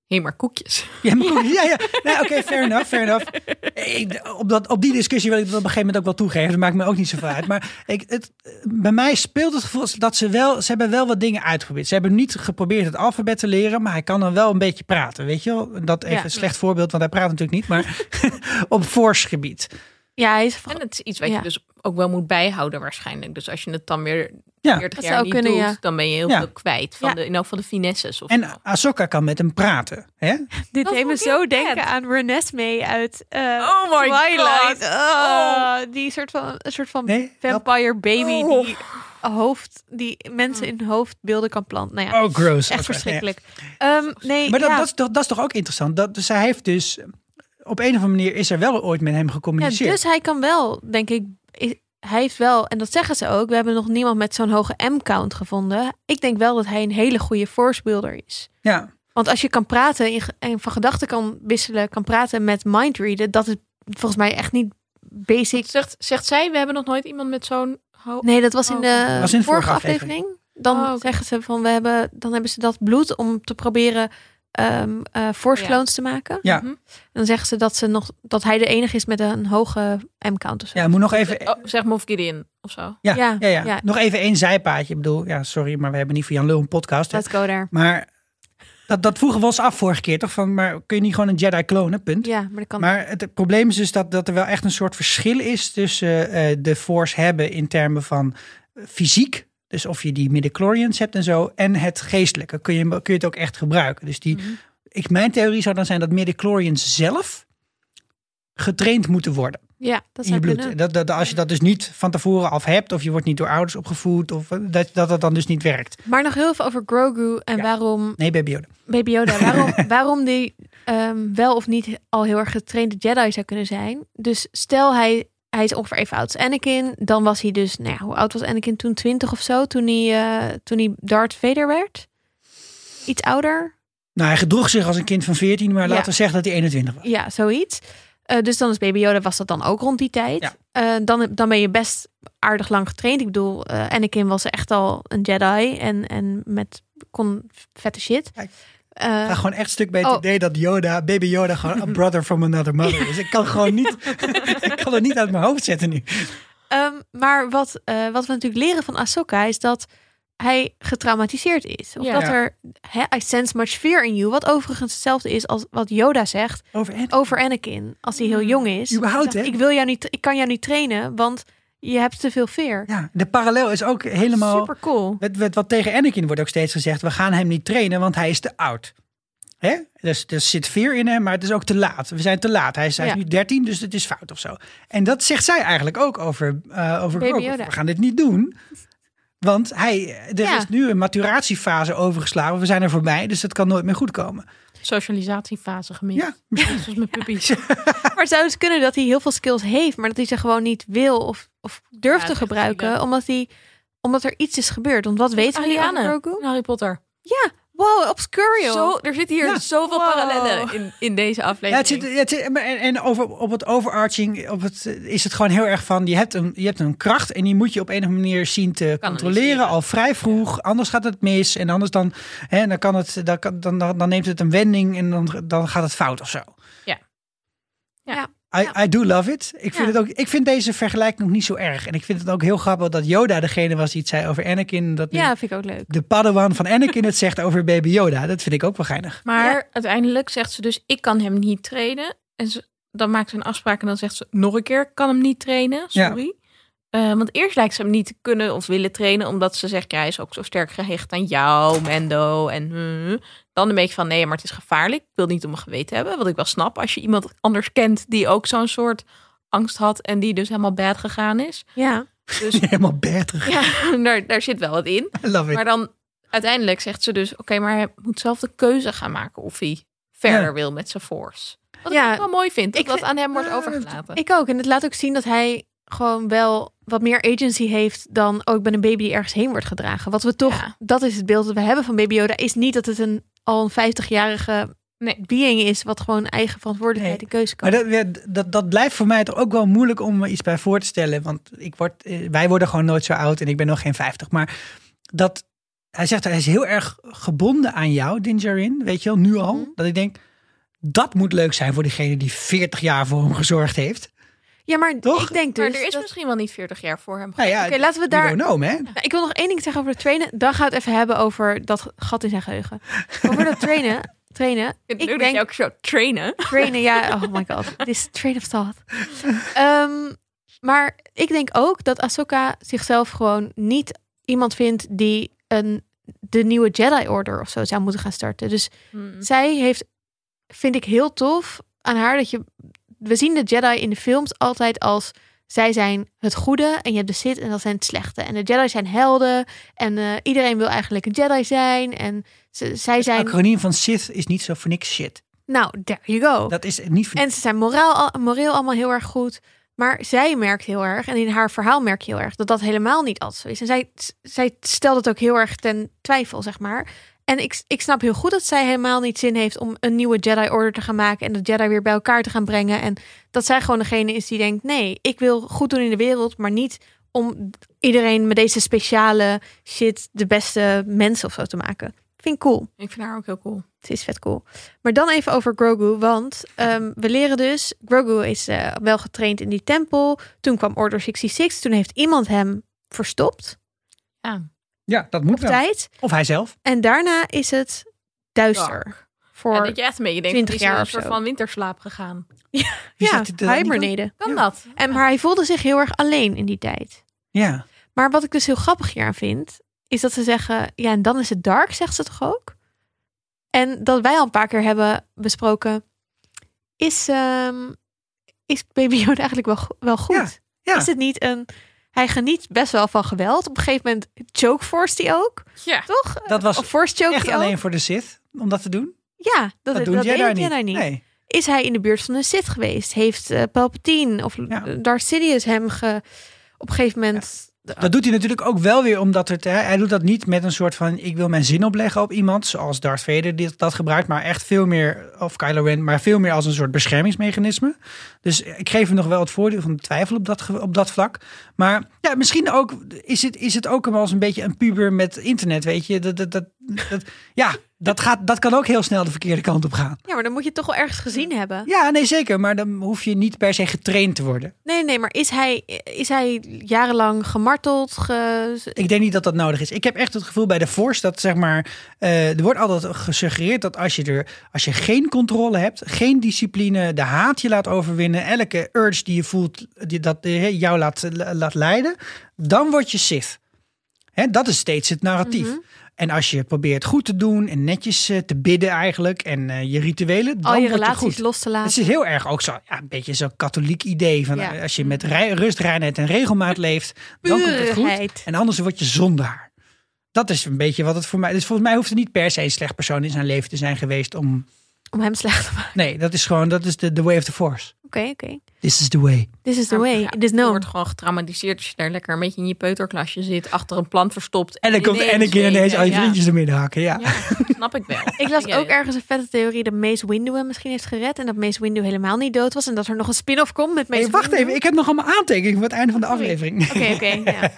[SPEAKER 2] Hé, maar koekjes.
[SPEAKER 3] Ja, maar goed, ja, ja. Nee, Oké, fair enough, fair enough. Ik, op, dat, op die discussie wil ik dat op een gegeven moment ook wel toegeven. Dat maakt me ook niet zoveel uit. Maar ik, het, bij mij speelt het gevoel dat ze wel... Ze hebben wel wat dingen uitgeprobeerd. Ze hebben niet geprobeerd het alfabet te leren... maar hij kan dan wel een beetje praten, weet je wel? Dat even
[SPEAKER 1] Ja.
[SPEAKER 3] een slecht voorbeeld, want hij praat natuurlijk niet. Maar op forsgebied.
[SPEAKER 1] Ja, hij is
[SPEAKER 2] En het is iets wat
[SPEAKER 1] Ja.
[SPEAKER 2] je dus ook wel moet bijhouden waarschijnlijk. Dus als je het dan weer
[SPEAKER 3] Ja.
[SPEAKER 2] 40
[SPEAKER 1] Dat
[SPEAKER 2] jaar
[SPEAKER 1] zou
[SPEAKER 2] niet
[SPEAKER 1] kunnen,
[SPEAKER 2] doet,
[SPEAKER 1] ja.
[SPEAKER 2] dan ben je heel
[SPEAKER 3] Ja.
[SPEAKER 2] veel kwijt. Van
[SPEAKER 1] Ja.
[SPEAKER 2] de, in elk van de finesses. Of zo.
[SPEAKER 3] En Ahsoka kan met hem praten. Hè?
[SPEAKER 1] Dit
[SPEAKER 2] Dat
[SPEAKER 1] deed me
[SPEAKER 2] vond ik heel
[SPEAKER 1] zo
[SPEAKER 2] vet.
[SPEAKER 1] denken aan Renesmee uit eh,
[SPEAKER 2] Oh my
[SPEAKER 1] Twilight.
[SPEAKER 2] God.
[SPEAKER 1] Oh, Die soort van, een soort van
[SPEAKER 3] Nee, help.
[SPEAKER 1] vampire baby
[SPEAKER 3] Oh.
[SPEAKER 1] die, hoofd, die mensen
[SPEAKER 2] Mm.
[SPEAKER 1] in hun hoofdbeelden kan planten. Nou ja,
[SPEAKER 3] Oh, gross.
[SPEAKER 1] echt
[SPEAKER 3] Oké,
[SPEAKER 1] verschrikkelijk. Ehm, nee,
[SPEAKER 3] Maar dat,
[SPEAKER 1] ja,
[SPEAKER 3] dat, is toch- dat is toch ook interessant? Dat, dus hij heeft dus... Op een of andere manier is er wel ooit met hem
[SPEAKER 1] ja,
[SPEAKER 3] gecommuniceerd.
[SPEAKER 1] dus hij kan wel, denk ik, i- hij heeft wel, en dat zeggen ze ook, we hebben nog niemand met zo'n hoge M-count gevonden. Ik denk wel dat hij een hele goede voorspeelder is.
[SPEAKER 3] ja.
[SPEAKER 1] Want als je kan praten in ge- en van gedachten kan wisselen, kan praten met mindreaden, dat is volgens mij echt niet basic
[SPEAKER 2] Zegt, zegt zij, we hebben nog nooit iemand met zo'n... ho-
[SPEAKER 1] Nee, dat was in
[SPEAKER 2] Oh,
[SPEAKER 1] de,
[SPEAKER 3] Was in de
[SPEAKER 1] vorige
[SPEAKER 3] vorige
[SPEAKER 1] aflevering. Dan
[SPEAKER 2] Oh, oké.
[SPEAKER 1] zeggen ze van we hebben, dan hebben ze dat bloed om te proberen ehm eh force
[SPEAKER 2] Ja.
[SPEAKER 1] clones te maken.
[SPEAKER 3] Ja.
[SPEAKER 2] Mhm.
[SPEAKER 1] En dan zeggen ze dat ze nog dat hij de enige is met een hoge M-count of zo.
[SPEAKER 3] Ja, moet nog even...
[SPEAKER 2] Oh, zeg Moff Gideon of zo.
[SPEAKER 3] Ja,
[SPEAKER 1] Ja,
[SPEAKER 3] ja, ja,
[SPEAKER 1] ja.
[SPEAKER 3] nog even één zijpaadje. Ik bedoel, ja, sorry, maar we hebben niet voor Jan Lul een podcast. hè.
[SPEAKER 1] Let's go daar.
[SPEAKER 3] Maar dat, dat vroegen we ons af vorige keer, toch? Van, maar kun je niet gewoon een Jedi klonen, punt.
[SPEAKER 1] Ja, maar dat kan.
[SPEAKER 3] Maar het, het probleem is dus dat, dat er wel echt een soort verschil is tussen eh, de Force hebben in termen van eh, fysiek. Dus of je die midichlorians hebt en zo. En het geestelijke. Kun je, hem- kun je het ook echt gebruiken. Dus
[SPEAKER 1] Mhm.
[SPEAKER 3] die, ik, mijn theorie zou dan zijn dat midichlorians zelf getraind moeten worden
[SPEAKER 1] ja, dat
[SPEAKER 3] in
[SPEAKER 1] zou
[SPEAKER 3] je bloed.
[SPEAKER 1] kunnen.
[SPEAKER 3] Dat, dat, als je dat dus niet van tevoren af hebt, of je wordt niet door ouders opgevoed, of eh, dat dat, dat dan dus niet werkt.
[SPEAKER 1] Maar nog heel even over Grogu en
[SPEAKER 3] Ja.
[SPEAKER 1] waarom
[SPEAKER 3] Nee, Baby Yoda.
[SPEAKER 1] Baby Yoda, waarom, waarom die ehm, wel of niet al heel erg getrainde Jedi zou kunnen zijn. Dus stel hij, hij is ongeveer even oud als Anakin. Dan was hij dus, nou ja, hoe oud was Anakin toen? 20 of zo, toen hij, eh, toen hij Darth Vader werd? Iets ouder?
[SPEAKER 3] Nou, hij gedroeg zich als een kind van 14, maar
[SPEAKER 1] Ja.
[SPEAKER 3] laten we zeggen dat hij 21 was.
[SPEAKER 1] Ja, zoiets. Eh, dus dan is Baby Yoda, was dat dan ook rond die tijd.
[SPEAKER 3] Ja.
[SPEAKER 1] Eh, dan, dan ben je best aardig lang getraind. Ik bedoel, eh, Anakin was echt al een Jedi en, en met, kon vette shit.
[SPEAKER 3] Kijk,
[SPEAKER 1] Eh,
[SPEAKER 3] Ik ga gewoon echt stuk bij het
[SPEAKER 1] Oh.
[SPEAKER 3] idee dat Yoda, Baby Yoda, gewoon a brother from another mother is. Ik kan gewoon niet, ik kan het niet uit mijn hoofd zetten nu.
[SPEAKER 1] Ehm, maar wat, eh, wat we natuurlijk leren van Ahsoka is dat hij getraumatiseerd is. Of
[SPEAKER 2] Ja.
[SPEAKER 1] dat
[SPEAKER 3] Ja.
[SPEAKER 1] er, he, I sense much fear in you. Wat overigens hetzelfde is als wat Yoda zegt
[SPEAKER 3] Over en
[SPEAKER 1] over Anakin. Als hij heel
[SPEAKER 2] Mm.
[SPEAKER 1] jong is.
[SPEAKER 3] Überhaupt,
[SPEAKER 1] Hij zegt,
[SPEAKER 3] hè?
[SPEAKER 1] Ik, wil jou niet, ik kan jou niet trainen, want je hebt te veel fear.
[SPEAKER 3] Ja, de parallel is ook helemaal...
[SPEAKER 1] Super cool.
[SPEAKER 3] Met, met wat tegen Anakin wordt ook steeds gezegd: we gaan hem niet trainen, want hij is te oud. Hè? Dus er zit veer in hem, maar het is ook te laat. We zijn te laat. Hij is, hij is
[SPEAKER 1] Ja.
[SPEAKER 3] nu 13, dus het is fout of zo. En dat zegt zij eigenlijk ook over, eh over
[SPEAKER 1] Baby
[SPEAKER 3] Grogu.
[SPEAKER 1] Yoda.
[SPEAKER 3] We gaan dit niet doen. Want hij, er
[SPEAKER 1] Ja.
[SPEAKER 3] is nu een maturatiefase overgeslagen. We zijn er voorbij, dus dat kan nooit meer goed komen.
[SPEAKER 2] Socialisatiefase gemist.
[SPEAKER 3] Ja.
[SPEAKER 2] Zoals met puppies.
[SPEAKER 1] Maar het zou dus kunnen dat hij heel veel skills heeft, maar dat hij ze gewoon niet wil of, of durft
[SPEAKER 2] Ja,
[SPEAKER 1] te
[SPEAKER 2] het is
[SPEAKER 1] gebruiken.
[SPEAKER 2] zielig.
[SPEAKER 1] Omdat, hij, omdat er iets is gebeurd. Want wat weten jullie aan
[SPEAKER 2] Ariane,
[SPEAKER 1] Grogu?
[SPEAKER 2] Harry Potter.
[SPEAKER 1] Ja, wow, obscurio.
[SPEAKER 2] Zo, er zitten hier
[SPEAKER 3] Ja.
[SPEAKER 2] zoveel
[SPEAKER 1] Wow.
[SPEAKER 2] parallellen in, in deze aflevering.
[SPEAKER 3] Ja, Nou, het zit, het zit- maar en en over, op het overarching op het, eh, is het gewoon heel erg van... Je hebt, een, je hebt een kracht en die moet je op een of andere manier zien te controleren. Al vrij vroeg, anders gaat het mis. En anders dan, hè, dan, kan het, dan, kan- dan, dan, dan neemt het een wending en dan, dan gaat het fout of zo.
[SPEAKER 2] Ja.
[SPEAKER 1] Ja.
[SPEAKER 3] I, I do love it. Ik
[SPEAKER 1] Ja.
[SPEAKER 3] vind, het ook, ik vind deze vergelijking nog niet zo erg. En ik vind het ook heel grappig dat Yoda degene was die het zei over Anakin. Dat nu
[SPEAKER 1] ja, vind ik ook leuk.
[SPEAKER 3] de padawan van Anakin het zegt over baby Yoda. Dat vind ik ook wel geinig.
[SPEAKER 2] Maar uiteindelijk zegt ze dus, ik kan hem niet trainen. En ze, dan maakt ze een afspraak en dan zegt ze nog een keer, ik kan hem niet trainen,
[SPEAKER 3] Ja.
[SPEAKER 2] sorry. Eh, want eerst lijkt ze hem niet te kunnen of willen trainen, omdat ze zegt, ja, hij is ook zo sterk gehecht aan jou, Mendo. En hmm. dan een beetje van, nee, maar het is gevaarlijk. Ik wil het niet om mijn geweten hebben, wat ik wel snap. Als je iemand anders kent die ook zo'n soort angst had en die dus helemaal bad gegaan is.
[SPEAKER 1] Ja.
[SPEAKER 2] Dus
[SPEAKER 3] Helemaal bertig.
[SPEAKER 2] ja, daar, daar zit wel wat in.
[SPEAKER 3] I love it.
[SPEAKER 2] Maar dan uiteindelijk zegt ze dus: Oké, maar hij moet zelf de keuze gaan maken of hij verder
[SPEAKER 3] Ja.
[SPEAKER 2] wil met zijn force. Wat
[SPEAKER 1] Ja.
[SPEAKER 2] ik ook wel mooi vind, dat
[SPEAKER 1] Ik
[SPEAKER 2] dat
[SPEAKER 1] vind- nou,
[SPEAKER 2] aan hem wordt
[SPEAKER 3] Ja,
[SPEAKER 2] overgelaten.
[SPEAKER 1] Ik ook. En het laat ook zien dat hij gewoon wel wat meer agency heeft dan ook ben een baby die ergens heen wordt gedragen. Wat we toch,
[SPEAKER 2] Ja.
[SPEAKER 1] dat is het beeld dat we hebben van baby Yoda, is niet dat het een al een 50-jarige
[SPEAKER 2] Nee.
[SPEAKER 1] being is wat gewoon eigen verantwoordelijkheid
[SPEAKER 3] Nee.
[SPEAKER 1] en keuze kan.
[SPEAKER 3] Maar dat, ja, dat, dat blijft voor mij toch ook wel moeilijk om me iets bij voor te stellen. Want ik word, eh, wij worden gewoon nooit zo oud en ik ben nog geen 50. Maar dat, hij zegt, hij is heel erg gebonden aan jou, Dingerin. Weet je wel, nu al.
[SPEAKER 1] Mhm.
[SPEAKER 3] Dat ik denk, dat moet leuk zijn voor degene die 40 jaar voor hem gezorgd heeft.
[SPEAKER 1] ja, maar
[SPEAKER 3] Toch?
[SPEAKER 1] ik denk dus.
[SPEAKER 2] maar er is
[SPEAKER 1] dat-
[SPEAKER 2] misschien wel niet 40 jaar voor hem.
[SPEAKER 3] Nou ja,
[SPEAKER 1] Oké, laten we
[SPEAKER 3] you
[SPEAKER 1] daar-
[SPEAKER 3] don't know, man.
[SPEAKER 1] Nou, ik wil nog één ding zeggen over het trainen. Dan gaan we het even hebben over dat gat in zijn geheugen. Over dat trainen. Trainen.
[SPEAKER 2] Ik
[SPEAKER 1] Ik
[SPEAKER 2] denk
[SPEAKER 1] denk
[SPEAKER 2] ook zo trainen.
[SPEAKER 1] trainen, ja. Oh my god. This train of thought. Ehm, maar ik denk ook dat Ahsoka zichzelf gewoon niet iemand vindt die een, de nieuwe Jedi Order of zo zou moeten gaan starten. Dus zij heeft, vind ik heel tof aan haar dat je. We zien de Jedi in de films altijd als. Zij zijn het goede en je hebt de Sith en dat zijn het slechte. En de Jedi zijn helden en eh, iedereen wil eigenlijk een Jedi zijn. En ze, zij zijn...
[SPEAKER 3] Acroniem van Sith is niet zo voor niks shit.
[SPEAKER 1] Nou, there you go.
[SPEAKER 3] Dat is niet voor
[SPEAKER 1] En ze zijn moraal, al- moreel allemaal heel erg goed. Maar zij merkt heel erg, en in haar verhaal merk je heel erg, dat dat helemaal niet altijd zo is. En zij, zij stelt het ook heel erg ten twijfel, zeg maar. En ik, ik snap heel goed dat zij helemaal niet zin heeft om een nieuwe Jedi Order te gaan maken en de Jedi weer bij elkaar te gaan brengen. En dat zij gewoon degene is die denkt: nee, ik wil goed doen in de wereld, maar niet om iedereen met deze speciale shit de beste mensen of zo te maken. Vind ik cool.
[SPEAKER 2] Ik vind haar ook heel cool.
[SPEAKER 1] Het is vet cool. Maar dan even over Grogu, want ehm, we leren dus... Grogu is eh, wel getraind in die tempel. Toen kwam Order 66. Toen heeft iemand hem verstopt
[SPEAKER 3] Ja, dat moet
[SPEAKER 1] op
[SPEAKER 3] wel.
[SPEAKER 1] tijd.
[SPEAKER 3] Of hij zelf.
[SPEAKER 1] En daarna is het duister.
[SPEAKER 2] Dark.
[SPEAKER 1] Voor,
[SPEAKER 2] Ja,
[SPEAKER 1] ja,
[SPEAKER 2] dat je echt mee. Je denkt,
[SPEAKER 1] 20
[SPEAKER 2] die is in
[SPEAKER 1] jaar
[SPEAKER 2] een
[SPEAKER 1] of
[SPEAKER 2] soort
[SPEAKER 1] zo.
[SPEAKER 2] van winterslaap gegaan.
[SPEAKER 3] Is Dus dat- dat- dat-
[SPEAKER 1] hiberneren.
[SPEAKER 2] Kan dat?
[SPEAKER 1] En, maar hij voelde zich heel erg alleen in die tijd.
[SPEAKER 3] Ja.
[SPEAKER 1] Maar wat ik dus heel grappig hieraan vind, is dat ze zeggen, ja, en dan is het dark, zegt ze toch ook? En dat wij al een paar keer hebben besproken, is, ehm, is Baby Yoda eigenlijk wel, go- wel goed?
[SPEAKER 3] Ja.
[SPEAKER 1] Is het niet een... Hij geniet best wel van geweld. Op een gegeven moment choke force die ook,
[SPEAKER 2] Ja.
[SPEAKER 1] toch?
[SPEAKER 3] Dat was
[SPEAKER 1] of force choke
[SPEAKER 3] Echt
[SPEAKER 1] die
[SPEAKER 3] alleen
[SPEAKER 1] ook.
[SPEAKER 3] voor de Sith om dat te doen.
[SPEAKER 1] Ja, dat,
[SPEAKER 3] Dat,
[SPEAKER 1] dat,
[SPEAKER 3] doen jij
[SPEAKER 1] deed
[SPEAKER 3] daar
[SPEAKER 1] Jedi
[SPEAKER 3] niet.
[SPEAKER 1] niet.
[SPEAKER 3] Nee.
[SPEAKER 1] Is hij in de buurt van een Sith geweest? Heeft eh, Palpatine of
[SPEAKER 3] Ja.
[SPEAKER 1] Darth Sidious hem ge, op een gegeven moment...
[SPEAKER 3] Dat doet hij natuurlijk ook wel weer omdat het, hè, hij doet dat niet met een soort van ik wil mijn zin opleggen op iemand, zoals Darth Vader dit, dat gebruikt, maar echt veel meer, of Kylo Ren, maar veel meer als een soort beschermingsmechanisme. Dus ik geef hem nog wel het voordeel van de twijfel op dat, ge- op dat vlak. Maar ja, misschien ook, is het, is het ook wel eens een beetje een puber met internet, weet je? Dat, dat, dat, dat- ja, dat, gaat, dat kan ook heel snel de verkeerde kant op gaan.
[SPEAKER 1] Ja, maar dan moet je het toch wel ergens gezien hebben.
[SPEAKER 3] Ja, nee zeker, maar dan hoef je niet per se getraind te worden.
[SPEAKER 1] Nee, nee, maar is hij, is hij jarenlang gemarteld? ge-
[SPEAKER 3] Dus Ik denk niet dat dat nodig is. Ik heb echt het gevoel bij de Force dat zeg maar. eh, er wordt altijd gesuggereerd dat als je, er, als je geen controle hebt, geen discipline, de haat je laat overwinnen, elke urge die je voelt, die, dat eh, jou laat, laat leiden, dan word je Sith. Hè, dat is steeds het narratief.
[SPEAKER 1] Mhm.
[SPEAKER 3] En als je probeert goed te doen en netjes eh, te bidden eigenlijk en eh, je rituelen, dan
[SPEAKER 1] Al Oh, je
[SPEAKER 3] word je
[SPEAKER 1] relaties
[SPEAKER 3] goed.
[SPEAKER 1] los te
[SPEAKER 3] Het
[SPEAKER 1] laten.
[SPEAKER 3] is heel erg ook zo, ja, een beetje zo'n katholiek idee. Van, eh,
[SPEAKER 1] Ja.
[SPEAKER 3] Als je met rij, rust, reinheid en regelmaat leeft, dan komt het goed.
[SPEAKER 1] Puurheid.
[SPEAKER 3] En anders word je zondaar. Dat is een beetje wat het voor mij... Dus volgens mij hoeft er niet per se een slecht persoon in zijn leven te zijn geweest om...
[SPEAKER 1] Om hem slecht te maken.
[SPEAKER 3] Nee, dat is gewoon, dat is de the way of the force.
[SPEAKER 1] Oké, oké.
[SPEAKER 3] This is the way.
[SPEAKER 1] This is the way.
[SPEAKER 2] Nou, Ja,
[SPEAKER 1] It is
[SPEAKER 2] Je
[SPEAKER 1] known.
[SPEAKER 2] wordt gewoon getraumatiseerd als je daar lekker een beetje in je peuterklasje zit, achter een plant verstopt.
[SPEAKER 3] En dan komt
[SPEAKER 2] ineens
[SPEAKER 3] Anakin
[SPEAKER 2] weet,
[SPEAKER 3] ineens al je
[SPEAKER 2] ja.
[SPEAKER 3] vriendjes ermee hakken, ja.
[SPEAKER 2] Ja, snap ik wel.
[SPEAKER 1] Ik las
[SPEAKER 2] Ja,
[SPEAKER 1] ook ergens een vette theorie dat Mace Windu hem misschien heeft gered. En dat Mace Windu helemaal niet dood was. En dat er nog een spin-off komt met Mace
[SPEAKER 3] Hey, wacht
[SPEAKER 1] Windu.
[SPEAKER 3] even, ik heb nog allemaal aantekeningen voor het einde van de aflevering.
[SPEAKER 1] Oké, oké. ja.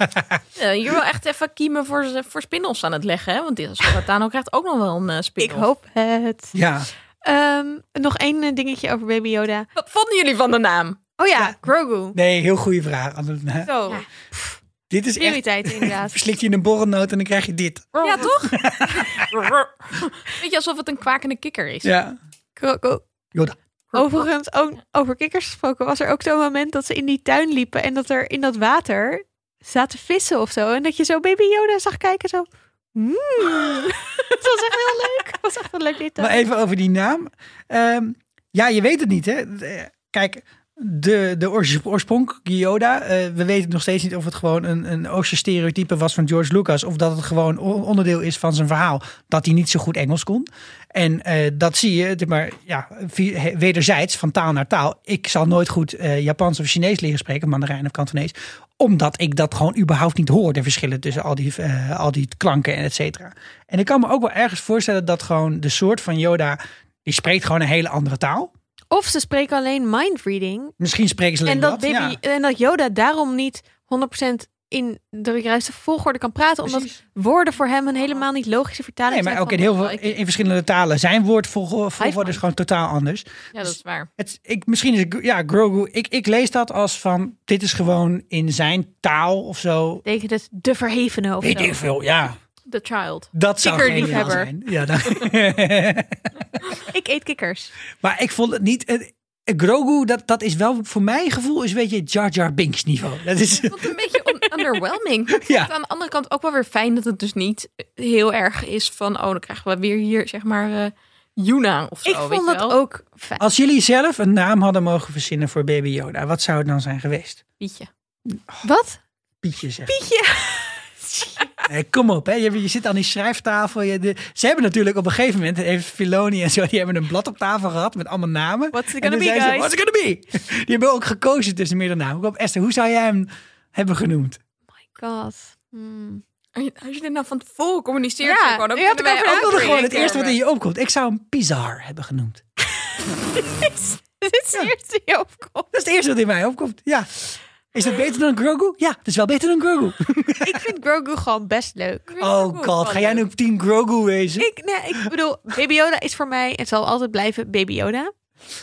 [SPEAKER 2] eh, je wil echt even kiemen voor, ze- voor spin-offs aan het leggen, hè? Want dit is wat Dano krijgt ook nog wel een eh,
[SPEAKER 1] Ik
[SPEAKER 2] spin-off.
[SPEAKER 1] hoop het.
[SPEAKER 3] Ja,
[SPEAKER 1] Ehm, nog één eh, dingetje over Baby Yoda.
[SPEAKER 2] Wat vonden jullie van de naam?
[SPEAKER 1] Oh ja, Grogu.
[SPEAKER 3] nee, heel goede vraag. Anne.
[SPEAKER 1] Zo,
[SPEAKER 3] Dit is echt...
[SPEAKER 1] prioriteit inderdaad.
[SPEAKER 3] Verslikt je een borrelnoot en dan krijg je dit.
[SPEAKER 2] Ja, toch? Weet je, alsof het een kwakende kikker is.
[SPEAKER 3] Ja.
[SPEAKER 1] Grogu.
[SPEAKER 3] Yoda.
[SPEAKER 1] Overigens, ook over kikkers gesproken, was er ook zo'n moment dat ze in die tuin liepen en dat er in dat water zaten vissen of zo. En dat je zo baby Yoda zag kijken, zo. Mm. Het was echt heel leuk. Het was echt een leuk detail.
[SPEAKER 3] Maar even over die naam. Ehm, ja, je weet het niet, hè? Eh, Kijk, de, de oors- oorsprong, Yoda. eh, we weten nog steeds niet of het gewoon een, een Oosterse stereotype was van George Lucas. Of dat het gewoon on- onderdeel is van zijn verhaal. Dat hij niet zo goed Engels kon. En eh, dat zie je, zeg maar ja, vi- he- wederzijds van taal naar taal. Ik zal nooit goed eh, Japans of Chinees leren spreken, Mandarijn of Kantonees. Omdat ik dat gewoon überhaupt niet hoor, de verschillen tussen al die, eh, al die klanken en et cetera. En ik kan me ook wel ergens voorstellen dat gewoon de soort van Yoda, die spreekt gewoon een hele andere taal.
[SPEAKER 1] Of ze spreken alleen mindreading.
[SPEAKER 3] Misschien spreken ze alleen
[SPEAKER 1] En dat,
[SPEAKER 3] dat, ja.
[SPEAKER 1] baby, en dat Yoda daarom niet 100% in de juiste volgorde kan praten.
[SPEAKER 3] Precies.
[SPEAKER 1] Omdat woorden voor hem een helemaal niet logische vertaling
[SPEAKER 3] Nee,
[SPEAKER 1] zijn.
[SPEAKER 3] maar ook in
[SPEAKER 1] van-
[SPEAKER 3] heel veel in, in verschillende talen. Zijn woordvolgorde
[SPEAKER 1] Hijfman.
[SPEAKER 3] is gewoon totaal anders.
[SPEAKER 2] Ja, dat is waar.
[SPEAKER 3] Het, ik, misschien is Gro- ja, Grogu. Ik, ik lees dat als van dit is gewoon in zijn taal of zo.
[SPEAKER 1] Betekent het de verhevene of
[SPEAKER 3] Weet
[SPEAKER 1] zo.
[SPEAKER 3] ik veel. Ja,
[SPEAKER 2] The Child.
[SPEAKER 3] dat zou
[SPEAKER 2] Kikker
[SPEAKER 3] geniaal
[SPEAKER 2] liefhebber.
[SPEAKER 3] zijn. Ja, dan-
[SPEAKER 1] Ik eet kikkers.
[SPEAKER 3] maar ik vond het niet. eh, Grogu, dat, dat is wel voor mijn gevoel is weet je Jar Jar Binks niveau. Dat is
[SPEAKER 2] Ik vond het een beetje on- underwhelming. Ik vond
[SPEAKER 3] Ja.
[SPEAKER 2] het aan de andere kant ook wel weer fijn dat het dus niet heel erg is van... oh, dan krijgen we weer hier, zeg maar, eh Yuna of zo.
[SPEAKER 1] ik
[SPEAKER 2] weet
[SPEAKER 1] vond
[SPEAKER 2] je
[SPEAKER 1] dat
[SPEAKER 2] wel?
[SPEAKER 1] ook fijn.
[SPEAKER 3] als jullie zelf een naam hadden mogen verzinnen voor Baby Yoda, wat zou het dan zijn geweest?
[SPEAKER 2] Pietje.
[SPEAKER 1] Wat?
[SPEAKER 3] Pietje zeg.
[SPEAKER 1] Pietje.
[SPEAKER 3] Nee, kom op, hè. Je, je zit aan die schrijftafel. Je, de- ze hebben natuurlijk op een gegeven moment, heeft Filoni en zo, die hebben een blad op tafel gehad met allemaal namen.
[SPEAKER 1] What's it
[SPEAKER 3] En
[SPEAKER 1] gonna
[SPEAKER 3] toen
[SPEAKER 1] be,
[SPEAKER 3] zeiden ze,
[SPEAKER 1] guys?
[SPEAKER 3] What's it gonna be? Die hebben ook gekozen tussen meerdere namen. Kom op, Esther, hoe zou jij hem hebben genoemd?
[SPEAKER 1] God. Hmm.
[SPEAKER 2] Als je dit nou van tevoren communiceert...
[SPEAKER 1] Ja,
[SPEAKER 2] gewoon, dan
[SPEAKER 1] je hebt
[SPEAKER 2] kunnen
[SPEAKER 1] het
[SPEAKER 2] wij
[SPEAKER 1] over
[SPEAKER 3] Dat
[SPEAKER 2] ook
[SPEAKER 3] is
[SPEAKER 1] Patrick,
[SPEAKER 3] gewoon het
[SPEAKER 2] weer
[SPEAKER 3] eerste wat in
[SPEAKER 2] een
[SPEAKER 3] je opkomt. Ik zou hem Pizar hebben genoemd.
[SPEAKER 1] Dit is eerst die je opkomt.
[SPEAKER 3] Dat is het eerste wat in mij opkomt, ja. Is dat beter dan Grogu? Ja, dat is wel beter dan Grogu.
[SPEAKER 1] Ik vind Grogu gewoon best leuk.
[SPEAKER 2] keer-
[SPEAKER 3] Oh god, ga jij nu op team Grogu wezen?
[SPEAKER 1] Ik, nee, ik bedoel, Baby Yoda is voor mij en zal altijd blijven Baby Yoda.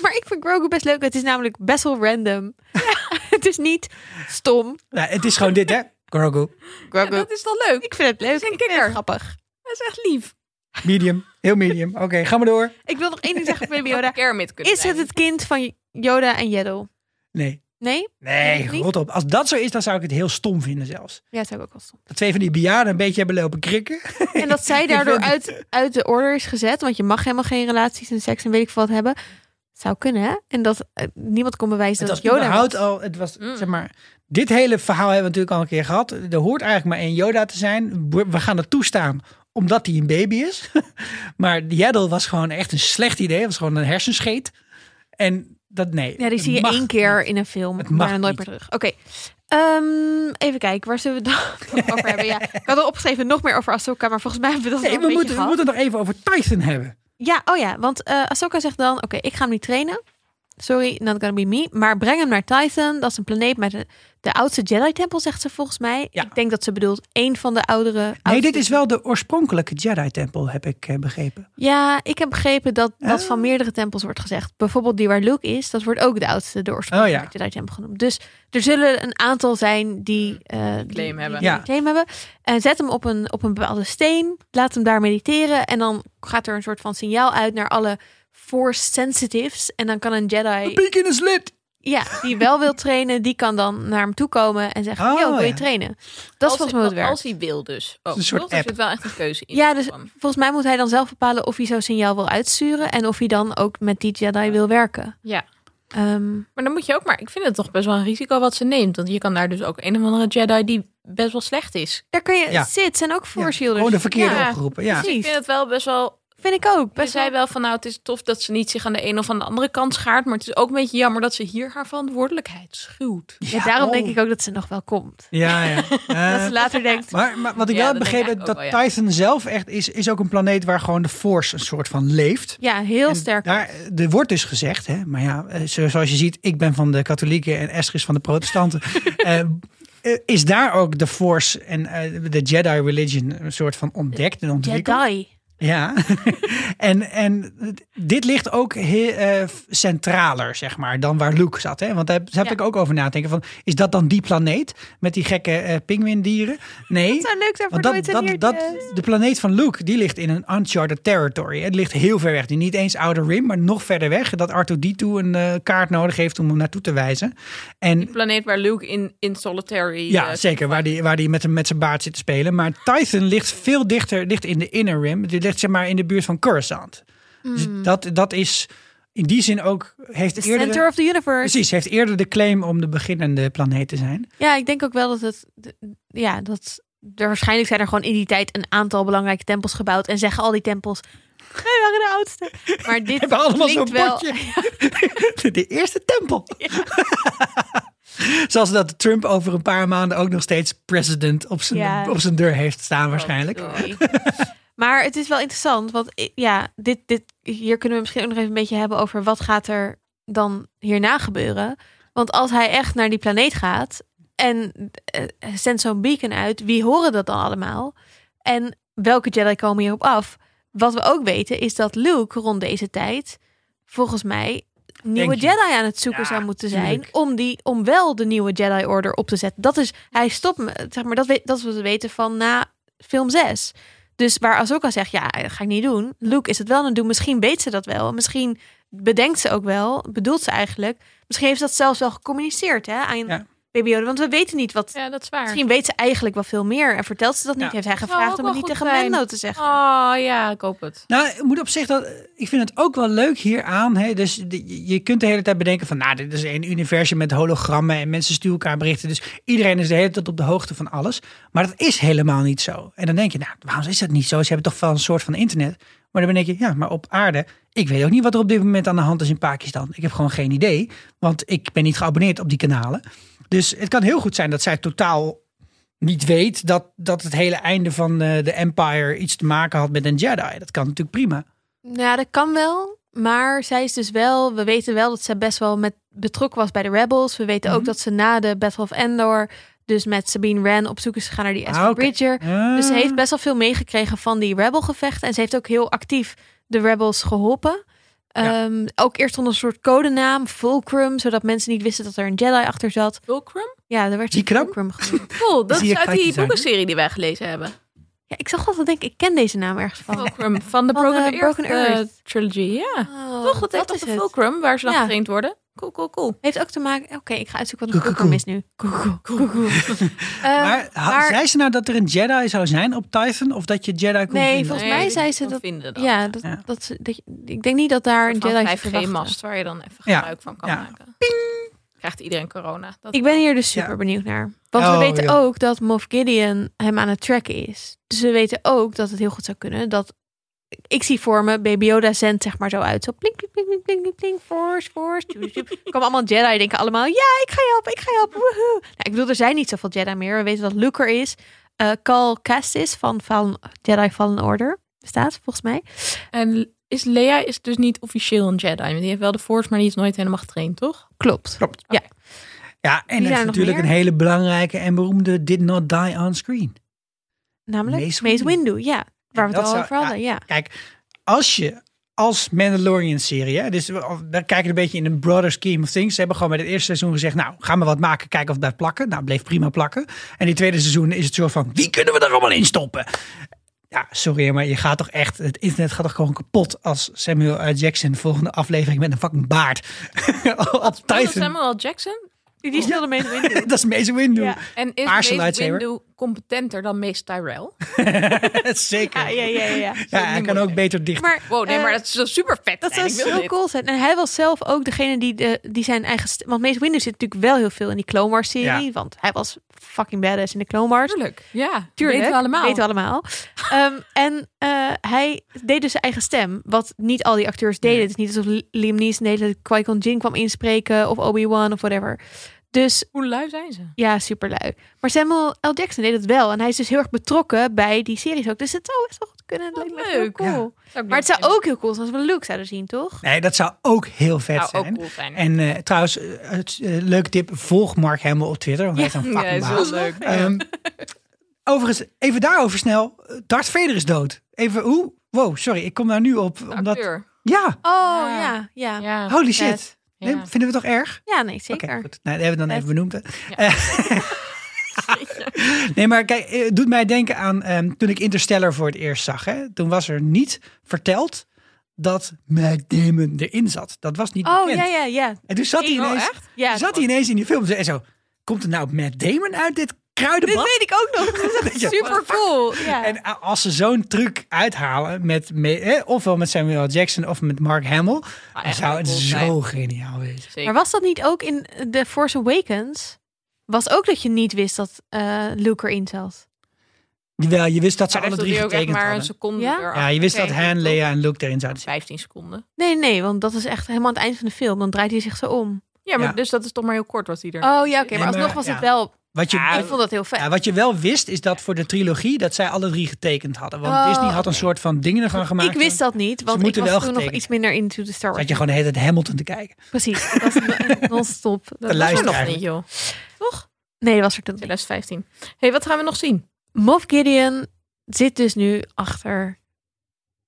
[SPEAKER 1] Maar ik vind Grogu best leuk. Het is namelijk best wel random. het is niet stom.
[SPEAKER 3] Nou, het is gewoon dit, hè. Grogu,
[SPEAKER 2] Ja,
[SPEAKER 1] Grogu.
[SPEAKER 2] dat is dan leuk.
[SPEAKER 1] ik vind het leuk.
[SPEAKER 2] is een
[SPEAKER 1] Ik vind het
[SPEAKER 2] kikker.
[SPEAKER 1] grappig.
[SPEAKER 2] Dat is echt lief.
[SPEAKER 3] medium, heel medium. Oké, ga maar door.
[SPEAKER 1] Ik wil nog één ding zeggen van Baby Yoda.
[SPEAKER 2] Kermit kunnen
[SPEAKER 1] Is het
[SPEAKER 2] zijn.
[SPEAKER 1] het kind van Yoda en Jeddle?
[SPEAKER 3] Nee,
[SPEAKER 1] Nee?
[SPEAKER 3] Nee,
[SPEAKER 1] Vind je niet?
[SPEAKER 3] rot op. Als dat zo is, dan zou ik het heel stom vinden zelfs.
[SPEAKER 1] Ja, dat zou ik ook wel stom.
[SPEAKER 3] Dat twee van die bejaarden een beetje hebben lopen krikken.
[SPEAKER 1] En dat zij daardoor uit, uit de order is gezet. Want je mag helemaal geen relaties en seks en weet ik veel wat hebben. Zou kunnen, hè? En dat eh, niemand kon bewijzen
[SPEAKER 3] Het
[SPEAKER 1] dat
[SPEAKER 3] was
[SPEAKER 1] het Yoda
[SPEAKER 3] überhaupt
[SPEAKER 1] was. Mm.
[SPEAKER 3] al, het was, zeg maar, dit hele verhaal hebben we natuurlijk al een keer gehad. Er hoort eigenlijk maar één Yoda te zijn. We we gaan het toestaan omdat hij een baby is. maar Yaddle was gewoon echt een slecht idee. Het was gewoon een hersenscheet. En dat, nee.
[SPEAKER 1] Ja, die
[SPEAKER 3] het
[SPEAKER 1] zie je
[SPEAKER 3] mag
[SPEAKER 1] één keer
[SPEAKER 3] niet.
[SPEAKER 1] in een film,
[SPEAKER 3] Het mag
[SPEAKER 1] maar dan nooit
[SPEAKER 3] niet.
[SPEAKER 1] meer terug. Oké, Ehm, even kijken, waar zullen we het nog over hebben? Ja, ik had al opgeschreven nog meer over Ahsoka, maar volgens mij hebben we dat
[SPEAKER 3] Nee,
[SPEAKER 1] al
[SPEAKER 3] we,
[SPEAKER 1] een beetje
[SPEAKER 3] moeten, we
[SPEAKER 1] gehad.
[SPEAKER 3] moeten het nog even over Titan hebben.
[SPEAKER 1] Ja, oh ja, want eh Ahsoka zegt dan, oké, ik ga hem niet trainen. Sorry, not gonna be me. Maar breng hem naar Titan, dat is een planeet met de, de oudste Jedi-tempel, zegt ze volgens mij.
[SPEAKER 3] Ja.
[SPEAKER 1] Ik denk dat ze bedoelt één van de oudere...
[SPEAKER 3] Nee,
[SPEAKER 1] oudste-
[SPEAKER 3] dit is wel de oorspronkelijke Jedi-tempel, heb ik eh, begrepen.
[SPEAKER 1] Ja, ik heb begrepen dat dat
[SPEAKER 3] Ah.
[SPEAKER 1] van meerdere tempels wordt gezegd. Bijvoorbeeld die waar Luke is, dat wordt ook de oudste de oorspronkelijke
[SPEAKER 3] Oh
[SPEAKER 1] Jedi tempel genoemd. Dus er zullen een aantal zijn die eh, die- die- die
[SPEAKER 2] Hmm. hebben.
[SPEAKER 3] Ja.
[SPEAKER 1] een claim hebben. En zet hem op een, op een bepaalde steen, laat hem daar mediteren en dan gaat er een soort van signaal uit naar alle force sensitives en dan kan een Jedi
[SPEAKER 3] Peek in de slit!
[SPEAKER 1] ja, die wel wil trainen, die kan dan naar hem toe komen en zeggen:
[SPEAKER 3] Oh,
[SPEAKER 1] "Yo, wil je
[SPEAKER 3] ja.
[SPEAKER 1] trainen?" Dat is
[SPEAKER 2] Als-
[SPEAKER 1] volgens mij hoe het werkt.
[SPEAKER 2] Als hij wil dus. Oh,
[SPEAKER 3] een soort
[SPEAKER 2] toch? Er
[SPEAKER 3] app.
[SPEAKER 2] zit wel echt een keuze in.
[SPEAKER 1] Ja, dus
[SPEAKER 2] Van-
[SPEAKER 1] volgens mij moet hij dan zelf bepalen of hij zo'n signaal wil uitsturen en of hij dan ook met die Jedi wil werken.
[SPEAKER 2] Ja.
[SPEAKER 1] Ehm,
[SPEAKER 2] Maar dan moet je ook maar... Ik vind het toch best wel een risico wat ze neemt. Want je kan daar dus ook een of andere Jedi die best wel slecht is.
[SPEAKER 1] daar kun je
[SPEAKER 3] Ja.
[SPEAKER 1] zit zijn ook
[SPEAKER 3] Ja,
[SPEAKER 1] force shielders.
[SPEAKER 3] gewoon de verkeerde
[SPEAKER 2] Ja,
[SPEAKER 3] opgeroepen, ja.
[SPEAKER 2] Dus ik vind het wel best wel...
[SPEAKER 1] Vind ik ook.
[SPEAKER 2] Ze
[SPEAKER 1] Best
[SPEAKER 2] zei
[SPEAKER 1] wel.
[SPEAKER 2] wel van nou, het is tof dat ze niet zich aan de een of aan de andere kant schaart. Maar het is ook een beetje jammer dat ze hier haar verantwoordelijkheid schuwt.
[SPEAKER 1] Ja, daarom
[SPEAKER 3] oh.
[SPEAKER 1] denk ik ook dat ze nog wel komt.
[SPEAKER 3] Ja, ja.
[SPEAKER 1] Dat
[SPEAKER 3] Eh,
[SPEAKER 1] ze later denkt.
[SPEAKER 3] maar, maar wat ik
[SPEAKER 2] Ja,
[SPEAKER 3] wel heb
[SPEAKER 2] dat denk ik
[SPEAKER 3] begrepen, dat
[SPEAKER 2] eigenlijk ook wel, ja.
[SPEAKER 3] Titan zelf echt is, is ook een planeet waar gewoon de Force een soort van leeft.
[SPEAKER 1] Ja, heel
[SPEAKER 3] En
[SPEAKER 1] sterk.
[SPEAKER 3] Daar, er wordt dus gezegd, hè, maar ja, eh, zo- zoals je ziet, ik ben van de katholieken en Esther is van de protestanten. Eh, eh, is daar ook de Force en eh, de Jedi religion een soort van ontdekt en ontwikkeld?
[SPEAKER 1] Jedi.
[SPEAKER 3] Ja, en, en dit ligt ook heel, eh, centraler, zeg maar, dan waar Luke zat. Hè? Want daar heb, daar heb
[SPEAKER 1] Ja.
[SPEAKER 3] ik ook over na te denken. Van, is dat dan die planeet met die gekke eh pinguïndieren? Nee.
[SPEAKER 1] Het zou leuk zijn voor
[SPEAKER 3] Want dat,
[SPEAKER 1] nooit en
[SPEAKER 3] dat, dat,
[SPEAKER 1] Eertjes.
[SPEAKER 3] de planeet van Luke, die ligt in een uncharted territory. Het ligt heel ver weg. Die niet eens Outer Rim, maar nog verder weg. Dat R2-D2 een eh, kaart nodig heeft om hem naartoe te wijzen. En
[SPEAKER 2] Die planeet waar Luke in, in solitary...
[SPEAKER 3] ja,
[SPEAKER 2] eh,
[SPEAKER 3] zeker. Waar die, waar die met, met zijn baard zit te spelen. Maar Titan ligt veel
[SPEAKER 1] Hmm.
[SPEAKER 3] dichter ligt in de inner rim. Die ligt zeg maar in de buurt van Coruscant. Dus dat, dat is in die zin ook heeft
[SPEAKER 1] The
[SPEAKER 3] eerder...
[SPEAKER 1] center of the universe.
[SPEAKER 3] Precies, heeft eerder de claim om de beginnende planeet te zijn.
[SPEAKER 1] Ja, ik denk ook wel dat het. d- Ja, dat. Er, waarschijnlijk zijn er gewoon in die tijd een aantal belangrijke tempels gebouwd. En zeggen al die tempels. Wij waren de oudste. Maar dit
[SPEAKER 3] hebben allemaal zo'n
[SPEAKER 1] klinkt wel.
[SPEAKER 3] bordje. de eerste tempel. Zoals dat Trump over een paar maanden ook nog steeds president op zijn,
[SPEAKER 1] Ja. oh.
[SPEAKER 3] op zijn deur heeft staan waarschijnlijk.
[SPEAKER 1] Oei. Maar het is wel interessant, want i- ja, dit, dit, hier kunnen we misschien ook nog even een beetje hebben over wat gaat er dan hierna gebeuren. Want als hij echt naar die planeet gaat en eh, hij zendt zo'n beacon uit, wie horen dat dan allemaal? En welke Jedi komen hierop af? Wat we ook weten is dat Luke rond deze tijd, volgens mij, nieuwe
[SPEAKER 3] je?
[SPEAKER 1] Jedi aan het zoeken
[SPEAKER 3] Ja,
[SPEAKER 1] zou moeten zijn
[SPEAKER 3] tuurlijk.
[SPEAKER 1] om, die, om wel de nieuwe Jedi Order op te zetten. Dat is, hij stopt, me- zeg maar, dat, weet, dat is wat we weten van na film 6. Dus waar Ahsoka zegt, ja, dat ga ik niet doen. Luke is het wel aan het doen. Misschien weet ze dat wel. Misschien bedenkt ze ook wel, bedoelt ze eigenlijk. Misschien heeft ze dat zelfs wel gecommuniceerd hè, aan
[SPEAKER 3] Ja.
[SPEAKER 1] Baby Yoda. Want we weten niet wat...
[SPEAKER 2] Ja, dat is waar.
[SPEAKER 1] Misschien weet ze eigenlijk wel veel meer. En vertelt ze dat niet.
[SPEAKER 3] Ja.
[SPEAKER 1] Heeft hij
[SPEAKER 2] Zou
[SPEAKER 1] gevraagd
[SPEAKER 2] ook
[SPEAKER 1] om
[SPEAKER 2] wel
[SPEAKER 1] het niet
[SPEAKER 2] goed
[SPEAKER 1] tegen
[SPEAKER 2] zijn.
[SPEAKER 1] Mendo te zeggen.
[SPEAKER 2] Oh ja, ik hoop het.
[SPEAKER 3] Nou, ik moet op zich dat. Ik vind het ook wel leuk hieraan. Hè? Dus de- je- je kunt de hele tijd bedenken van, nou, dit is een universum met hologrammen en mensen sturen elkaar berichten. Dus iedereen is de hele tijd op de hoogte van alles. Maar dat is helemaal niet zo. En dan denk je, nou, waarom is dat niet zo? Ze hebben toch wel een soort van internet. Maar dan denk je, ja, maar op aarde, ik weet ook niet wat er op dit moment aan de hand is in Pakistan. Ik heb gewoon geen idee, want ik ben niet geabonneerd op die kanalen. Dus het kan heel goed zijn dat zij totaal niet weet dat, dat het hele einde van eh, de Empire iets te maken had met een Jedi. Dat kan natuurlijk prima.
[SPEAKER 1] Nou, ja, dat kan wel. Maar zij is dus wel, we weten wel dat ze best wel met betrokken was bij de Rebels. We weten
[SPEAKER 3] Mhm.
[SPEAKER 1] ook dat ze na de Battle of Endor, dus met Sabine Wren op zoek is gegaan naar die Ezra
[SPEAKER 3] Ah, oké.
[SPEAKER 1] Bridger.
[SPEAKER 3] Ah.
[SPEAKER 1] Dus ze heeft best wel veel meegekregen van die Rebel-gevechten. En ze heeft ook heel actief de Rebels geholpen.
[SPEAKER 3] Ja.
[SPEAKER 1] Ehm, ook eerst onder een soort codenaam, Fulcrum, zodat mensen niet wisten dat er een Jedi achter zat.
[SPEAKER 2] Fulcrum?
[SPEAKER 1] Ja, daar werd ze
[SPEAKER 3] Zikram?
[SPEAKER 1] Fulcrum genoemd.
[SPEAKER 2] Cool, dat
[SPEAKER 3] Zie
[SPEAKER 2] is,
[SPEAKER 3] je
[SPEAKER 2] uit
[SPEAKER 3] kaartjes
[SPEAKER 2] die
[SPEAKER 3] zijn, hè?
[SPEAKER 2] boekenserie die wij gelezen hebben.
[SPEAKER 1] Ja, ik zag altijd denken, ik ken deze naam ergens van.
[SPEAKER 2] Fulcrum van de
[SPEAKER 1] Oh. Van,
[SPEAKER 2] Broken,
[SPEAKER 1] eh,
[SPEAKER 2] Earth,
[SPEAKER 1] Broken
[SPEAKER 2] eh,
[SPEAKER 1] Earth.
[SPEAKER 2] trilogy, ja.
[SPEAKER 1] Oh,
[SPEAKER 2] Toch, dat, heet toch
[SPEAKER 1] is
[SPEAKER 2] de
[SPEAKER 1] het.
[SPEAKER 2] Fulcrum, waar ze dan
[SPEAKER 1] Ja.
[SPEAKER 2] getraind worden. Cool, cool, cool.
[SPEAKER 1] Heeft ook te maken... Oké, ik ga uitzoeken wat een Fulcrum
[SPEAKER 3] Koekoekoe.
[SPEAKER 1] is nu. Koekoekoe. Koekoekoe. Ehm,
[SPEAKER 3] maar, ha- zei ze nou dat er een Jedi zou zijn op Typhon? Of dat je Jedi kon
[SPEAKER 1] Nee,
[SPEAKER 3] vinden?
[SPEAKER 1] volgens mij
[SPEAKER 2] die
[SPEAKER 1] zei ze
[SPEAKER 2] kan
[SPEAKER 1] dat-
[SPEAKER 2] Vinden dan.
[SPEAKER 1] Ja, dat,
[SPEAKER 3] Ja.
[SPEAKER 1] Dat, ze- dat, je- ik denk niet dat daar een
[SPEAKER 2] van
[SPEAKER 1] Jedi eh, zit te
[SPEAKER 2] 5G-mast
[SPEAKER 1] wachten.
[SPEAKER 2] waar je dan even
[SPEAKER 3] Ja.
[SPEAKER 2] gebruik van kan
[SPEAKER 3] Ja.
[SPEAKER 2] maken. Krijgt iedereen corona. Dat
[SPEAKER 1] Ik ben hier dus super
[SPEAKER 3] Ja.
[SPEAKER 1] benieuwd naar. Want we
[SPEAKER 3] Oh,
[SPEAKER 1] weten
[SPEAKER 3] ja.
[SPEAKER 1] ook dat Moff Gideon hem aan het tracken is. Dus we weten ook dat het heel goed zou kunnen dat... Ik zie voor me, Baby Yoda zendt zeg maar zo uit. Zo plink, plink, plink, plink, plink, plink, plink, force, force. tjoep, tjoep. Er Komen allemaal Jedi denken allemaal, ja, ik ga je helpen, ik ga je helpen, woehoe. Nou, ik bedoel, er zijn niet zoveel Jedi meer. We weten dat Luke er is. Eh Cal Kestis van Fallen- Jedi Fallen Order bestaat, volgens mij.
[SPEAKER 2] En is Lea is dus niet officieel een Jedi. want Die heeft wel de Force, maar die is nooit helemaal getraind, toch?
[SPEAKER 1] Klopt.
[SPEAKER 3] Klopt.
[SPEAKER 1] Ja.
[SPEAKER 3] Ja,
[SPEAKER 1] Wie
[SPEAKER 3] en er is
[SPEAKER 1] daar nog
[SPEAKER 3] natuurlijk een
[SPEAKER 1] meer?
[SPEAKER 3] hele belangrijke en beroemde Did Not Die on Screen.
[SPEAKER 1] Namelijk
[SPEAKER 3] Mace
[SPEAKER 1] Mace,
[SPEAKER 3] Windu.
[SPEAKER 1] Windu. ja. Waar we
[SPEAKER 3] dat
[SPEAKER 1] het al
[SPEAKER 3] zou-
[SPEAKER 1] over hadden, ja.
[SPEAKER 3] Kijk, als je als Mandalorian-serie, hè, dus we we kijken een beetje in een broader scheme of things. Ze hebben gewoon bij het eerste seizoen gezegd, nou, gaan we wat maken, kijken of het blijft plakken. Nou, het bleef prima plakken. En die tweede seizoen is het soort van, wie kunnen we daar allemaal in stoppen? Ja, sorry, maar je gaat toch echt, het internet gaat toch gewoon kapot als Samuel L. Jackson de volgende aflevering met een fucking baard
[SPEAKER 2] Speelde
[SPEAKER 3] op Titan.
[SPEAKER 2] Samuel L. Jackson.
[SPEAKER 1] Die speelde Mace Windu.
[SPEAKER 3] Dat is Mace Windu.
[SPEAKER 1] Ja.
[SPEAKER 2] En is
[SPEAKER 3] Paarse
[SPEAKER 2] Mace
[SPEAKER 3] lightsaber.
[SPEAKER 2] Windu competenter dan Mace Tyrell?
[SPEAKER 3] Zeker.
[SPEAKER 1] Ah, Ja, ja, ja, ja.
[SPEAKER 3] Ja, hij kan ook beter dicht.
[SPEAKER 1] Maar,
[SPEAKER 2] Wow, nee,
[SPEAKER 1] eh,
[SPEAKER 2] maar dat is super vet.
[SPEAKER 1] dat zou zo cool zijn. En hij was zelf ook degene die, de, die zijn eigen... st- Want Mace Windu zit natuurlijk wel heel veel in die Clone Wars serie.
[SPEAKER 3] Ja.
[SPEAKER 1] Want hij was fucking badass in de Clone Wars.
[SPEAKER 2] Tuurlijk. Ja,
[SPEAKER 1] Tuurlijk,
[SPEAKER 2] Weten we allemaal.
[SPEAKER 1] Weten we allemaal. Ehm, en eh, hij deed dus zijn eigen stem. Wat niet al die acteurs deden. Het is niet alsof Liam Neeson de hele tijd Qui-Gon Jinn kwam inspreken. Of Obi-Wan of whatever. Dus
[SPEAKER 2] Hoe lui zijn ze?
[SPEAKER 1] Ja, superlui. Maar Samuel L. Jackson deed het wel. En hij is dus heel erg betrokken bij die series ook. Dus het zou best wel goed kunnen. Dat
[SPEAKER 2] Wat
[SPEAKER 1] lijkt me echt heel
[SPEAKER 2] leuk.
[SPEAKER 1] cool. Maar het zou ook heel cool zijn als we Luke zouden zien, toch?
[SPEAKER 3] Nee, dat zou ook heel vet
[SPEAKER 2] Zou ook
[SPEAKER 3] zijn.
[SPEAKER 2] cool zijn.
[SPEAKER 3] En eh, trouwens, eh, het, eh, leuk tip, volg Mark Hamill op Twitter. Want hij is een
[SPEAKER 2] Ja,
[SPEAKER 3] fucking
[SPEAKER 2] is
[SPEAKER 3] baas.
[SPEAKER 2] heel leuk.
[SPEAKER 3] Ehm, overigens, even daarover snel. Eh, Darth Vader is dood. Even, oeh, wow, sorry, ik kom daar nu op. Omdat,
[SPEAKER 2] Acteur.
[SPEAKER 3] ja,
[SPEAKER 1] Oh,
[SPEAKER 2] Ja.
[SPEAKER 1] ja, ja. Ja,
[SPEAKER 2] Ja.
[SPEAKER 3] holy shit.
[SPEAKER 2] Ja.
[SPEAKER 3] Nee, vinden we toch erg?
[SPEAKER 1] nee,
[SPEAKER 3] Oké,
[SPEAKER 1] zeker.
[SPEAKER 3] goed. Nou, dat hebben we dan
[SPEAKER 1] Vet.
[SPEAKER 3] even benoemd. hè. Eh, Nee, maar kijk, eh, het doet mij denken aan ehm, toen ik Interstellar voor het eerst zag. Hè? Toen was er niet verteld dat Matt Damon erin zat. Dat was niet
[SPEAKER 1] Oh,
[SPEAKER 3] bekend.
[SPEAKER 1] ja, ja, ja.
[SPEAKER 3] En toen zat hij
[SPEAKER 1] Oh,
[SPEAKER 3] ineens,
[SPEAKER 1] Ja,
[SPEAKER 3] zat hij ineens in die film en zo, komt er nou Matt Damon uit dit
[SPEAKER 1] Dit
[SPEAKER 3] kruidenblad.
[SPEAKER 1] weet ik ook nog. Dat is echt super cool. Ja.
[SPEAKER 3] En a- als ze zo'n truc uithalen, met, me- hè, ofwel met Samuel L. Jackson of met Mark Hamill,
[SPEAKER 1] Ah,
[SPEAKER 3] dan
[SPEAKER 2] echt
[SPEAKER 3] zou het
[SPEAKER 2] cool
[SPEAKER 3] zo
[SPEAKER 2] zijn.
[SPEAKER 3] geniaal wezen.
[SPEAKER 1] Maar was dat niet ook in The Force Awakens? Was ook dat je niet wist dat eh, Luke erin zat.
[SPEAKER 3] Jawel, je wist dat ze
[SPEAKER 2] Ja,
[SPEAKER 3] alle
[SPEAKER 2] dat
[SPEAKER 3] drie
[SPEAKER 2] hij ook echt
[SPEAKER 3] getekend
[SPEAKER 2] maar
[SPEAKER 3] hadden.
[SPEAKER 2] een seconde
[SPEAKER 1] Ja?
[SPEAKER 2] erachter
[SPEAKER 3] Ja, je wist dat
[SPEAKER 2] kreeg.
[SPEAKER 3] Han, Leia en Luke erin zouden zitten.
[SPEAKER 2] 15 seconden.
[SPEAKER 1] Nee, nee, want dat is echt helemaal aan het eind van de film. Dan draait hij zich zo om.
[SPEAKER 2] Ja, maar
[SPEAKER 3] Ja.
[SPEAKER 2] dus dat is toch maar heel kort wat hij er...
[SPEAKER 1] Oh ja, oké. maar
[SPEAKER 3] maar-
[SPEAKER 1] alsnog was
[SPEAKER 3] ja.
[SPEAKER 1] het wel... Ah,
[SPEAKER 3] Wat je,
[SPEAKER 1] ik vond dat heel fijn.
[SPEAKER 3] ja, wat je wel wist, is dat voor de trilogie dat zij alle drie getekend hadden. Want
[SPEAKER 1] Oh,
[SPEAKER 3] Disney had een soort van dingen ervan gemaakt.
[SPEAKER 1] ik wist dat niet, want ik
[SPEAKER 3] moeten
[SPEAKER 1] was
[SPEAKER 3] wel
[SPEAKER 1] toen nog
[SPEAKER 3] getekend
[SPEAKER 1] iets minder into the Star Wars.
[SPEAKER 3] Dat je gewoon de hele tijd Hamilton te kijken.
[SPEAKER 1] Precies, dat was een- non-stop. Dat
[SPEAKER 3] Te
[SPEAKER 1] was er
[SPEAKER 3] luisteren
[SPEAKER 1] nog
[SPEAKER 2] Nog
[SPEAKER 3] eigenlijk.
[SPEAKER 2] niet, joh.
[SPEAKER 1] niet. Nee, dat was er toen niet.
[SPEAKER 2] 2015. hey, wat gaan we nog zien?
[SPEAKER 1] Moff Gideon zit dus nu achter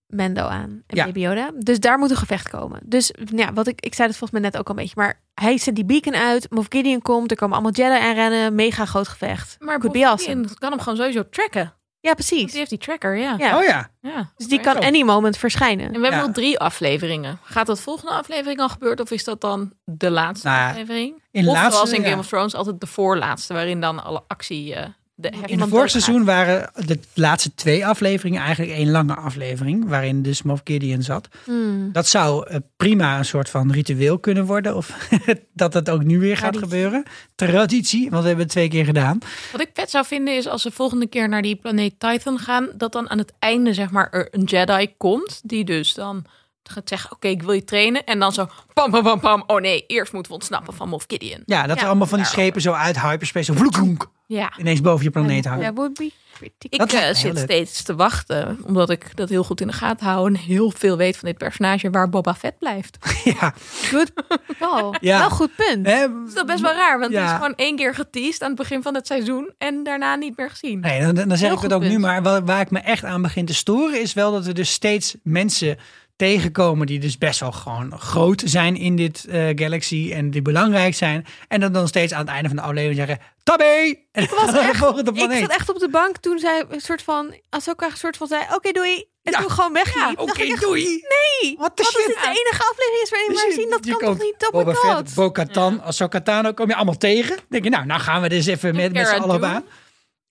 [SPEAKER 1] Mendo aan en
[SPEAKER 3] Ja.
[SPEAKER 1] Baby Yoda. Dus daar moet een gevecht komen. Dus ja, wat ik, ik zei dat volgens mij net ook al een beetje. Maar hij zet die beacon uit. Moff Gideon komt. Er komen allemaal Jedi aanrennen. Mega groot gevecht.
[SPEAKER 2] Maar
[SPEAKER 1] Could be
[SPEAKER 2] Bob
[SPEAKER 1] awesome.
[SPEAKER 2] Gideon kan hem gewoon sowieso tracken.
[SPEAKER 1] Ja,
[SPEAKER 2] Want die
[SPEAKER 1] precies.
[SPEAKER 2] heeft die tracker, ja.
[SPEAKER 1] Ja.
[SPEAKER 3] Oh ja,
[SPEAKER 2] Ja.
[SPEAKER 1] Dus die kan
[SPEAKER 3] Zo.
[SPEAKER 1] any moment verschijnen.
[SPEAKER 2] En we hebben
[SPEAKER 3] Ja.
[SPEAKER 2] nog drie afleveringen. Gaat dat volgende aflevering al gebeurd? Of is dat dan de laatste
[SPEAKER 3] Nou ja,
[SPEAKER 2] aflevering?
[SPEAKER 3] in
[SPEAKER 2] of
[SPEAKER 3] laatste-
[SPEAKER 2] zoals in Game
[SPEAKER 3] ja.
[SPEAKER 2] of Thrones altijd de voorlaatste. Waarin dan alle actie... eh, de
[SPEAKER 3] in het vorig seizoen waren de laatste twee afleveringen eigenlijk één lange aflevering. Waarin dus Moff Gideon zat.
[SPEAKER 1] Hmm.
[SPEAKER 3] Dat zou eh, prima een soort van ritueel kunnen worden. Of dat dat ook nu weer gaat
[SPEAKER 1] Traditie.
[SPEAKER 3] gebeuren. Traditie, want we hebben het twee keer gedaan.
[SPEAKER 2] Wat ik vet zou vinden is als ze volgende keer naar die planeet Titan gaan, dat dan aan het einde zeg maar er een Jedi komt die dus dan gaat zeggen: oké, ik wil je trainen, en dan zo pam pam pam pam. Oh nee, eerst moeten we ontsnappen van Moff Gideon.
[SPEAKER 3] Ja, dat
[SPEAKER 1] Ja,
[SPEAKER 3] er allemaal van die schepen zo uit hyperspace. Zo vloekoenk,
[SPEAKER 2] Ja.
[SPEAKER 3] ineens boven je planeet hangen.
[SPEAKER 1] That would be pretty
[SPEAKER 2] Ik
[SPEAKER 3] Dat
[SPEAKER 2] eh,
[SPEAKER 3] lijkt me heel
[SPEAKER 2] zit
[SPEAKER 3] leuk.
[SPEAKER 2] steeds te wachten, omdat ik dat heel goed in de gaten hou en heel veel weet van dit personage waar Boba Fett blijft. Dat
[SPEAKER 3] Ja.
[SPEAKER 1] good call.
[SPEAKER 3] Ja.
[SPEAKER 1] Wel goed punt.
[SPEAKER 3] Hè?
[SPEAKER 2] is dat best wel raar, want het
[SPEAKER 3] Ja.
[SPEAKER 2] is gewoon één keer geteased aan het begin van het seizoen en daarna niet meer gezien.
[SPEAKER 3] Nee, dan, dan zeg
[SPEAKER 2] Heel
[SPEAKER 3] ik het
[SPEAKER 2] goed
[SPEAKER 3] ook nu.
[SPEAKER 2] punt.
[SPEAKER 3] Maar waar, waar ik me echt aan begin te storen is wel dat we dus steeds mensen tegenkomen die dus best wel gewoon groot zijn in dit eh, galaxy en die belangrijk zijn. En dan dan steeds aan het einde van de aflevering zeggen, tabé! En ik was echt, volgende
[SPEAKER 1] Ik
[SPEAKER 3] planeet.
[SPEAKER 1] zat echt op de bank toen zij een soort van... Ahsoka een soort van zei, oké doei. En
[SPEAKER 3] Ja.
[SPEAKER 1] toen gewoon wegliep.
[SPEAKER 3] Oké,
[SPEAKER 1] Dacht ik echt,
[SPEAKER 3] doei!
[SPEAKER 1] Nee,
[SPEAKER 3] What the
[SPEAKER 1] wat als
[SPEAKER 3] shit?
[SPEAKER 1] dit de enige aflevering is waarin we
[SPEAKER 3] Dus
[SPEAKER 1] haar
[SPEAKER 3] je-
[SPEAKER 1] zien? Dat
[SPEAKER 3] je
[SPEAKER 1] kan
[SPEAKER 3] komt
[SPEAKER 1] toch niet? Oh my
[SPEAKER 3] Boba
[SPEAKER 1] god.
[SPEAKER 3] Fett, Bo-Katan, Ahsoka Tano, kom je allemaal tegen. Dan denk je, nou, nou gaan we dus even met, met z'n
[SPEAKER 2] Cara
[SPEAKER 3] allen op
[SPEAKER 2] Dune.
[SPEAKER 3] aan.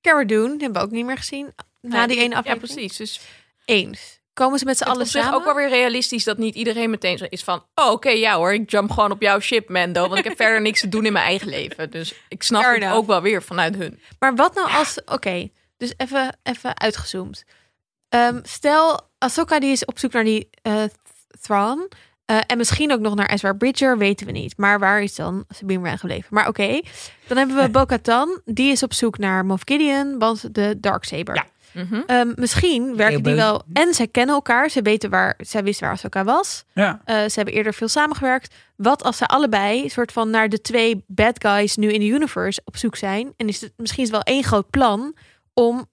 [SPEAKER 1] Cara Dune die hebben we ook niet meer gezien. Na die ene aflevering.
[SPEAKER 2] Ja, precies. Dus
[SPEAKER 1] Eens. Komen ze met z'n allen
[SPEAKER 2] Alles zich
[SPEAKER 1] samen?
[SPEAKER 2] ook wel weer realistisch dat niet iedereen meteen zo is van... Oh, oké, ja hoor, ik jump gewoon op jouw ship, Mendo. Want ik heb verder niks te doen in mijn eigen leven. Dus ik snap
[SPEAKER 1] Fair
[SPEAKER 2] het
[SPEAKER 1] enough.
[SPEAKER 2] ook wel weer vanuit hun.
[SPEAKER 1] Maar wat nou als... Oké, dus even, even uitgezoomd. Ehm, stel, Ahsoka die is op zoek naar die eh, Th- Thrawn. Eh, en misschien ook nog naar Ezra Bridger, weten we niet. Maar waar is dan Sabine Wren gebleven? Maar oké, dan hebben we Bo-Katan. Die is op zoek naar Moff Gideon, want de Darksaber.
[SPEAKER 3] Ja.
[SPEAKER 2] Mhm.
[SPEAKER 1] Ehm, misschien werken die
[SPEAKER 3] Eeuwbeuk.
[SPEAKER 1] wel... En zij kennen elkaar. Ze weten waar... Zij wist waar Ahsoka was.
[SPEAKER 3] Ja.
[SPEAKER 1] Eh, ze hebben eerder veel samengewerkt. Wat als ze allebei soort van naar de twee bad guys nu in de universe op zoek zijn? En is het misschien is het wel één groot plan om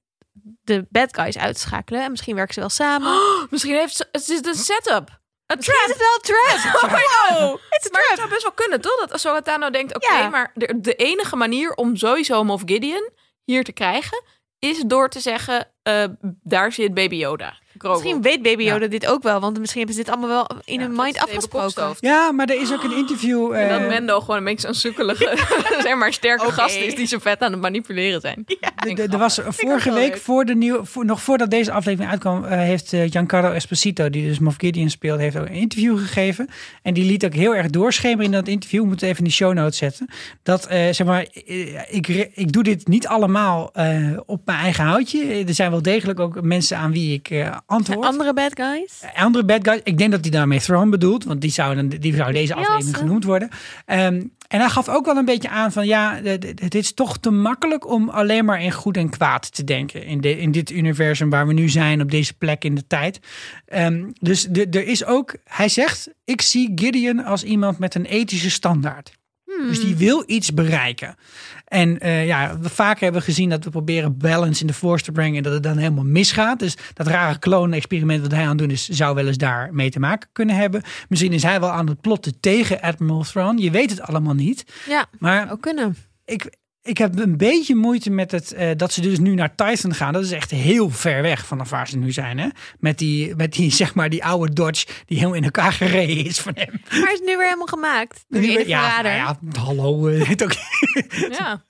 [SPEAKER 1] de bad guys uit te schakelen. En misschien werken ze wel samen.
[SPEAKER 2] Misschien heeft ze... Het is een setup. Een
[SPEAKER 1] Misschien is
[SPEAKER 2] trap. Oh,
[SPEAKER 1] het wel een trap.
[SPEAKER 2] Wow.
[SPEAKER 1] It's a
[SPEAKER 2] Maar het
[SPEAKER 1] trap.
[SPEAKER 2] zou best wel kunnen, toch? Dat Ahsoka Tano denkt, oké,
[SPEAKER 1] Ja.
[SPEAKER 2] maar de, de enige manier om sowieso Moff Gideon hier te krijgen... is door te zeggen, eh, daar zit Baby Yoda. Grogu.
[SPEAKER 1] Misschien weet Baby Yoda dit ook wel, want misschien hebben ze dit allemaal wel in hun mind
[SPEAKER 2] dat is even
[SPEAKER 1] afgesproken.
[SPEAKER 2] kopstoot.
[SPEAKER 3] ja, maar er is ook een interview.
[SPEAKER 2] En
[SPEAKER 3] eh,
[SPEAKER 2] dat Mendo gewoon een beetje zo'n zoekelige, zeg maar, sterke gast is die zo vet aan het manipuleren zijn.
[SPEAKER 3] De- de- Er was vorige
[SPEAKER 2] wel
[SPEAKER 3] week,
[SPEAKER 2] leuk.
[SPEAKER 3] voor de nieuwe, voor, nog voordat deze aflevering uitkwam, eh, heeft eh, Giancarlo Esposito, die dus Moff Gideon speelt, heeft ook een interview gegeven. En die liet ook heel erg doorschemeren in dat interview. We moeten even in de show notes zetten. Dat, eh, zeg maar, eh, ik, re- ik doe dit niet allemaal eh, op mijn eigen houtje. Eh, Er zijn wel degelijk ook mensen aan wie ik eh, antwoord.
[SPEAKER 1] Andere bad guys?
[SPEAKER 3] Andere bad guys. Ik denk dat hij daarmee Thrawn bedoelt. Want die zou, dan, die zou deze aflevering
[SPEAKER 1] Jassen.
[SPEAKER 3] genoemd worden. Ehm, en hij gaf ook wel een beetje aan van... ja, d- d- het is toch te makkelijk om alleen maar in goed en kwaad te denken. In, de, in dit universum waar we nu zijn, op deze plek in de tijd. Ehm, dus de- er is ook... Hij zegt, ik zie Gideon als iemand met een ethische standaard. Dus die wil iets bereiken. En eh, ja, we vaak hebben we gezien dat we proberen balance in de force te brengen. En dat het dan helemaal misgaat. Dus dat rare kloon-experiment wat hij aan het doen is, zou wel eens daar mee te maken kunnen hebben. Misschien is hij wel aan het plotten tegen Admiral Thrawn. Je weet het allemaal niet.
[SPEAKER 1] Ja,
[SPEAKER 3] Maar
[SPEAKER 1] ook kunnen.
[SPEAKER 3] ik, ik heb een beetje moeite met het eh, dat ze dus nu naar Titan gaan. Dat is echt heel ver weg vanaf waar ze nu zijn. Hè? Met, die, met die, zeg maar, die oude Dodge die heel in elkaar gereden is van hem.
[SPEAKER 1] Maar hij is nu weer helemaal gemaakt. Door die ene
[SPEAKER 3] ja,
[SPEAKER 1] verrader.
[SPEAKER 3] nou ja, hallo. eh, het ook,
[SPEAKER 2] Ja.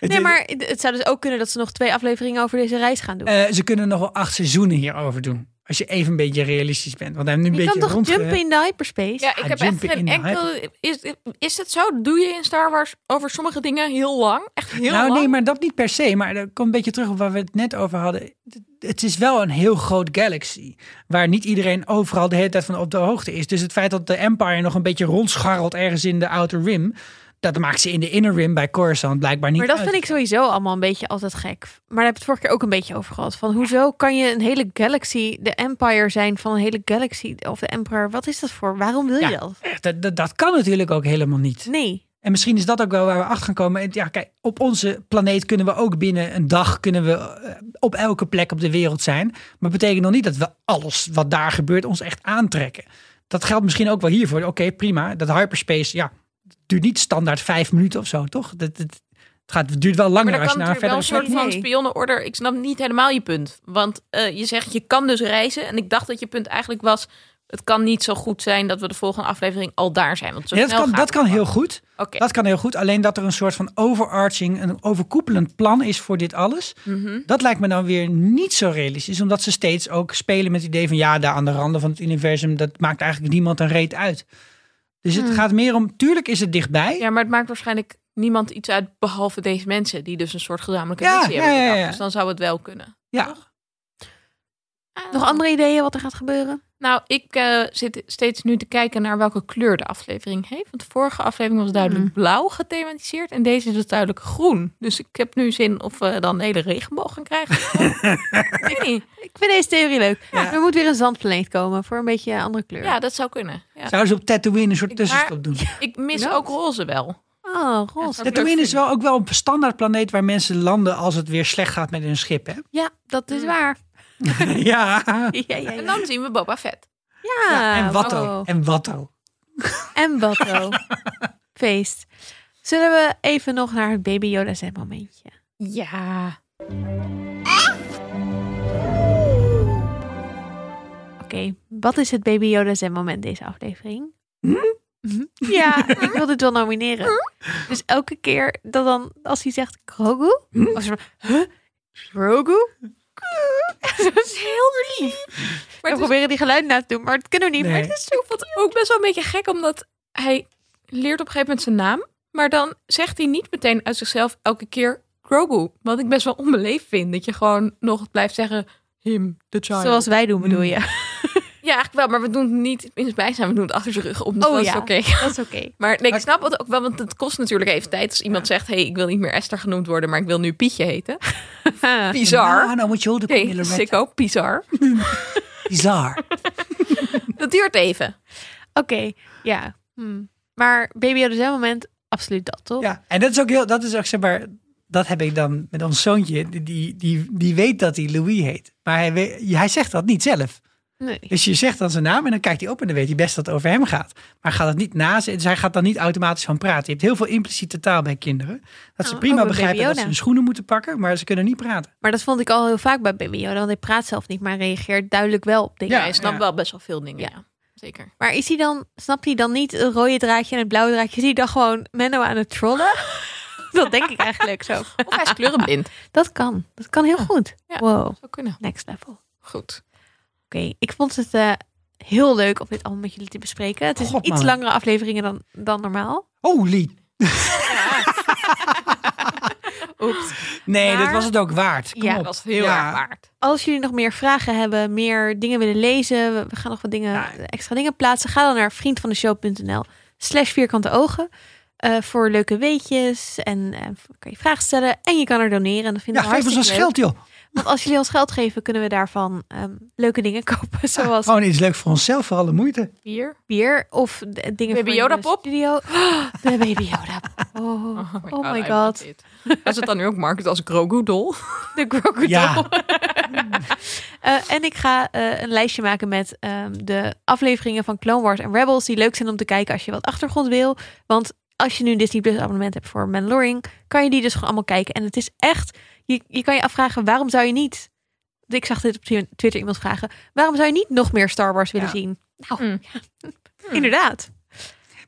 [SPEAKER 1] Nee, maar het het zou dus ook kunnen dat ze nog twee afleveringen over deze reis gaan doen.
[SPEAKER 3] Eh, ze kunnen nog wel acht seizoenen hierover doen. Als je even een beetje realistisch bent. Want hij heeft nu een
[SPEAKER 1] je kan
[SPEAKER 3] beetje
[SPEAKER 1] toch
[SPEAKER 3] rond.
[SPEAKER 1] jumpen in de hyperspace?
[SPEAKER 2] Ja, ik heb echt
[SPEAKER 3] jumpen in
[SPEAKER 2] geen
[SPEAKER 3] de
[SPEAKER 2] enkel... Is, is het zo? Doe je in Star Wars over sommige dingen heel lang? Echt heel
[SPEAKER 3] nou,
[SPEAKER 2] lang?
[SPEAKER 3] nee, maar dat niet per se. Maar dat komt een beetje terug op waar we het net over hadden. Het- Het is wel een heel groot galaxy. Waar niet iedereen overal de hele tijd van op de hoogte is. Dus het feit dat de Empire nog een beetje rondscharrelt ergens in de Outer Rim. Dat maakt ze in de Inner Rim bij Coruscant blijkbaar niet
[SPEAKER 1] Maar dat
[SPEAKER 3] uit.
[SPEAKER 1] vind ik sowieso allemaal een beetje altijd gek. Maar daar heb ik het vorige keer ook een beetje over gehad. Van hoezo kan je een hele galaxy, de empire zijn van een hele galaxy of de emperor? Wat is dat voor? Waarom wil je
[SPEAKER 3] Ja.
[SPEAKER 1] dat?
[SPEAKER 3] Echt, dat, dat, dat kan natuurlijk ook helemaal niet.
[SPEAKER 1] Nee.
[SPEAKER 3] En misschien is dat ook wel waar we achter gaan komen. En Ja, kijk, op onze planeet kunnen we ook binnen een dag kunnen we eh, op elke plek op de wereld zijn. Maar dat betekent nog niet dat we alles wat daar gebeurt ons echt aantrekken. Dat geldt misschien ook wel hiervoor. Oké, prima. Dat hyperspace, ja, het duurt niet standaard vijf minuten of zo, toch? Dat, dat- het, gaat, het duurt wel langer
[SPEAKER 2] Maar dan
[SPEAKER 3] als
[SPEAKER 2] kan
[SPEAKER 3] je naar een
[SPEAKER 2] natuurlijk wel
[SPEAKER 3] verdere
[SPEAKER 2] een soort
[SPEAKER 1] plek-
[SPEAKER 2] van
[SPEAKER 1] Nee.
[SPEAKER 2] spionnenorde. Ik snap niet helemaal je punt. Want eh, je zegt, je kan dus reizen. En ik dacht dat je punt eigenlijk was... Het kan niet zo goed zijn dat we de volgende aflevering al daar zijn. Want zo
[SPEAKER 3] Ja, dat
[SPEAKER 2] snel
[SPEAKER 3] kan,
[SPEAKER 2] gaat
[SPEAKER 3] dat
[SPEAKER 2] het
[SPEAKER 3] kan
[SPEAKER 2] wel.
[SPEAKER 3] heel goed.
[SPEAKER 2] Oké.
[SPEAKER 3] Dat kan heel goed. Alleen dat er een soort van overarching, een overkoepelend plan is voor dit alles.
[SPEAKER 2] Mhm.
[SPEAKER 3] Dat lijkt me dan weer niet zo realistisch. Omdat ze steeds ook spelen met het idee van ja, daar aan de randen van het universum, dat maakt eigenlijk niemand een reet uit. Dus het gaat meer om, tuurlijk is het dichtbij.
[SPEAKER 2] Mhm. Ja, maar het maakt waarschijnlijk niemand iets uit behalve deze mensen. Die dus een soort gezamenlijke
[SPEAKER 3] Ja,
[SPEAKER 2] missie
[SPEAKER 3] ja,
[SPEAKER 2] hebben.
[SPEAKER 3] ja,
[SPEAKER 2] bedacht.
[SPEAKER 3] ja.
[SPEAKER 2] Dus dan zou het wel kunnen.
[SPEAKER 3] Ja.
[SPEAKER 1] Nog andere ideeën wat er gaat gebeuren?
[SPEAKER 2] Nou, ik eh, zit steeds nu te kijken naar welke kleur de aflevering heeft. Want de vorige aflevering was duidelijk blauw gethematiseerd. En deze is dus duidelijk groen. Dus ik heb nu zin of we dan een hele regenboog gaan krijgen. Ik weet niet.
[SPEAKER 1] Ik vind deze theorie leuk. Er moet weer een zandplaneet komen voor een beetje een andere kleur.
[SPEAKER 2] Ja, dat zou kunnen. Ja.
[SPEAKER 3] Zouden ze op Tatooine een soort
[SPEAKER 2] Ik-
[SPEAKER 3] tussenstop
[SPEAKER 2] maar-
[SPEAKER 3] doen?
[SPEAKER 2] Ik mis
[SPEAKER 1] Ja.
[SPEAKER 2] ook roze wel.
[SPEAKER 1] Oh, roze.
[SPEAKER 2] Ja,
[SPEAKER 3] Tatooine is wel ook wel een standaard planeet waar mensen landen als het weer slecht gaat met hun schip. Hè?
[SPEAKER 1] Ja, dat is waar.
[SPEAKER 3] ja.
[SPEAKER 1] Ja, ja, ja.
[SPEAKER 2] En dan zien we Boba Fett.
[SPEAKER 1] Ja,
[SPEAKER 3] en Watto.
[SPEAKER 1] wow.
[SPEAKER 3] En Watto.
[SPEAKER 1] En Watto. Feest. Zullen we even nog naar het Baby Yoda zijn momentje?
[SPEAKER 2] Ja.
[SPEAKER 1] Oké, wat is het Baby Yoda Zen moment deze aflevering?
[SPEAKER 3] Hm?
[SPEAKER 1] Mhm. Ja, ik wil dit wel nomineren.
[SPEAKER 3] Hm?
[SPEAKER 1] Dus elke keer dat dan, als hij zegt Grogu, of zo, huh? Grogu? dat is heel lief.
[SPEAKER 2] Maar
[SPEAKER 1] we
[SPEAKER 2] het is
[SPEAKER 1] proberen die geluid na te doen, maar dat kunnen we niet. Maar
[SPEAKER 3] Nee.
[SPEAKER 1] het is zo wat.
[SPEAKER 2] ook best wel een beetje gek, omdat hij leert op een gegeven moment zijn naam. Maar dan zegt hij niet meteen uit zichzelf elke keer Grogu. Wat ik best wel onbeleefd vind. Dat je gewoon nog blijft zeggen him, the child.
[SPEAKER 1] Zoals wij doen, bedoel
[SPEAKER 3] Hm.
[SPEAKER 1] je?
[SPEAKER 2] Ja, eigenlijk wel. Maar we doen het niet in zijn bijzijn. We doen het achter zijn rug om. Dus
[SPEAKER 1] Oh
[SPEAKER 2] dat
[SPEAKER 1] ja.
[SPEAKER 2] is oké.
[SPEAKER 1] Dat is oké.
[SPEAKER 2] Maar nee, ik snap het ook wel, want het kost natuurlijk even tijd. Als iemand zegt, hey, ik wil niet meer Esther genoemd worden, maar ik wil nu Pietje heten. Bizar.
[SPEAKER 3] Nou, nou moet je holden. kom je
[SPEAKER 2] Nee,
[SPEAKER 3] Loretta.
[SPEAKER 2] sicko, bizar.
[SPEAKER 3] Bizar.
[SPEAKER 2] Dat duurt even.
[SPEAKER 1] Oké, ja. Hm. Maar Baby Yoda Zen moment, absoluut dat, toch?
[SPEAKER 3] Ja, en dat is ook heel, dat is ook zeg maar, dat heb ik dan met ons zoontje, die, die, die weet dat hij Louis heet. Maar hij, weet- hij zegt dat niet zelf.
[SPEAKER 1] Nee.
[SPEAKER 3] Dus je zegt dan zijn naam en dan kijkt hij op en dan weet hij best dat het over hem gaat. Maar hij gaat het niet naast, dus hij gaat dan niet automatisch van praten. Je hebt heel veel impliciete taal bij kinderen. Dat ze
[SPEAKER 1] Oh, ook
[SPEAKER 3] prima
[SPEAKER 1] bij
[SPEAKER 3] begrijpen
[SPEAKER 1] baby
[SPEAKER 3] dat ze
[SPEAKER 1] Yoda.
[SPEAKER 3] hun schoenen moeten pakken, maar ze kunnen niet praten.
[SPEAKER 1] Maar dat vond ik al heel vaak bij Baby Yoda, want hij praat zelf niet, maar reageert duidelijk wel op dingen.
[SPEAKER 3] Ja,
[SPEAKER 2] Ja, je snapt
[SPEAKER 3] ja.
[SPEAKER 2] wel best wel veel dingen.
[SPEAKER 1] Ja.
[SPEAKER 2] Ja, zeker.
[SPEAKER 1] Maar is hij dan, snapt hij dan niet het rode draadje en het blauwe draadje? Is hij dan gewoon Menno aan het trollen? dat denk ik eigenlijk zo.
[SPEAKER 2] Of hij is kleurenblind.
[SPEAKER 1] Dat kan. Dat kan heel goed.
[SPEAKER 2] Ja.
[SPEAKER 1] Wow,
[SPEAKER 2] Zou kunnen.
[SPEAKER 1] next level. Oké,
[SPEAKER 2] Goed.
[SPEAKER 1] ik vond het eh, heel leuk om dit allemaal met jullie te bespreken. Het is
[SPEAKER 3] God,
[SPEAKER 1] iets
[SPEAKER 3] man.
[SPEAKER 1] langere afleveringen dan, dan normaal.
[SPEAKER 3] Holy.
[SPEAKER 1] Oeps.
[SPEAKER 3] Nee,
[SPEAKER 1] Maar-
[SPEAKER 3] dat was het ook waard. Kom
[SPEAKER 1] Ja,
[SPEAKER 3] op.
[SPEAKER 2] Dat was heel
[SPEAKER 3] Ja.
[SPEAKER 2] erg waard.
[SPEAKER 1] Als jullie nog meer vragen hebben, meer dingen willen lezen, we- we gaan nog wat dingen,
[SPEAKER 3] Ja.
[SPEAKER 1] extra dingen plaatsen, ga dan naar vriendvandeshow.nl slash vierkante ogen eh, voor leuke weetjes en eh, kan je vragen stellen en je kan er doneren. Dat vinden
[SPEAKER 3] Ja,
[SPEAKER 1] we
[SPEAKER 3] geef ons
[SPEAKER 1] hartstikke
[SPEAKER 3] ons
[SPEAKER 1] leuk.
[SPEAKER 3] geld, joh.
[SPEAKER 1] Want als jullie ons geld geven, kunnen we daarvan ehm, leuke dingen kopen. Zoals
[SPEAKER 3] Gewoon iets leuk voor onszelf, voor alle moeite.
[SPEAKER 2] Bier.
[SPEAKER 1] bier of d- dingen
[SPEAKER 2] Baby
[SPEAKER 1] voor in de
[SPEAKER 2] Yoda pop?
[SPEAKER 1] studio. De Baby Yoda pop. Oh, oh my god.
[SPEAKER 2] I want it. Is het dan nu ook market als Grogu dol?
[SPEAKER 1] De crocodile.
[SPEAKER 3] Ja.
[SPEAKER 1] Eh, en ik ga eh, een lijstje maken met ehm, de afleveringen van Clone Wars en Rebels die leuk zijn om te kijken als je wat achtergrond wil. Want als je nu een Disney Plus abonnement hebt voor Mandalorian, kan je die dus gewoon allemaal kijken. En het is echt, je, je kan je afvragen, waarom zou je niet, ik zag dit op Twitter iemand vragen, waarom zou je niet nog meer Star Wars willen
[SPEAKER 3] Ja.
[SPEAKER 1] zien? Nou,
[SPEAKER 2] Mm.
[SPEAKER 1] ja, inderdaad.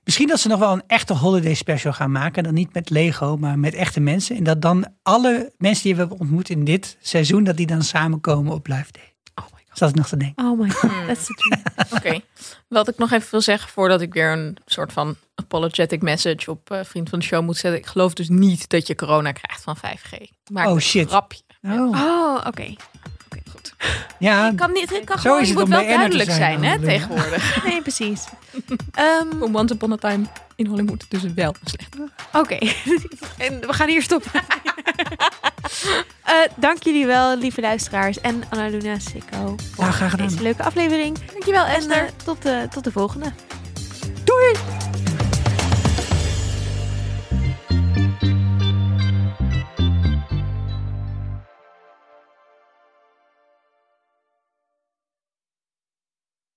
[SPEAKER 3] Misschien dat ze nog wel een echte holiday special gaan maken. Dan niet met Lego, maar met echte mensen. En dat dan alle mensen die we hebben ontmoet in dit seizoen, dat die dan samenkomen op live day.
[SPEAKER 1] Oh my god.
[SPEAKER 3] Zat ik nog te denken.
[SPEAKER 1] Oh my god, that's the dream.
[SPEAKER 2] Oké. Wat ik nog even wil zeggen voordat ik weer een soort van apologetic message op eh, vriend van de show moet zetten. Ik geloof dus niet dat je corona krijgt van 5G. Maar
[SPEAKER 3] Oh, shit.
[SPEAKER 2] Grapje.
[SPEAKER 3] Oh,
[SPEAKER 1] Oh, oké.
[SPEAKER 3] ja,
[SPEAKER 2] Ik kan niet, ik kan
[SPEAKER 3] Zo
[SPEAKER 2] gewoon,
[SPEAKER 3] is
[SPEAKER 2] je
[SPEAKER 3] het
[SPEAKER 2] moet wel
[SPEAKER 3] om BN'er te
[SPEAKER 2] duidelijk
[SPEAKER 3] zijn,
[SPEAKER 2] zijn, hè,
[SPEAKER 3] Annabelle.
[SPEAKER 2] tegenwoordig.
[SPEAKER 1] Nee, precies. Ehm,
[SPEAKER 2] Once upon a time in Hollywood, dus wel slecht.
[SPEAKER 1] Oké, en we gaan hier stoppen. Eh, dank jullie wel, lieve luisteraars. En Annaluna Sikko voor
[SPEAKER 3] Nou, graag gedaan.
[SPEAKER 1] deze leuke aflevering.
[SPEAKER 2] Dankjewel,
[SPEAKER 1] En
[SPEAKER 2] Esther.
[SPEAKER 1] eh, tot, de, tot de volgende.
[SPEAKER 3] doei!